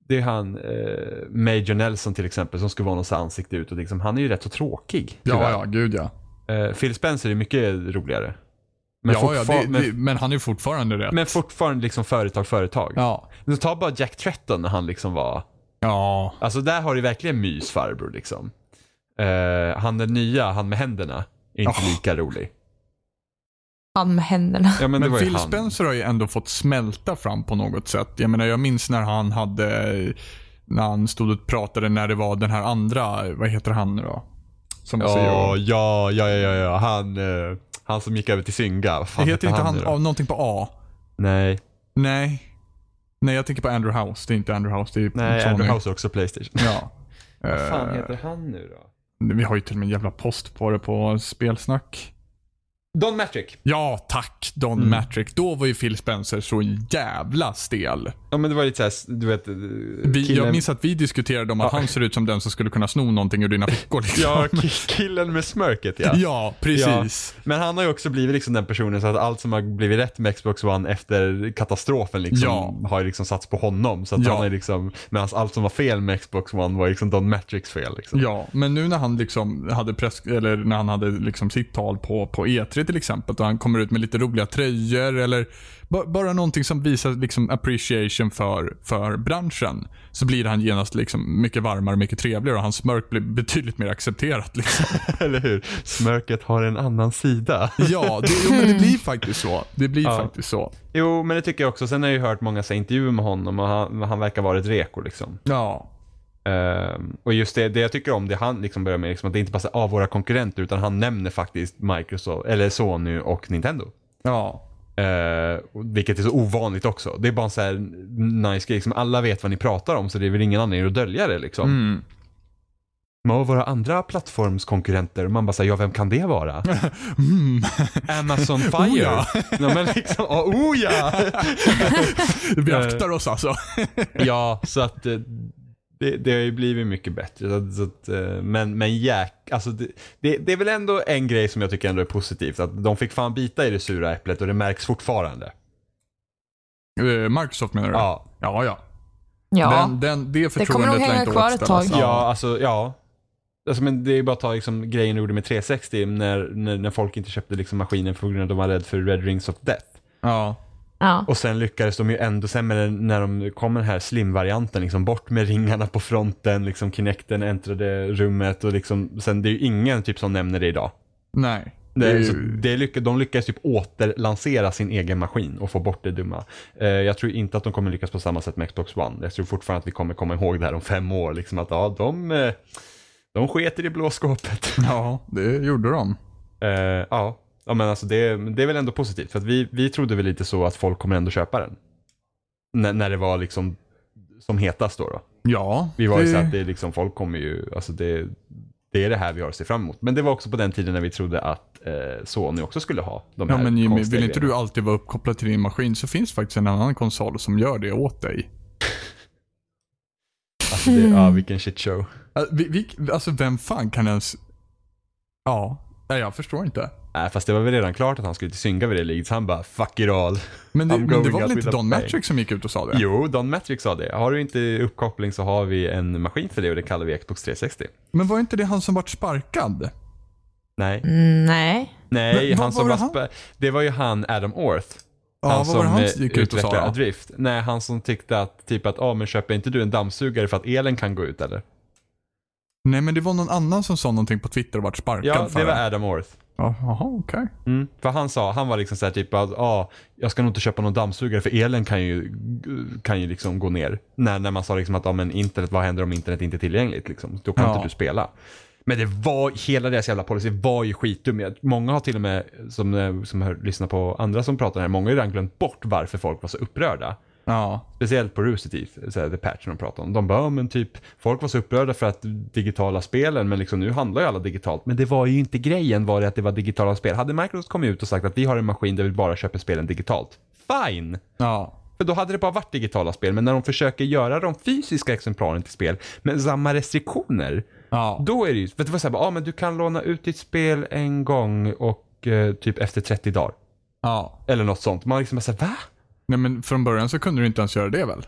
det är han eh, Major Nelson till exempel som skulle vara någons ansikte utåt. Liksom, han är ju rätt så tråkig.
Ja, ja, gud ja.
tyvärr. Eh, Phil Spencer är mycket roligare. Men,
Men, ja, ja
fortfar-
det, det,
men,
men han är fortfarande rätt.
men fortfarande liksom företag, företag.
ja.
Men Ta bara Jack Tretton när han liksom var
Ja.
Alltså där har du verkligen mys farbror liksom. Eh, han den nya, han med händerna, är inte
Oh.
lika rolig.
Han med händerna.
Ja, men, det
Men
var ju
Phil
han.
Spencer har ju ändå fått smälta fram på något sätt. Jag menar, jag minns när han hade, när han stod och pratade när det var den här andra, vad heter han nu då? Som E jag
Ja,
säger.
ja, ja, ja, ja, ja. Han, eh, han som gick över till Synga. Vad
Det
fan
heter inte han,
nu då?
av någonting på A?
Nej,
Nej. Nej, jag tänker på Andrew House. Det är inte Andrew House, det är
nej,
Sony.
Andrew House är också Playstation.
Ja.
Vad fan
Eh,
heter han nu då?
vi har ju till och med en jävla post på det på spelsnack.
Don Matrick.
Ja, tack Don
Mm.
Matrick. Då var ju Phil Spencer så jävla stel.
Ja men det var lite såhär, du vet. eh,
Vi,
killen-
jag minns att vi diskuterade om att han ser ut som den som skulle kunna sno någonting ur dina fickor. Liksom.
Ja, ki- killen med smörket ja.
ja, precis.
Ja. Men han har ju också blivit liksom den personen så att allt som har blivit rätt med Xbox One efter katastrofen liksom,
Ja.
har ju liksom satts på honom. Så att
Ja.
han är liksom, medan allt som var fel med Xbox One var liksom Don Matrix fel. Liksom.
Ja, men nu när han liksom hade, press, eller när han hade liksom sitt tal på, på E3 till exempel och han kommer ut med lite roliga tröjor eller ba- bara någonting som visar liksom appreciation för, för branschen. Så blir han genast liksom mycket varmare, mycket trevligare och hans smörk blir betydligt mer accepterat. Liksom.
Eller hur? Smörket har en annan sida.
Ja, det, jo, men det blir faktiskt så. Det blir
Ja.
faktiskt så.
Jo, men det tycker jag också. Sen har jag ju hört många så här, intervjuer med honom och han, han verkar vara ett reko liksom.
Ja.
Ehm, och just det, det jag tycker om det han liksom börjar med, liksom, att det inte bara är ah, våra konkurrenter utan han nämner faktiskt Microsoft, eller Sony och Nintendo.
Ja.
Eh, och vilket är så ovanligt också. Det är bara en så här nice grej. Liksom alla vet vad ni pratar om så det är väl ingen anledning att dölja det. Liksom.
Mm.
Men och våra andra plattformskonkurrenter, man bara säger ja vem kan det vara?
Mm.
Amazon Fire?
Oh ja.
ja, men liksom, ja, oh ja!
Vi aktar oss alltså.
ja, så att eh, det, det har ju blivit mycket bättre. Så, att- så att, eh, men, men jäk, alltså det, det, det är väl ändå en grej som jag tycker ändå är positivt. Att de fick fan bita i det sura äpplet och det märks fortfarande.
Eh, Microsoft menar du?
Ja,
Ja, ja.
Ja.
Den, den, det förtroendet
kommer nog
lär
hänga
inte
kvar ett
återställas.
tag.
Ja, alltså ja. Alltså, men det är bara att ta liksom, grejen du gjorde med 360 när, när, när folk inte köpte liksom, maskinen för grund av att de var rädda för Red Rings of Death.
Ja.
Ja.
Och sen lyckades de ju ändå sen med den, när de kom med den här slim-varianten, liksom, bort med ringarna på fronten, liksom, Kinecten äntrade rummet och liksom, sen det är ju ingen typ som nämner det idag.
Nej.
Det är,
ju-
så det lyck, de lyckades typ återlansera sin egen maskin och få bort det dumma. Eh, jag tror inte att de kommer lyckas på samma sätt med Xbox One. Jag tror fortfarande att vi kommer komma ihåg det här om fem år. Liksom att ja, de, eh, de sket i det blå skåpet.
Ja, det gjorde de.
Eh, ja. ja, men alltså det, det är väl ändå positivt. För att vi, vi trodde väl lite så att folk kommer ändå köpa den. N- när det var liksom som hetast då. då.
Ja.
Vi var ju
det-
så att det är liksom, folk kommer ju, alltså det, det är det här vi har att se fram emot. Men det var också på den tiden när vi trodde att eh, Sony också skulle ha de
Ja
här
men Jimmy,
konstiga
vill inte
grejerna.
du alltid vara uppkopplad till din maskin så finns faktiskt en annan konsol som gör det åt dig.
Alltså det, ja, vilken shit show.
Äh, Vi, vi, alltså vem fan kan ens... Ja, nej jag förstår inte.
Nej, fast det var väl redan klart att han skulle till synga vid det ligget, så han bara 'fuck it all'.
Men det,
I'm
men det
going
var
out
väl
with
inte
a
Don
bang.
Matrick som gick ut och sa det?
Jo, Don Matrick sa det. Har du inte uppkoppling så har vi en maskin för det och det kallar vi Xbox 360.
Men var inte det han som vart sparkad?
Nej,
Mm, Nej.
Men
nej,
vad
han som
var
var
det
spe- Det var ju han Adam Orth.
Ja,
han
vad var det han
eh,
som gick ut och sa
utvecklade
då?
Adrift. Nej, han som tyckte att typ att, ah men köper inte du en dammsugare för att elen kan gå ut eller?
Nej men det var någon annan som sa någonting på Twitter och vart sparkad
Ja,
för
det var Adam Orth.
Ja, Jaha, okej.
Mm. För han sa, han var liksom såhär typ att, ah, jag ska nog inte köpa någon dammsugare för elen kan ju, kan ju liksom gå ner. När, när man sa liksom att, ah, men internet, vad händer om internet inte är tillgängligt liksom? Då kan
Ja.
inte du spela. Men det var, hela deras jävla policy var ju skitdum. Jag- Många har till och med, som, eh, som hör, lyssnar på andra som pratar här, många har ju redan glömt bort varför folk var så upprörda.
Ja.
Speciellt på Rooster Teeth, så här, The Patch de pratade om. De bara, ja, men typ, folk var så upprörda för att digitala spelen, men liksom nu handlar ju alla digitalt. Men det var ju inte grejen var det att det var digitala spel. Hade Microsoft kommit ut och sagt att vi har en maskin där vi bara köper spelen digitalt, fine!
Ja.
För då hade det bara varit digitala spel, men när de försöker göra de fysiska exemplaren till spel med samma restriktioner,
Ja.
då är det ju, för det var såhär, ja ah, men du kan låna ut ditt spel en gång och eh, typ efter 30 dagar.
ja.
Eller något sånt. Man liksom bara såhär, va?
Nej men från början så kunde du inte ens göra det väl?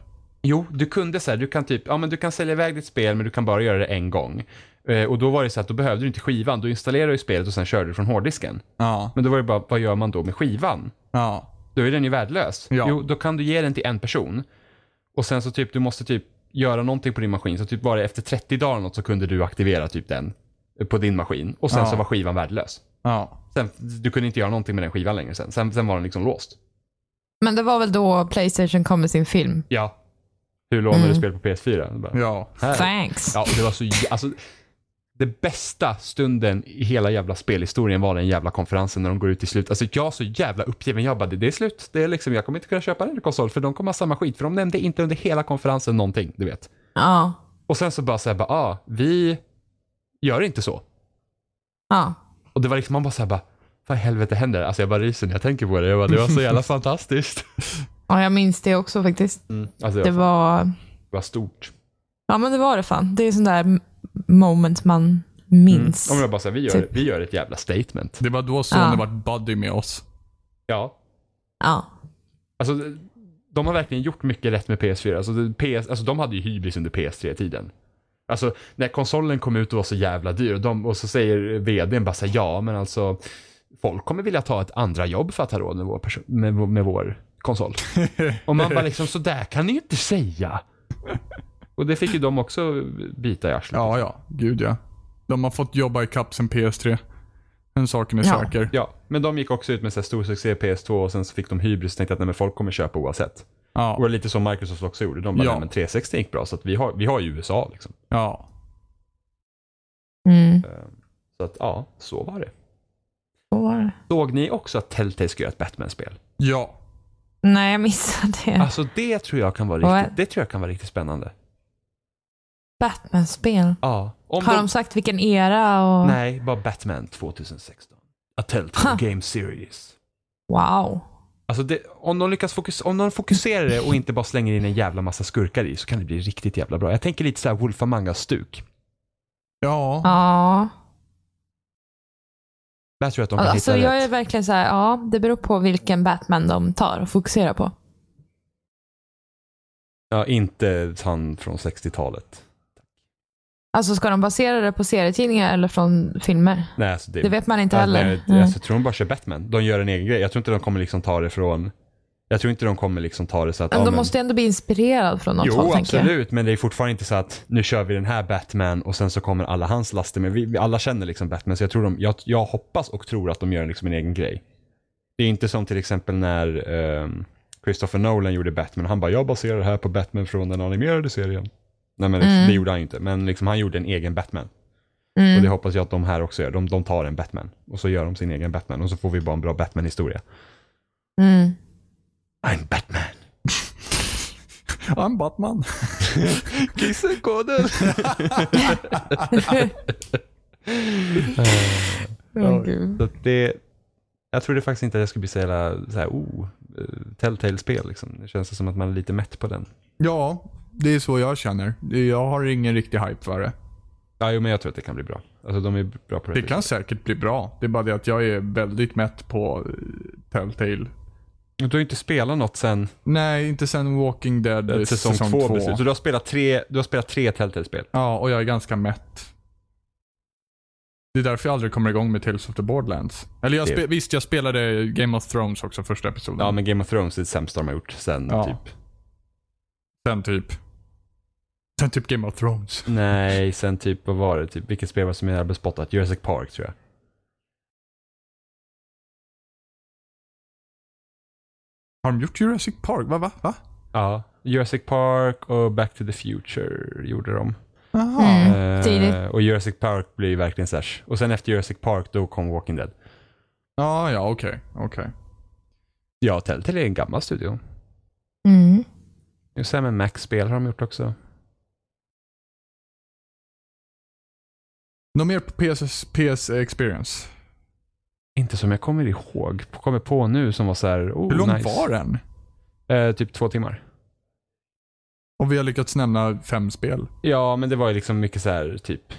Jo, du kunde så här, du kan typ, ja men du kan sälja iväg ditt spel men du kan bara göra det en gång. Eh, och då var det så att då behövde du inte skivan, då installerade du spelet och sen körde du från hårddisken.
Ja.
Men då var det bara, vad gör man då med skivan?
Ja.
Då är den ju värdelös.
Ja.
Jo, då kan du ge den till en person. Och sen så typ, du måste typ göra någonting på din maskin. Så typ var det efter 30 dagar eller något så kunde du aktivera typ den eh, på din maskin. Och sen
Ja.
så var skivan värdelös.
Ja.
Sen, du kunde inte göra någonting med den skivan längre sen. Sen, sen var den liksom låst.
Men det var väl då Playstation kom med sin film.
Ja. Hur lånar du
Mm.
spel på PS4? Bara,
Ja.
här.
Thanks.
Ja, och det var så jä- alltså, Det bästa stunden i hela jävla spelhistorien var den jävla konferensen när de går ut till slut. Alltså jag var så jävla uppgiven. Jag bara, det det är slut. Det är liksom, jag kommer inte kunna köpa en konsol för de kommer ha samma skit. För de nämnde inte under hela konferensen någonting, du vet.
Ja.
Och sen så bara såhär, bara, ah, vi gör inte så.
ja.
Och det var liksom, man bara såhär bara, Vad i helvete händer? Alltså jag bara ryser när jag tänker på det. Jag bara, det var så jävla fantastiskt.
Ja, jag minns det också faktiskt.
Alltså det
Det
var,
var...
det var stort.
Ja, men det var det fan. Det är sån där moment man minns.
Om jag bara säger, vi, gör,
Typ.
vi gör ett jävla statement.
Det var då sonen
Ja.
vart buddy med oss.
Ja,
Ja.
Alltså, de har verkligen gjort mycket rätt med PS4. Alltså, det- PS, alltså de hade ju hybris under PS3-tiden. Alltså, när konsolen kom ut och var så jävla dyr och, de, och så säger vdn bara så här, ja men alltså folk kommer vilja ta ett andra jobb för att ha råd med vår, perso- med, vår- med vår konsol. Och man bara liksom, så där kan ni ju inte säga. Och det fick ju de också bita i arslet.
Ja, ja. Gud ja. De har fått jobba i kapp sen PS3. Den saken är
Ja.
säker.
Ja, men de gick också ut med så här stor succé i PS2 och sen så fick de hybris och tänkte att nej, men folk kommer köpa oavsett. Och
Ja.
det är lite som Microsoft också gjorde. De bara,
Ja.
nej, men 360 gick bra så att vi har, vi har ju USA liksom.
ja.
Mm.
Ehm, Så att ja, så var det.
Så var det.
Såg ni också att Telltale skulle göra ett Batman-spel?
Ja.
Nej, jag missade det.
Alltså det tror jag kan vara
Vad
riktigt, det tror jag kan vara riktigt spännande.
Batman-spel.
Ja. Om
Har
de-
de sagt vilken era? Och...
Nej, bara Batman 2016. A Telltale Game Series.
Wow.
Alltså det, om, de lyckas fokus, om de fokuserar det och inte bara slänger in en jävla massa skurkar i så kan det bli riktigt jävla bra. Jag tänker lite så här Wolf Among Us-stuk.
Ja.
Ja.
Där tror jag att de kan
Alltså,
hitta
jag är
rätt.
verkligen så här, ja, det beror på vilken Batman de tar och fokuserar på.
Ja, inte han från 60-talet.
Alltså, ska de basera det på serietidningar eller från filmer?
Nej, alltså det,
Det vet man inte
Ja, nej,
heller.
jag,
Mm.
jag tror de bara kör Batman. De gör en egen grej. Jag tror inte de kommer liksom ta det från... Jag tror inte de kommer liksom ta det så att... ja,
Men de
men-
måste ju ändå bli inspirerad från något
Jo,
håll, tänker jag.
absolut. Men det är fortfarande inte så att nu kör vi den här Batman och sen så kommer alla hans laster. Men vi, vi alla känner liksom Batman. Så jag, tror de, jag, jag hoppas och tror att de gör liksom en egen grej. Det är inte som till exempel när ehm, Christopher Nolan gjorde Batman. Han bara, jag baserar det här på Batman från den animerade serien. Nej, men liksom,
Mm.
det gjorde han ju inte. Men liksom, han gjorde en egen Batman. Och det
Mm.
hoppas jag att de här också gör. De, de tar en Batman och så gör de sin egen Batman och så får vi bara en bra Batman-historia.
Mm.
I'm Batman.
I'm Batman.
Kissekoden.
Åh, gud.
så att det, jag trodde faktiskt inte att jag skulle bli så jävla så här, oh, eh, Telltale-spel liksom. Det känns som att man är lite mätt på den.
Ja, det är så jag känner. Jag har ingen riktig hype för det.
Ja, jo, men jag tror att det kan bli bra. Alltså de är bra på det.
Det kan säkert bli bra. Det är bara det att jag är väldigt mätt på eh, Telltale.
Du har ju inte spelat något sen
Nej, inte sen Walking Dead eh,
säsong,
säsong
två.
2.
Beslut. Så du har spelat tre, du har spelat tre Telltale-spel.
Ja, och jag är ganska mätt. Det är därför jag aldrig kommer igång med Tales of the Borderlands. Eller jag
Det-
spe- visst, jag spelade Game of Thrones också, första episoden.
Ja, men Game of Thrones är det sämsta de har gjort sen
Mm. Ja.
typ.
Sen typ... Sen typ Game of Thrones.
Nej, sen typ, vad var det? Typ, vilket spel var det som jag hade bespottat? Jurassic Park tror jag.
Har de gjort Jurassic Park? Va, va, va?
Ja, Jurassic Park och Back to the Future gjorde de.
Jaha.
Mm.
Eh,
tidigt.
och Jurassic Park blir ju verkligen såhär. Och sen efter Jurassic Park då kom Walking Dead.
Ja, ja, okej. okej.
Ja, Telltale är en gammal studio.
Mm.
Nu Sam Max-spel har de gjort också.
Något mer på PS, PS Experience?
Inte som jag kommer ihåg. Kommer på nu som var såhär. Oh,
Hur lång
nice.
var den?
det? Eh, typ två timmar.
Och vi har lyckats nämna fem spel.
Ja, men det var ju liksom mycket så här typ.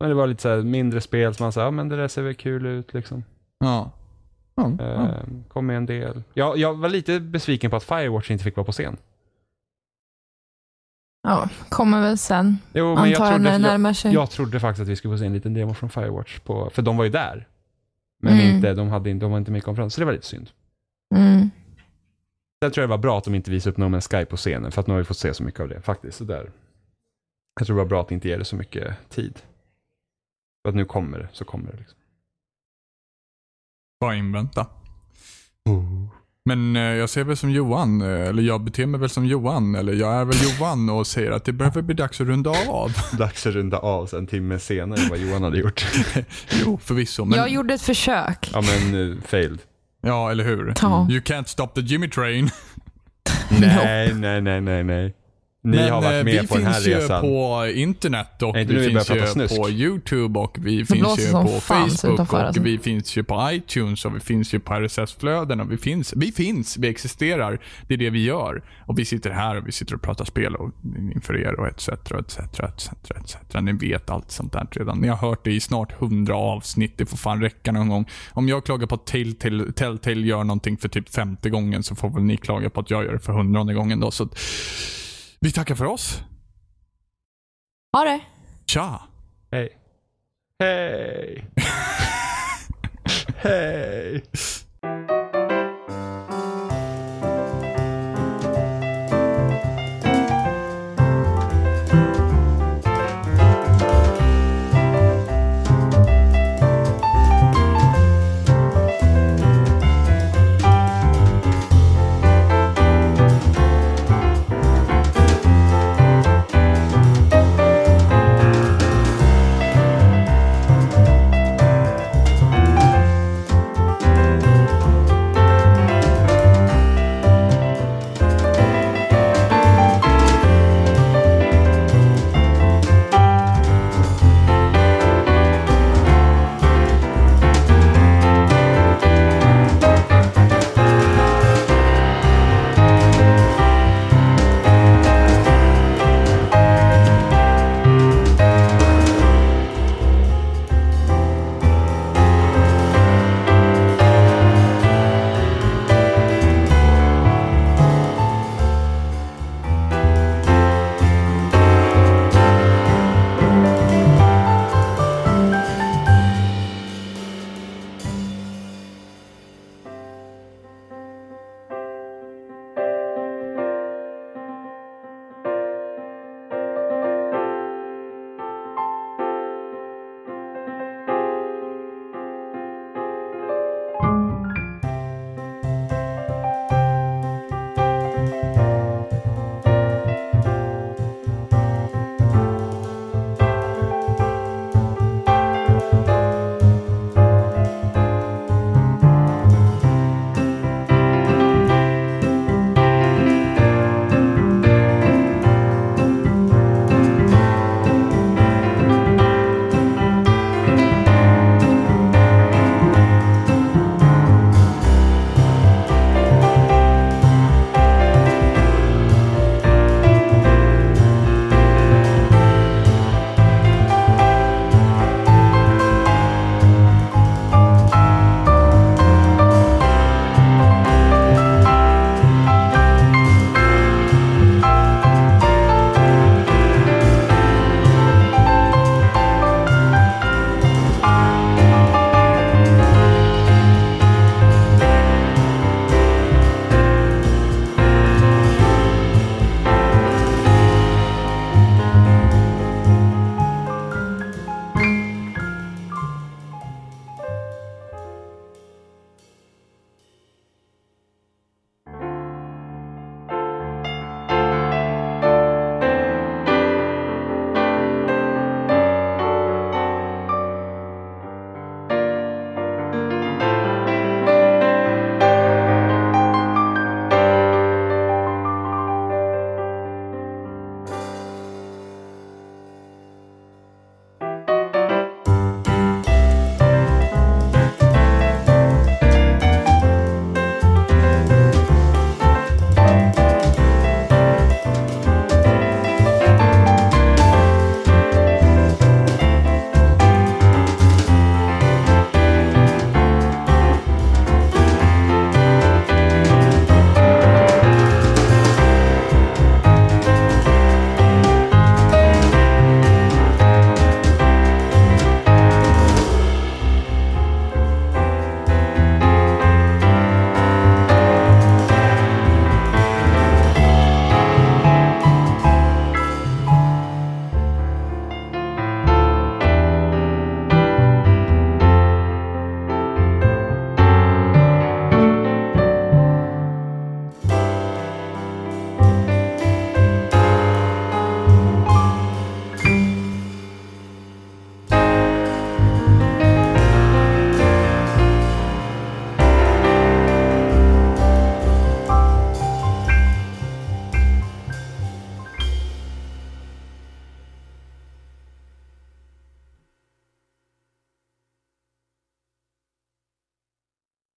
Men det var lite så här mindre spel som man sa, ja men det där ser väl kul ut liksom.
Ja. Ja,
Eh,
ja.
Kom med en del. Jag, jag var lite besviken på att Firewatch inte fick vara på scen.
Ja, kommer väl sen.
Jo, men jag
Antar jag när
trodde,
det
jag,
närmar sig.
jag trodde faktiskt att vi skulle få se en liten demo från Firewatch. På, för de var ju där. Men
Mm.
inte, de, hade, in- de var inte med i konferensen, så det var lite synd.
Mm.
Sen tror jag det var bra att de inte visade upp Nomen Sky på scenen, för att nu har vi fått se så mycket av det faktiskt. Så där. Jag tror det var bra att inte ge det så mycket tid. För att nu kommer det, så kommer det. Liksom.
Bara invänta. Men eh, jag ser väl som Johan, eh, eller jag beter mig väl som Johan, eller jag är väl Johan och säger att det behöver bli dags att runda av.
Dags att runda av så en timme senare än vad Johan hade gjort.
jo, förvisso. Men,
Jag gjorde ett försök.
ja men, eh, failed.
Ja, eller hur?
Ja.
You can't stop the Jimmy train.
Nej, nej, nej, nej, nej. Ni har
eh,
varit
vi
med på den här
finns ju
resan.
på internet och
Är inte nu
vi
vi börjar
finns
prata
ju
snusk?
på YouTube och vi
blåser
finns ju
som
på
fan
Facebook
utanför,
och
alltså.
vi finns ju på iTunes och vi finns ju på RSS-flöden och vi finns. Vi finns, vi existerar. Det är det vi gör. Och vi sitter här och vi sitter och pratar spel och inför er och etc. etc, etc, etc. Ni vet allt sånt där redan. Ni har hört det i snart hundra avsnitt. Det får fan räcka någon gång. Om jag klagar på att Telltale, Telltale gör någonting för typ femte gången så får väl ni klaga på att jag gör det för hundrade gången då. Så att vi tackar för oss.
Ha det.
Tja!
Hej. Hej. Hej.